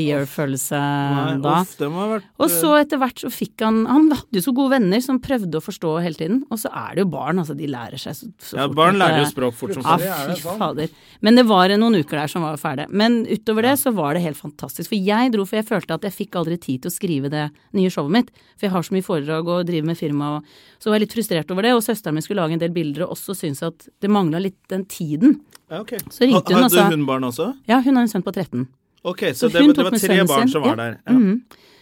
Speaker 6: Year-følelse da.
Speaker 1: Uff, det må ha vært
Speaker 6: Og så etter hvert så fikk han Han hadde jo så gode venner som prøvde å forstå hele tiden, og så er det jo barn, altså. De lærer seg så, så
Speaker 1: Ja,
Speaker 6: fort
Speaker 1: barn
Speaker 6: at
Speaker 1: lærer jo
Speaker 6: det-
Speaker 1: språk fort som
Speaker 6: ja,
Speaker 1: faen.
Speaker 2: er det
Speaker 6: fy
Speaker 2: sant?
Speaker 6: fader. Men det var noen uker der som var ferdig. Men utover det så var det helt fantastisk. For jeg dro, for jeg følte at jeg fikk aldri tid til å skrive det nye showet mitt. For jeg har så mye foredrag og driver med firma og Så var jeg litt frustrert over det, og søsteren min skulle lage en del bilder og også syntes at det mangla litt den tiden.
Speaker 1: eh, Ja, ok.
Speaker 6: Så ringte hun
Speaker 1: Hadde
Speaker 6: og sa-
Speaker 1: hun barn også?
Speaker 6: Ja, hun har en sønn på 13.
Speaker 1: Ok,
Speaker 6: Så
Speaker 1: så, det,
Speaker 6: hun
Speaker 1: var-
Speaker 6: tok
Speaker 1: det var
Speaker 6: med
Speaker 1: tre
Speaker 6: sønnen
Speaker 1: barn
Speaker 6: sin,
Speaker 1: som var
Speaker 6: ja. Mm.
Speaker 1: der. Ja.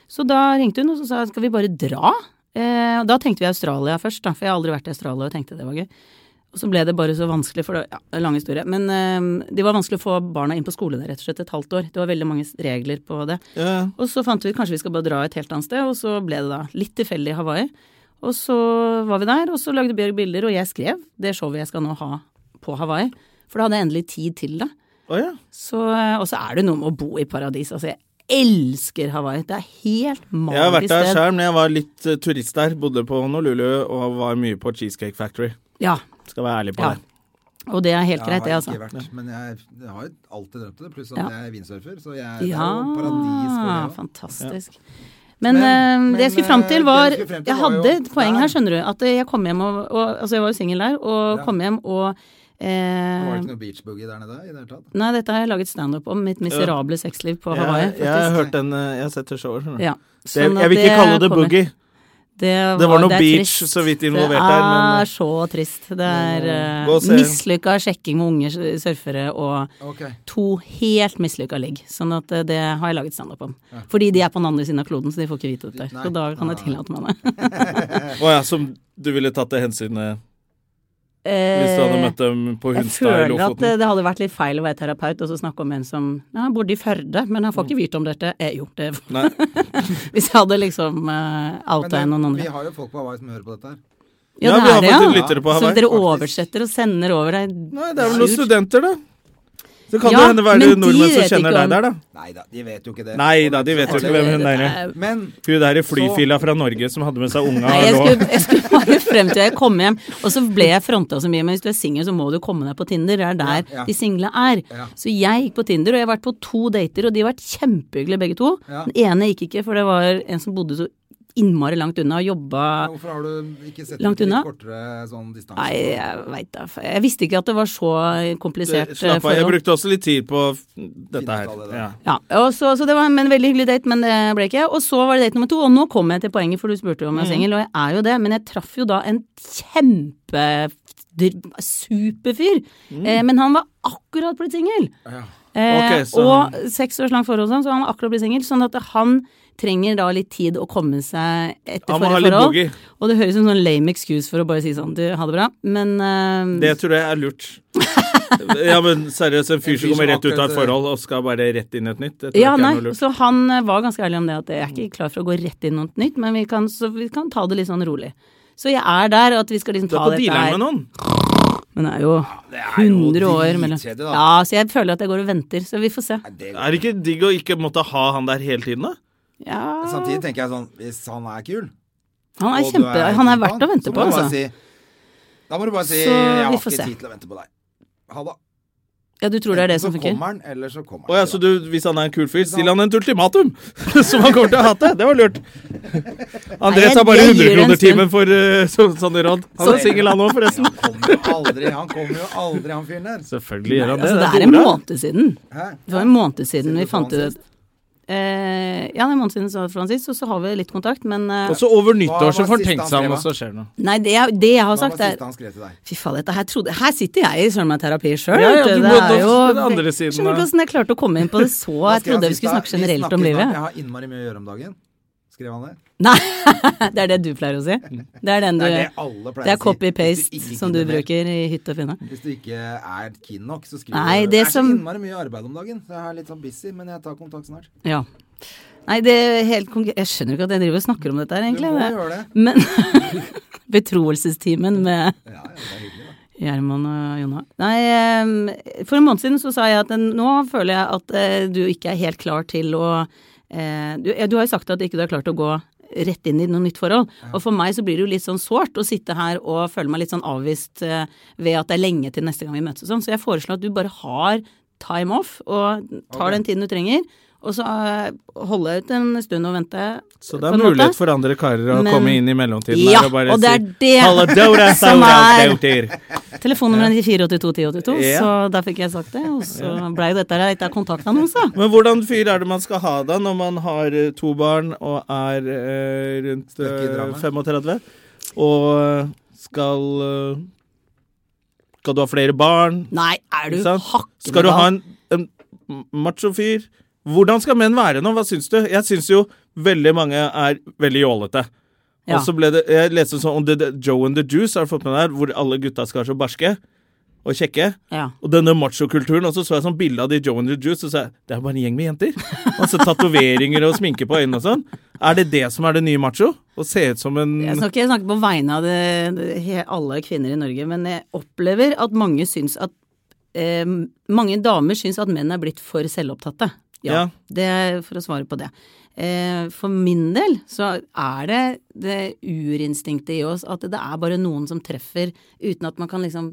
Speaker 6: Så da ringte hun og så sa skal vi bare dra? Eh, og da tenkte vi Australia først, da, for jeg har aldri vært i Australia og tenkte det var gøy. Og så ble det bare så vanskelig, for det ja, det er en lang historie. Men eh, det var vanskelig å få barna inn på skole der, rett og slett, et halvt år. Det var veldig mange regler på det.
Speaker 1: Ja.
Speaker 6: Og så fant vi ut kanskje vi skal bare dra et helt annet sted, og så ble det da litt tilfeldig Hawaii. Og så var vi der, og så lagde Bjørg bilder, og jeg skrev det showet jeg skal nå ha på Hawaii. For da hadde jeg endelig tid til det.
Speaker 1: Å ja.
Speaker 6: Så, eh, og så er det noe med å bo i paradis. Altså, jeg elsker Hawaii. Det er helt magisk sted.
Speaker 1: Jeg har vært der sjøl, men jeg var litt eh, turist der. Bodde på Honolulu og var mye på Cheesecake Factory.
Speaker 6: Ja,
Speaker 1: Skal være ærlig på
Speaker 6: ja.
Speaker 1: det.
Speaker 6: Og det er helt greit, det,
Speaker 2: Jeg
Speaker 6: altså.
Speaker 2: har ikke vært, men jeg, jeg har alltid drømt om det. Pluss at
Speaker 6: Ja.
Speaker 2: jeg er windsurfer, så jeg det er
Speaker 6: Ja,
Speaker 2: jo paradis for det. også.
Speaker 6: fantastisk. Men,
Speaker 2: Men-
Speaker 6: eh, det jeg skulle fram
Speaker 2: men, eh,
Speaker 6: til, var
Speaker 2: det jeg skulle frem til
Speaker 6: Jeg
Speaker 2: var jo
Speaker 6: hadde et poeng
Speaker 2: der.
Speaker 6: her, skjønner du. At eh, jeg kom hjem og, og Altså, jeg var jo singel der, og
Speaker 2: Ja.
Speaker 6: kom hjem og
Speaker 2: Det var
Speaker 6: eh,
Speaker 2: ikke noe beach boogie der nede i det hele tatt.
Speaker 6: Nei, dette har jeg laget standup om, mitt miserable sexliv på Hawaii.
Speaker 1: Jeg, jeg har hørt den eh, Jeg har sett det showet. skjønner du.
Speaker 6: Ja.
Speaker 1: Det,
Speaker 6: Sånn at
Speaker 1: jeg vil ikke kalle det
Speaker 6: kommer.
Speaker 1: boogie.
Speaker 6: Det
Speaker 1: Det var noe
Speaker 6: er
Speaker 1: beach
Speaker 6: trist.
Speaker 1: så vidt involvert der, men-
Speaker 6: Det er så trist. Det er
Speaker 1: Men,
Speaker 6: uh,
Speaker 1: gå og se.
Speaker 6: mislykka sjekking med unge s- surfere og
Speaker 2: Ok.
Speaker 6: to helt mislykka ligg. Sånn at eh, det har jeg laget standup om. Fordi de er på den andre siden av kloden, så de får ikke vite dette.
Speaker 2: Nei.
Speaker 6: Så da kan jeg tillate meg det.
Speaker 1: (laughs) Å ja, som du ville tatt det hensynet hvis du hadde møtt dem på
Speaker 6: Eh, jeg
Speaker 1: Hunstad i
Speaker 6: føler at det,
Speaker 1: Lofoten?
Speaker 6: det hadde vært litt feil å være terapeut og så snakke om en som ja, han bodde i Førde, men han får
Speaker 1: Mm.
Speaker 6: ikke vite om dette. Eh, jo, det
Speaker 1: Nei.
Speaker 6: (laughs) Hvis jeg hadde liksom uh,
Speaker 2: Men
Speaker 6: outa
Speaker 2: det,
Speaker 6: noen
Speaker 2: vi
Speaker 6: andre.
Speaker 2: har jo folk på Hawaii som hører på dette her.
Speaker 1: Ja, vi har faktisk
Speaker 6: ja.
Speaker 1: lyttere på
Speaker 6: Så
Speaker 1: Hawaii,
Speaker 6: dere
Speaker 2: faktisk.
Speaker 6: oversetter og sender over deg
Speaker 1: Nei, det er vel noen studenter, da. Så kan
Speaker 6: Ja,
Speaker 1: det hende være
Speaker 6: men de
Speaker 1: nordmenn som
Speaker 6: vet
Speaker 1: kjenner
Speaker 6: ikke
Speaker 1: deg
Speaker 6: om-
Speaker 1: der, da.
Speaker 2: Nei da, de vet jo ikke det.
Speaker 1: Nei da, de vet jo ikke hvem hun
Speaker 6: Dette
Speaker 1: er.
Speaker 6: er-
Speaker 2: Men
Speaker 1: Hun der i flyfila fra Norge som hadde med seg unga
Speaker 6: Nei, jeg
Speaker 1: og lå
Speaker 6: skulle, jeg skulle bare (laughs) frem til jeg kom hjem, og så ble jeg fronta så mye. Men hvis du er singel, så må du komme deg på Tinder. Det er der
Speaker 2: Ja, ja.
Speaker 6: de single er.
Speaker 2: Ja.
Speaker 6: Så jeg gikk på Tinder, og jeg har vært på to dater, og de har vært kjempehyggelige begge to.
Speaker 2: Ja.
Speaker 6: Den ene gikk ikke, for det var en som bodde så innmari langt unna og jobba
Speaker 2: hvorfor har du ikke sett
Speaker 6: Langt
Speaker 2: litt
Speaker 6: unna?
Speaker 2: kortere sånn distanse?
Speaker 6: Nei, jeg veit da. faen. Jeg visste ikke at det var så komplisert eh,
Speaker 1: Slapp av, jeg
Speaker 6: forhold.
Speaker 1: brukte også litt tid på dette her.
Speaker 2: Finne ut av det der.
Speaker 1: Ja.
Speaker 6: Ja, og så, så det var en veldig hyggelig date, men det ble ikke. Og så var det date nummer to, og nå kom jeg til poenget, for du spurte jo om
Speaker 1: Mm.
Speaker 6: jeg var singel, og jeg er jo det, men jeg traff jo da en kjempe dr- superfyr. Eh, men han var akkurat blitt singel.
Speaker 2: Ja.
Speaker 6: Eh,
Speaker 1: Mm. Ok, så
Speaker 6: og seks års langt forhold, og sånn, så han har akkurat blitt singel. Sånn at han trenger da litt tid å komme seg etter
Speaker 1: Han må
Speaker 6: for
Speaker 1: ha
Speaker 6: et
Speaker 1: litt
Speaker 6: forhold.
Speaker 1: boogie.
Speaker 6: Og det høres ut som en sånn lame excuse for å bare si sånn, du, ha det bra. Men eh,
Speaker 1: Det tror jeg er
Speaker 6: (laughs)
Speaker 1: lurt. Ja, men seriøst, en fyr som kommer rett ut av et forhold og skal bare rett inn i et nytt, det tror
Speaker 6: eh, Ja,
Speaker 1: jeg ikke
Speaker 6: nei,
Speaker 1: er noe lurt.
Speaker 6: så han eh, var ganske ærlig om det, at jeg er ikke klar for å gå rett inn i noe nytt, men vi kan, så vi kan ta det litt sånn rolig. Så jeg er der, og at vi skal liksom
Speaker 1: Du
Speaker 6: ta
Speaker 1: er på
Speaker 6: dette
Speaker 1: dealeren med
Speaker 6: her.
Speaker 1: noen.
Speaker 6: Men det er jo
Speaker 2: er jo
Speaker 6: 100 år mellom
Speaker 2: dritkjedelig, da.
Speaker 6: Ja, så jeg føler at jeg går og venter, så vi får se.
Speaker 1: Er det ikke digg å ikke måtte ha han der hele tiden, da?
Speaker 6: Ja,
Speaker 2: Samtidig tenker jeg sånn Hvis han er kul
Speaker 6: han er
Speaker 2: og du
Speaker 6: kjempe Han er
Speaker 2: keen
Speaker 6: verdt å vente
Speaker 2: så
Speaker 6: på,
Speaker 2: må du bare
Speaker 6: altså.
Speaker 2: Si, da må du bare si
Speaker 6: Så
Speaker 2: 'Jeg har
Speaker 6: vi
Speaker 2: ikke
Speaker 6: får se.
Speaker 2: tid til å vente på deg'. Ha det.
Speaker 6: Ja, du tror det er det som
Speaker 2: så
Speaker 6: funker?
Speaker 2: kommer han, eller så kommer
Speaker 1: Å ja, så
Speaker 2: ikke,
Speaker 1: du, hvis han er en kul fyr, still han et ultimatum! (laughs) Som han kommer til å hate! Det var lurt. André
Speaker 6: Nei,
Speaker 1: tar bare
Speaker 6: det
Speaker 1: 100
Speaker 6: gir en
Speaker 1: kroner
Speaker 6: stund.
Speaker 1: timen for eh, så, sånne råd. Han er singel, han òg,
Speaker 2: da.
Speaker 1: forresten.
Speaker 2: Han kommer jo aldri, han kommer jo aldri, han fyren der.
Speaker 1: Selvfølgelig gjør han det.
Speaker 6: Altså, det
Speaker 1: det
Speaker 6: er en måned siden.
Speaker 2: Hæ?
Speaker 6: Det var en måned siden
Speaker 2: Siden
Speaker 6: vi
Speaker 2: du så
Speaker 6: fant
Speaker 2: han
Speaker 6: ut
Speaker 2: sist.
Speaker 6: Eh, ja, det er en måned siden så fra han sist, og så har vi litt kontakt, men eh,
Speaker 1: Og så over
Speaker 2: Hva
Speaker 1: nyttår så
Speaker 2: var
Speaker 1: får han
Speaker 2: siste
Speaker 1: tenkt
Speaker 2: han
Speaker 1: seg
Speaker 2: skrev,
Speaker 1: om,
Speaker 2: da?
Speaker 1: og så skjer det noe.
Speaker 6: Nei, det jeg, det jeg
Speaker 2: Hva
Speaker 6: har
Speaker 2: var
Speaker 6: sagt, er
Speaker 2: siste han skrev til deg?
Speaker 6: Fy faen, dette her trodde Her sitter jeg i søren meg terapi sjøl.
Speaker 1: Ja, ja, du må-
Speaker 6: det er jo
Speaker 1: den andre siden
Speaker 6: Skjønner
Speaker 1: da.
Speaker 6: du hvordan jeg klarte å komme inn på det så
Speaker 2: Hva skrev
Speaker 6: Jeg
Speaker 2: han
Speaker 6: trodde vi
Speaker 2: sist
Speaker 6: skulle
Speaker 2: da?
Speaker 6: snakke generelt
Speaker 2: snakker
Speaker 6: om
Speaker 2: snart.
Speaker 6: livet.
Speaker 2: Jeg har innmari mye å gjøre om dagen. Skrev han det?
Speaker 6: Nei, (laughs) det er det du pleier å si. Det er den du
Speaker 2: Mm. Det er
Speaker 6: Det
Speaker 2: det alle pleier å si.
Speaker 6: er
Speaker 2: Hvis
Speaker 6: copy-paste
Speaker 2: ikke
Speaker 6: som du
Speaker 2: gidder mer.
Speaker 6: bruker i hytt og finne.
Speaker 2: Hvis du ikke er keen nok, så skriver
Speaker 6: Nei,
Speaker 2: du
Speaker 6: det
Speaker 2: er så
Speaker 6: som-
Speaker 2: innmari mye arbeid om dagen. Så jeg er litt sånn busy, men jeg tar kontakt snart.
Speaker 6: Ja. Nei, det er helt konkret Jeg skjønner jo ikke at jeg driver og snakker om dette her,
Speaker 2: Du
Speaker 6: egentlig.
Speaker 2: må
Speaker 6: Det-
Speaker 2: gjøre det.
Speaker 6: Men (laughs) Betroelsestimen med
Speaker 2: Ja, ja, det er hyggelig, da.
Speaker 6: Gjerman og Jonna. Nei, eh, for en måned siden så sa jeg at eh, nå føler jeg at eh, du ikke er helt klar til å eh, du, ja, du har jo sagt at ikke du er klar til å gå rett inn i noe nytt forhold. Og for meg så blir det jo litt sånn sårt å sitte her og føle meg litt sånn avvist eh, ved at det er lenge til neste gang vi møtes og sånn. Så jeg foreslår at du bare har time off og tar den tiden du trenger. Og så eh, holde ut en stund og vente.
Speaker 1: Så det
Speaker 6: på
Speaker 1: er
Speaker 6: en måte.
Speaker 1: mulighet for andre karer å
Speaker 6: Men-
Speaker 1: komme inn i mellomtiden
Speaker 6: Ja,
Speaker 1: der og bare
Speaker 6: og det er
Speaker 1: si
Speaker 6: det
Speaker 1: «Halla, Dora,
Speaker 6: (laughs) som
Speaker 1: Saura,
Speaker 6: er-
Speaker 1: Dauter».
Speaker 6: Telefonnummeret er 94821082,
Speaker 1: Ja.
Speaker 6: så da fikk jeg sagt det. Og så blei jo dette her litt av kontaktannonse.
Speaker 1: Men hvordan fyr er det man skal ha da, når man har eh, to barn og er eh, rundt
Speaker 2: Støkk i
Speaker 1: eh,
Speaker 2: drama.
Speaker 1: 35? Og eh, skal eh, Skal du ha flere barn?
Speaker 6: Nei, er
Speaker 1: Ikke
Speaker 6: du
Speaker 1: sant?
Speaker 6: hakkende
Speaker 1: Skal du ha
Speaker 6: gal?
Speaker 1: en, en macho fyr? Hvordan skal menn være nå? Hva syns du? Jeg syns jo veldig mange er veldig jålete.
Speaker 6: Ja.
Speaker 1: Og så ble det, Jeg leste sånn om The, The- Joe and the Juice, har du fått med deg, hvor alle gutta skal være så barske og kjekke.
Speaker 6: Ja.
Speaker 1: Og denne machokulturen. Og så så jeg sånn bilde av de Joe and the Juice, og så sa jeg det er bare en gjeng med jenter. Masse tatoveringer og sminke på øynene og sånn. Er det det som er det nye macho? Å se ut som en
Speaker 6: Jeg skal ikke snakke på vegne av det, det, he- alle kvinner i Norge, men jeg opplever at mange syns at eh, Mange damer syns at menn er blitt for selvopptatte. Ja.
Speaker 1: Ja.
Speaker 6: Det er for å svare på det. Eh, for min del så er det det urinstinktet i oss at det er bare noen som treffer uten at man kan liksom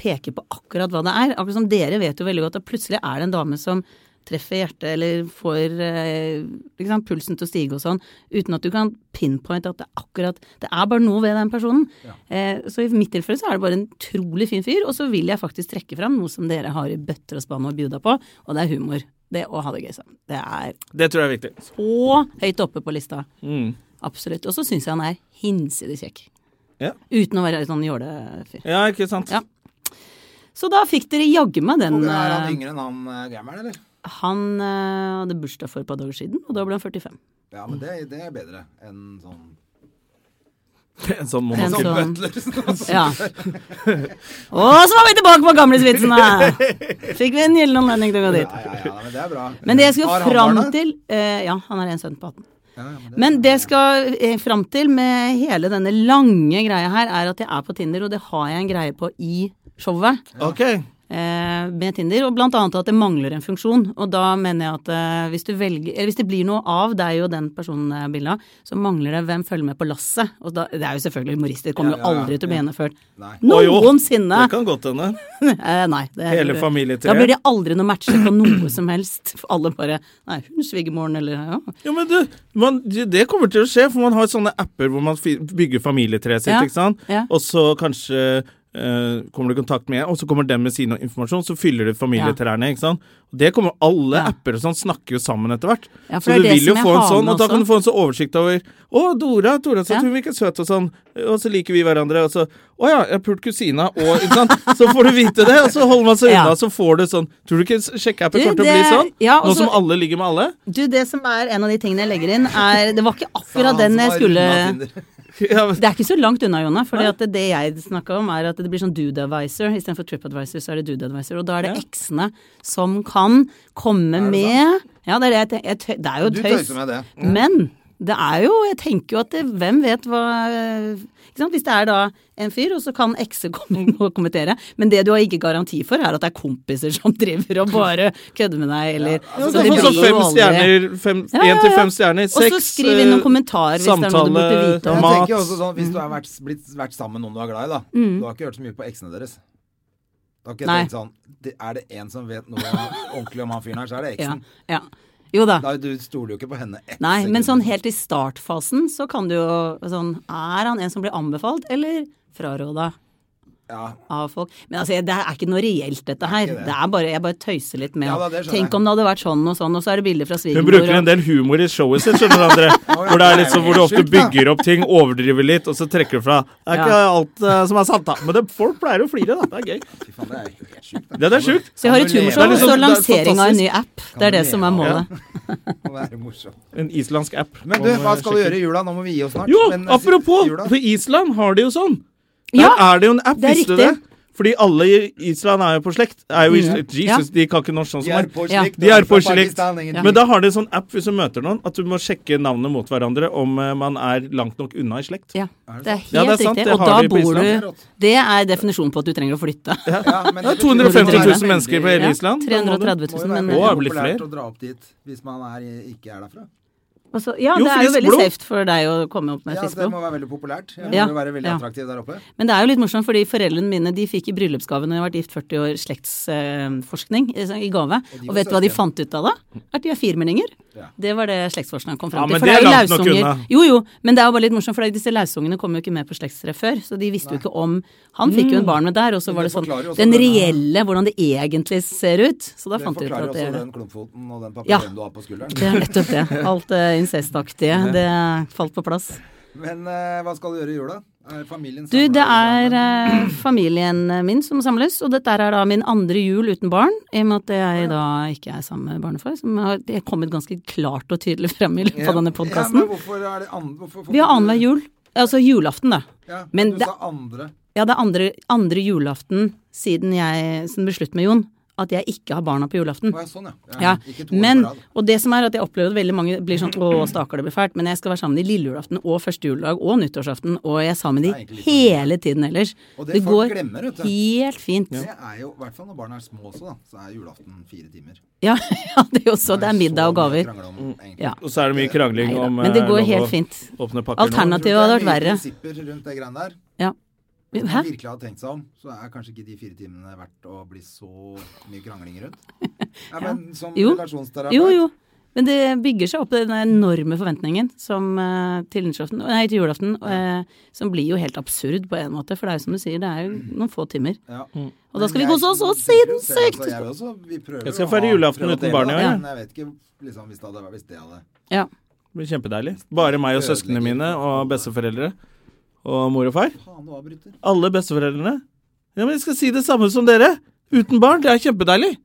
Speaker 6: peke på akkurat hva det er. Akkurat som dere vet jo veldig godt at plutselig er det en dame som treffer hjertet eller får eh, liksom, pulsen til å stige og sånn, uten at du kan pinpointe at det er akkurat Det er bare noe ved den personen. Eh, så i mitt tilfelle så er det bare en utrolig fin fyr, og så vil jeg faktisk trekke fram noe som dere har i bøtter og spann og bjuda på, og det er humor. Det å ha det gøy sammen. Det er
Speaker 1: Det tror jeg er viktig.
Speaker 6: så høyt oppe på lista.
Speaker 1: Mm.
Speaker 6: Absolutt. Og så syns jeg han er hinsides kjekk.
Speaker 1: Ja.
Speaker 6: Uten å være sånn jålefyr.
Speaker 1: ja, ikke sant?
Speaker 6: Ja. Så da fikk dere jaggu meg den.
Speaker 2: Er
Speaker 6: eh,
Speaker 2: han yngre enn han eh, gameren, eller?
Speaker 6: Han eh, hadde bursdag for et par dager siden, og da ble han 45.
Speaker 2: Ja, men det, det er bedre enn sånn
Speaker 1: En (laughs) sånn
Speaker 6: En
Speaker 1: monokkel.
Speaker 6: sånn,
Speaker 2: Butler. (laughs)
Speaker 6: ja. (laughs) Og så var vi tilbake på gamlesvitsene! Fikk vi en gyllen anledning til å gå dit.
Speaker 2: Ja, ja, ja, men det er bra.
Speaker 6: Men det jeg skulle
Speaker 2: Har han
Speaker 6: fram
Speaker 2: barna?
Speaker 6: til eh, Ja, han har en sønn på 18.
Speaker 2: Ja, ja, men det,
Speaker 6: Men det jeg skal eh, fram til med hele denne lange greia her, er at jeg er på Tinder, og det har jeg en greie på i showet.
Speaker 1: Ok.
Speaker 6: eh, med Tinder, og blant annet at det mangler en funksjon. Og da mener jeg at eh, hvis, du velger, eller hvis det blir noe av deg og den personbildet, så mangler det hvem følger med på lasset. Og da, det er jo selvfølgelig humoristisk, det kommer
Speaker 2: Ja, ja,
Speaker 6: jo
Speaker 2: ja,
Speaker 6: aldri til å bli gjennomført.
Speaker 2: Nei.
Speaker 1: Å, jo.
Speaker 6: Noensinne!
Speaker 1: Det kan godt hende.
Speaker 6: (laughs) Eh, nei. Det er,
Speaker 1: Hele familietreet.
Speaker 6: Da blir det aldri noe matcher på noe som helst. For alle bare Nei, hun svigermoren, eller ja.
Speaker 1: Ja, men du, man, Det kommer til å skje, for man har sånne apper hvor man fi- bygger familietreet sitt.
Speaker 6: Ja,
Speaker 1: ikke sant?
Speaker 6: ja.
Speaker 1: Og så kanskje eh, kommer du i kontakt med, og så kommer den med sin informasjon, så fyller du familietrærne, ikke sant. Og det kommer alle
Speaker 6: Ja.
Speaker 1: apper og sånn snakker jo sammen etter hvert.
Speaker 6: Ja,
Speaker 1: så
Speaker 6: for det er
Speaker 1: du
Speaker 6: det
Speaker 1: vil jo
Speaker 6: som er
Speaker 1: få en sånn,
Speaker 6: hanen
Speaker 1: og da kan
Speaker 6: også.
Speaker 1: du få en sånn oversikt over Å, Dora, Dora sa
Speaker 6: Ja.
Speaker 1: at hun virket søt og sånn, og så liker vi hverandre, og så Å ja, jeg har pult kusina, og Ikke
Speaker 6: (laughs)
Speaker 1: sant. Så får du vite det, og så holder man seg
Speaker 6: Ja.
Speaker 1: unna, så får du sånn Tror du ikke sjekkeappen
Speaker 6: Du,
Speaker 1: kommer til å
Speaker 6: det
Speaker 1: bli
Speaker 6: er-
Speaker 1: sånn?
Speaker 6: ja,
Speaker 1: Nå
Speaker 6: og så-
Speaker 1: som alle ligger med alle?
Speaker 6: (laughs) Du, det som er en av de tingene jeg legger inn, er Det var ikke akkurat
Speaker 7: Han
Speaker 6: den
Speaker 7: som
Speaker 6: jeg
Speaker 7: har
Speaker 6: skulle
Speaker 7: rundet Tinder.
Speaker 1: Ja,
Speaker 6: Det er ikke så langt unna, Jonna. For det jeg snakka om, er at det blir sånn dude advisor. Istedenfor trip advisor, så er det dude advisor. Og da er det
Speaker 1: Ja.
Speaker 6: eksene som kan komme med Ja, det er, det, jeg, te- det er jo
Speaker 2: Du
Speaker 6: tøys.
Speaker 2: tøyser med det.
Speaker 1: Mm.
Speaker 6: Men det er jo Jeg tenker jo at det, hvem vet hva ikke sant? Hvis det er da en fyr, og så kan ekse komme inn og kommentere. Men det du har ikke garanti for, er at det er kompiser som driver og bare kødder med deg, eller Altså,
Speaker 1: Så altså, det blir fem stjerner, fem,
Speaker 6: Ja, ja, ja.
Speaker 1: en til fem stjerner,
Speaker 6: Og så
Speaker 1: seks
Speaker 6: skriv inn noen
Speaker 1: eh,
Speaker 6: kommentarer hvis det er noe du burde
Speaker 1: samtale,
Speaker 6: vite
Speaker 1: Ja,
Speaker 6: om.
Speaker 1: mat.
Speaker 2: Jeg tenker også sånn, Hvis du har vært, blitt, vært sammen med noen du er glad i, da. Du har ikke hørt så mye på eksene deres. Da har ikke jeg
Speaker 6: Mm. Nei.
Speaker 2: tenkt sånn det, Er det en som vet noe ordentlig om han fyren her, så er det
Speaker 6: Ja,
Speaker 2: eksen.
Speaker 6: ja. Jo da.
Speaker 2: Liksom. Da, du stoler jo ikke på henne. ett
Speaker 6: Nei, men
Speaker 2: sekund.
Speaker 6: sånn helt i startfasen så kan du jo sånn Er han en som blir anbefalt, eller fraråda
Speaker 2: Ja.
Speaker 6: av folk? Men altså, det er ikke noe reelt, dette her. Det er bare, Jeg bare tøyser litt med
Speaker 2: Ja, da,
Speaker 6: at
Speaker 2: det skjønner
Speaker 6: Tenk
Speaker 2: jeg.
Speaker 6: om det hadde vært sånn og sånn, og så er det bilder fra
Speaker 1: Hun
Speaker 6: svigermor
Speaker 1: bruker en del humor i showet sitt, skjønner du, André.
Speaker 2: (laughs)
Speaker 1: Hvor, det er litt sånn, hvor du ofte bygger opp ting, overdriver litt, og så trekker du fra. Det er ikke
Speaker 6: Ja.
Speaker 1: alt eh, som er sant, da. Men det, folk pleier å flire, da. Det er gøy.
Speaker 2: Fy faen, det er jo helt sjukt.
Speaker 1: Det er sjukt.
Speaker 6: Så jeg har et
Speaker 2: Kan du leve-
Speaker 1: Det
Speaker 6: humorshow,
Speaker 1: er
Speaker 6: og
Speaker 1: liksom-
Speaker 6: så
Speaker 1: det er
Speaker 6: lansering av en ny
Speaker 1: fantastisk.
Speaker 6: app. Det er
Speaker 2: du
Speaker 6: det som
Speaker 2: leve
Speaker 6: er
Speaker 2: av
Speaker 6: målet.
Speaker 2: Å være morsom.
Speaker 1: En islandsk app.
Speaker 2: Men du, hva skal du gjøre i jula? Nå må vi gi oss snart.
Speaker 1: Jo,
Speaker 2: men, eh,
Speaker 1: apropos,
Speaker 2: jula-
Speaker 1: på Island har de jo sånn. Der
Speaker 6: Ja,
Speaker 1: er det jo en app,
Speaker 6: det er
Speaker 1: visste du det?
Speaker 6: riktig.
Speaker 1: Fordi alle i Island er jo på slekt. Er jo i,
Speaker 6: Mm.
Speaker 1: Jesus, de kan ikke norsk sånn
Speaker 2: De
Speaker 1: som
Speaker 2: er
Speaker 1: meg.
Speaker 2: på
Speaker 6: Ja.
Speaker 2: slikt.
Speaker 1: De er på
Speaker 2: fra
Speaker 1: slikt.
Speaker 2: Pakistan, ingen-
Speaker 1: Men da har de en sånn app hvis du møter noen, at du må sjekke navnet mot hverandre om eh, man er langt nok unna i slekt.
Speaker 6: Ja, det er helt
Speaker 1: Ja, det er sant,
Speaker 6: riktig.
Speaker 1: det
Speaker 6: Og
Speaker 1: har
Speaker 6: da
Speaker 1: de på
Speaker 6: bor
Speaker 1: Island.
Speaker 6: du Det er definisjonen på at du trenger å flytte.
Speaker 2: Ja, men
Speaker 1: Det er
Speaker 2: betyr-
Speaker 1: 250
Speaker 6: 000
Speaker 1: mennesker på hele
Speaker 6: Ja,
Speaker 1: Island, da må du-
Speaker 6: 330
Speaker 2: Må jo
Speaker 6: 000,
Speaker 2: være
Speaker 6: men eh,
Speaker 2: veldig
Speaker 1: Å, er det blitt
Speaker 2: populært
Speaker 1: flere?
Speaker 2: å dra opp dit hvis man er, ikke er derfra.
Speaker 6: Og så- Ja,
Speaker 1: Jo,
Speaker 6: det er jo
Speaker 1: friskt
Speaker 6: veldig
Speaker 1: blod.
Speaker 6: safe for deg å komme opp med
Speaker 2: Ja,
Speaker 6: friskt
Speaker 2: det
Speaker 6: blod.
Speaker 2: må være veldig populært. Jeg må
Speaker 6: Ja.
Speaker 2: jo være veldig
Speaker 6: Ja.
Speaker 2: attraktiv der oppe.
Speaker 6: Men det er jo litt morsomt, fordi foreldrene mine de fikk i bryllupsgave når jeg har vært gift 40 år slektsforskning i i gave. Og,
Speaker 2: var
Speaker 6: vet du hva de
Speaker 2: søsken.
Speaker 6: fant ut av da? At de er firmenninger.
Speaker 2: Ja.
Speaker 6: Det var det slektsforskeren kom
Speaker 1: Ja,
Speaker 6: fram til.
Speaker 1: men
Speaker 6: for
Speaker 1: det er
Speaker 6: jo
Speaker 1: langt nok
Speaker 6: lausunger-
Speaker 1: unna.
Speaker 6: Jo jo, men det er jo bare litt morsomt, for disse lausungene kom jo ikke med på slektstreff før. Så de visste jo ikke om Han fikk jo en barn med der, og så var det sånn
Speaker 2: Mm. forklarer jo også
Speaker 6: Den
Speaker 2: denne-
Speaker 6: reelle, hvordan det egentlig ser ut. Så da
Speaker 2: Det
Speaker 6: fant de ut
Speaker 2: forklarer
Speaker 6: at
Speaker 2: også
Speaker 6: det er
Speaker 2: den
Speaker 6: det.
Speaker 2: klumpfoten og den
Speaker 6: Ja.
Speaker 2: papirøyen du har på skulderen.
Speaker 6: Det er nettopp det. Alt det incestaktige, det falt på plass.
Speaker 2: Men eh, hva skal du gjøre i jula? Er familien
Speaker 6: Du,
Speaker 2: samlet
Speaker 6: det
Speaker 2: i
Speaker 6: er
Speaker 2: Drammen?
Speaker 6: eh, familien min som samles, og dette er da min andre jul uten barn, i og med at jeg da ikke er sammen med barnefar, som har det er kommet ganske klart og tydelig frem i løpet
Speaker 2: Ja,
Speaker 6: av denne
Speaker 2: Ja,
Speaker 6: podkasten.
Speaker 2: men hvorfor er det andre? Hvorfor, hvorfor,
Speaker 6: Vi har annenhver jul, altså julaften, da.
Speaker 2: Ja,
Speaker 6: men
Speaker 2: du
Speaker 6: det-
Speaker 2: sa andre.
Speaker 6: Ja, det er andre, andre julaften siden jeg som ble slutt med Jon, at jeg ikke har barna på julaften.
Speaker 2: Å ja, sånn ja.
Speaker 6: Ja,
Speaker 2: Ikke to år
Speaker 6: men,
Speaker 2: på rad.
Speaker 6: og det som er at jeg opplever at veldig mange blir sånn å stakkar, det blir fælt, men jeg skal være sammen i lille julaften og første juledag og nyttårsaften, og jeg er sammen med
Speaker 2: Det er egentlig
Speaker 6: de
Speaker 2: litt sånn.
Speaker 6: hele tiden ellers.
Speaker 2: Og det
Speaker 6: Det
Speaker 2: folk
Speaker 6: går
Speaker 2: glemmer, vet du.
Speaker 6: helt fint.
Speaker 2: Det er jo, i hvert fall når barna er små også, da, så er julaften fire timer.
Speaker 6: Ja, (laughs) ja det er jo så, det
Speaker 2: så
Speaker 6: er middag
Speaker 2: mye å
Speaker 6: og gaver.
Speaker 2: krangle om, egentlig.
Speaker 6: Ja.
Speaker 1: (laughs) Og så er det mye krangling
Speaker 6: Neida,
Speaker 1: om
Speaker 6: men det
Speaker 1: eh,
Speaker 6: går
Speaker 1: lov å
Speaker 6: helt fint.
Speaker 1: Åpne pakker nå.
Speaker 2: Jeg tror
Speaker 6: Alternativet
Speaker 2: det
Speaker 6: hadde
Speaker 2: er
Speaker 6: vært
Speaker 2: mye
Speaker 6: verre.
Speaker 2: prinsipper rundt det greiene der.
Speaker 6: Ja.
Speaker 2: Hvis
Speaker 6: Hæ?
Speaker 2: man virkelig hadde tenkt seg om, så er kanskje ikke de fire timene verdt å bli så mye krangling
Speaker 6: (laughs)
Speaker 2: rundt. Ja, men som
Speaker 6: Jo.
Speaker 2: relasjonsterapeut
Speaker 6: Jo, jo. Men det bygger seg opp den enorme forventningen som, eh, til, nyttårsaften- nei, til julaften, eh, som blir jo helt absurd på en måte, for det er jo som du sier, det er jo noen få timer.
Speaker 2: Ja.
Speaker 6: Og da skal vi
Speaker 2: Mm. Men jeg-
Speaker 6: kose oss så
Speaker 2: jeg tror det,
Speaker 6: sinnssykt!
Speaker 2: altså, Jeg, vil også, vi prøver
Speaker 1: Jeg skal
Speaker 2: å
Speaker 1: feire
Speaker 2: ha-
Speaker 1: julaften
Speaker 2: prøve å
Speaker 1: uten
Speaker 2: dele,
Speaker 1: barn i år,
Speaker 2: da,
Speaker 1: jeg.
Speaker 2: Men jeg vet ikke liksom, hvis det hadde vært hvis det hadde
Speaker 6: Ja.
Speaker 1: Det blir kjempedeilig. Bare meg og søsknene mine og besteforeldre. Og mor og far.
Speaker 2: Faen, du avbryter.
Speaker 1: Alle besteforeldrene. Ja, men jeg skal si det samme som dere. Uten barn. Det er kjempedeilig.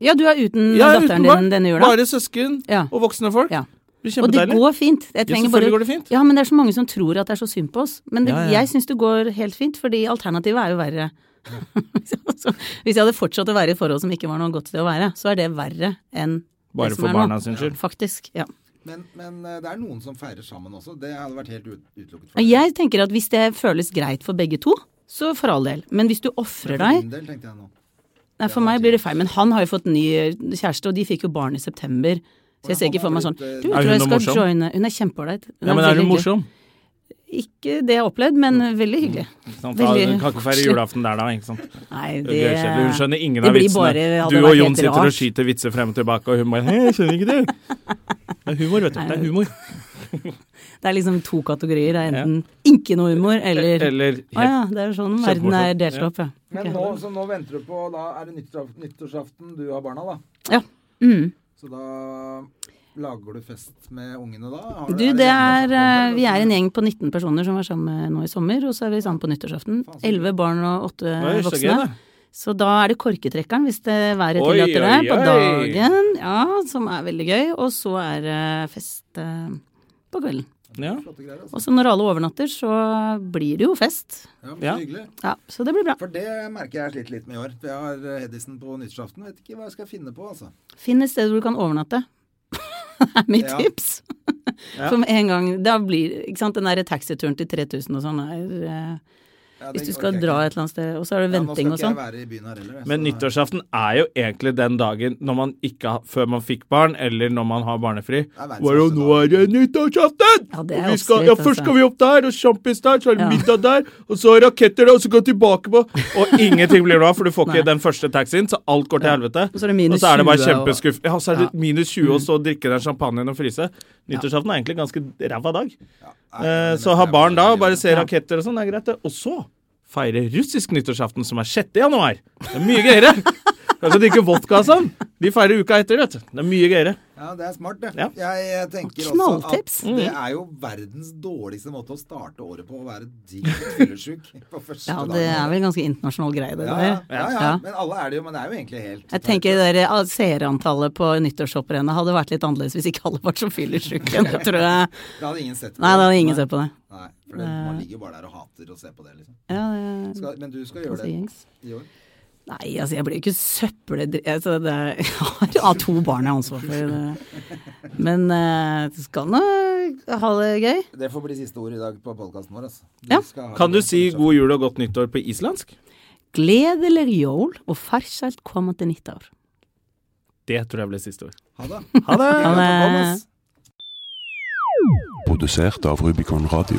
Speaker 6: ja, du er uten
Speaker 1: Jeg er
Speaker 6: Mm, datteren
Speaker 1: uten barn.
Speaker 6: din denne jula.
Speaker 1: Bare søsken
Speaker 6: Ja.
Speaker 1: og voksne folk.
Speaker 6: Ja.
Speaker 1: Det blir
Speaker 6: Og det
Speaker 1: kjempedeilig.
Speaker 6: går fint. Jeg
Speaker 1: Ja,
Speaker 6: trenger
Speaker 1: selvfølgelig
Speaker 6: bare
Speaker 1: går det fint.
Speaker 6: Ja, men det er så mange som tror at det er så synd på oss. Men det,
Speaker 1: Ja, ja.
Speaker 6: jeg syns det går helt fint, fordi alternativet er jo verre. (laughs) Så Hvis jeg hadde fortsatt å være i et forhold som ikke var noe godt sted å være, så er det verre enn
Speaker 1: Bare
Speaker 6: det som
Speaker 1: for
Speaker 6: er
Speaker 1: barna
Speaker 6: nå.
Speaker 1: sin skyld.
Speaker 6: Faktisk. Ja.
Speaker 2: Men, men eh, det er noen som feirer sammen også. Det hadde vært helt ut, utelukket for
Speaker 6: Og
Speaker 2: meg.
Speaker 6: jeg tenker at hvis det føles greit for begge to, så for all del. Men hvis du ofrer
Speaker 2: For
Speaker 6: deg
Speaker 2: min del, tenkte jeg nå.
Speaker 6: Nei, for meg blir det feil. Men han har jo fått ny eh, kjæreste, og de fikk jo barn i september. Så jeg ser ikke for meg sånn Du,
Speaker 1: Er
Speaker 6: tror jeg
Speaker 1: hun
Speaker 6: skal
Speaker 1: morsom?
Speaker 6: joine Hun er kjempeålreit.
Speaker 1: Ja, men er
Speaker 6: veldig
Speaker 1: hun
Speaker 6: hyggelig.
Speaker 1: morsom?
Speaker 6: Ikke det jeg har opplevd, men veldig hyggelig.
Speaker 1: Ikke sant?
Speaker 6: Veldig
Speaker 1: Ja, Hun kan ikke feire julaften der, da. ikke sant?
Speaker 6: Nei,
Speaker 1: Det
Speaker 6: det
Speaker 1: blir kjedelig. Hun skjønner ingen
Speaker 6: det
Speaker 1: av
Speaker 6: blir
Speaker 1: vitsene.
Speaker 6: bare- hadde
Speaker 1: du
Speaker 6: vært
Speaker 1: og Jon
Speaker 6: helt
Speaker 1: sitter
Speaker 6: rart.
Speaker 1: og skyter vitser frem og tilbake, og hun bare Hei, jeg skjønner ikke det. Det er humor, vet du. Det er humor.
Speaker 6: Det Det er liksom to kategorier. Det er enten ikke noe humor, eller
Speaker 1: E- Eller
Speaker 6: Å ja, det er jo sånn verden
Speaker 1: kjempemorsom.
Speaker 6: er delt
Speaker 1: Ja.
Speaker 6: opp, ja.
Speaker 2: Men
Speaker 6: Ok.
Speaker 2: nå, så nå venter du på Da er det nyttårsaf- nyttårsaften du har barna, da.
Speaker 6: Ja. Mm.
Speaker 2: Så da lager du fest med ungene da? Har
Speaker 6: Du, det
Speaker 2: hjemme
Speaker 6: er
Speaker 2: som
Speaker 6: eh,
Speaker 2: kommer,
Speaker 6: Vi er
Speaker 2: og
Speaker 6: en gjeng på 19 personer som var sammen nå i sommer, og så er vi sammen på nyttårsaften. Elleve barn og åtte
Speaker 1: Oi, så gøy,
Speaker 6: voksne.
Speaker 1: da.
Speaker 6: Så da er det korketrekkeren, hvis det været
Speaker 1: Oi,
Speaker 6: tillater det,
Speaker 1: oi,
Speaker 6: på
Speaker 1: oi.
Speaker 6: dagen. Ja, som er veldig gøy. Og så er det fest eh, på kvelden.
Speaker 1: Ja.
Speaker 2: så- flotte greier, altså.
Speaker 6: Og så når alle overnatter, så blir det jo fest.
Speaker 2: Ja, men så
Speaker 1: Ja.
Speaker 2: hyggelig.
Speaker 6: Ja, så det blir bra.
Speaker 2: For det merker jeg sliter litt med i år. For jeg har eh, Hedisen på nyttårsaften. Vet ikke hva jeg skal finne på, altså.
Speaker 6: Finn et sted hvor du kan overnatte. (laughs) Det er mitt
Speaker 2: Ja.
Speaker 6: tips. Som en gang Da blir ikke sant, den derre taxituren til 3000 og sånn er eh,
Speaker 2: Ja, det
Speaker 6: Hvis du
Speaker 2: orker
Speaker 6: skal
Speaker 2: jeg
Speaker 6: dra
Speaker 2: ikke.
Speaker 6: et eller annet sted, og så er det
Speaker 2: Ja,
Speaker 6: venting og
Speaker 2: Nå skal
Speaker 6: sånn.
Speaker 2: ikke jeg være i byen her heller. jeg,
Speaker 1: Men
Speaker 2: så-
Speaker 1: nyttårsaften er jo egentlig den dagen når man ikke har, før man fikk barn, eller når man har barnefri.
Speaker 2: er verdens
Speaker 1: Hvor jo
Speaker 2: beste
Speaker 1: nå
Speaker 2: dag.
Speaker 1: er det nyttårsaften!
Speaker 6: Ja, det
Speaker 1: Og
Speaker 6: er
Speaker 1: vi skal,
Speaker 6: oppskrytt,
Speaker 1: ja,
Speaker 6: altså.
Speaker 1: først skal vi opp der, og sjampis der, så er det
Speaker 6: Ja.
Speaker 1: middag der, og så raketter der, og så gå tilbake på Og ingenting blir noe av, for du får
Speaker 6: Nei.
Speaker 1: ikke den første taxien, så alt går til helvete.
Speaker 6: Og så er det minus
Speaker 1: Og så er det bare
Speaker 6: 20 og-
Speaker 1: kjempeskuff. Ja, så er det
Speaker 6: Ja. Mm.
Speaker 1: minus 20, og så drikke den champagnen og fryse. Nyttårsaften er egentlig en ganske ræva dag.
Speaker 2: Nei,
Speaker 1: Eh,
Speaker 2: men
Speaker 1: Så
Speaker 2: det
Speaker 1: ha
Speaker 2: er
Speaker 1: barn da, og
Speaker 2: bare-
Speaker 1: bare se raketter og sånn, det er greit det. Og så feire russisk nyttårsaften, som er 6. januar. Det er mye gøyere. (laughs) Altså, de drikker vodka og sånn. De feirer uka etter, vet du. Det er mye gøyere.
Speaker 2: Ja, det er smart, det.
Speaker 1: Ja. Mm.
Speaker 2: Jeg, eh, tenker
Speaker 6: Knalltips.
Speaker 2: også at det er jo verdens dårligste måte å starte året på, å være digg fyllesyk (laughs) på første
Speaker 6: Ja,
Speaker 2: dagen.
Speaker 6: det er vel en ganske internasjonal greie, det
Speaker 2: ja,
Speaker 6: der.
Speaker 2: ja, ja, ja. Men alle er det jo, men det er jo egentlig helt
Speaker 6: Jeg tenker det der, ah, seerantallet på nyttårshopprennet hadde vært litt annerledes hvis ikke alle var
Speaker 2: (laughs)
Speaker 6: så fyllesyke. Det tror jeg
Speaker 2: Det hadde ingen sett på.
Speaker 6: Nei, da hadde ingen sett på det.
Speaker 2: Nei, Eh. for det, man ligger jo bare der og hater å se på det, liksom.
Speaker 6: Ja, det
Speaker 2: Skal, men du skal
Speaker 6: er
Speaker 2: gjøre
Speaker 6: ganske
Speaker 2: det
Speaker 6: gjengs.
Speaker 2: i år?
Speaker 6: Nei, altså jeg blir jo ikke søppeldri... Altså, det er, (laughs) jeg har jo av to barn jeg har ansvar for. Det. Men eh, det skal nå ha det gøy.
Speaker 2: Det får bli siste ord i dag på podkasten vår, altså. Du
Speaker 6: Ja.
Speaker 2: skal ha
Speaker 1: Kan du
Speaker 2: det
Speaker 1: si
Speaker 2: på nyttårsaften.
Speaker 1: god jul og godt nyttår på islandsk?
Speaker 6: Gledelig jul og farsalt komme til nyttår.
Speaker 1: Det tror jeg ble siste ord.
Speaker 2: Ha det.
Speaker 1: Ha det!
Speaker 6: Ha det.
Speaker 8: Produsert av Rubicon Radio.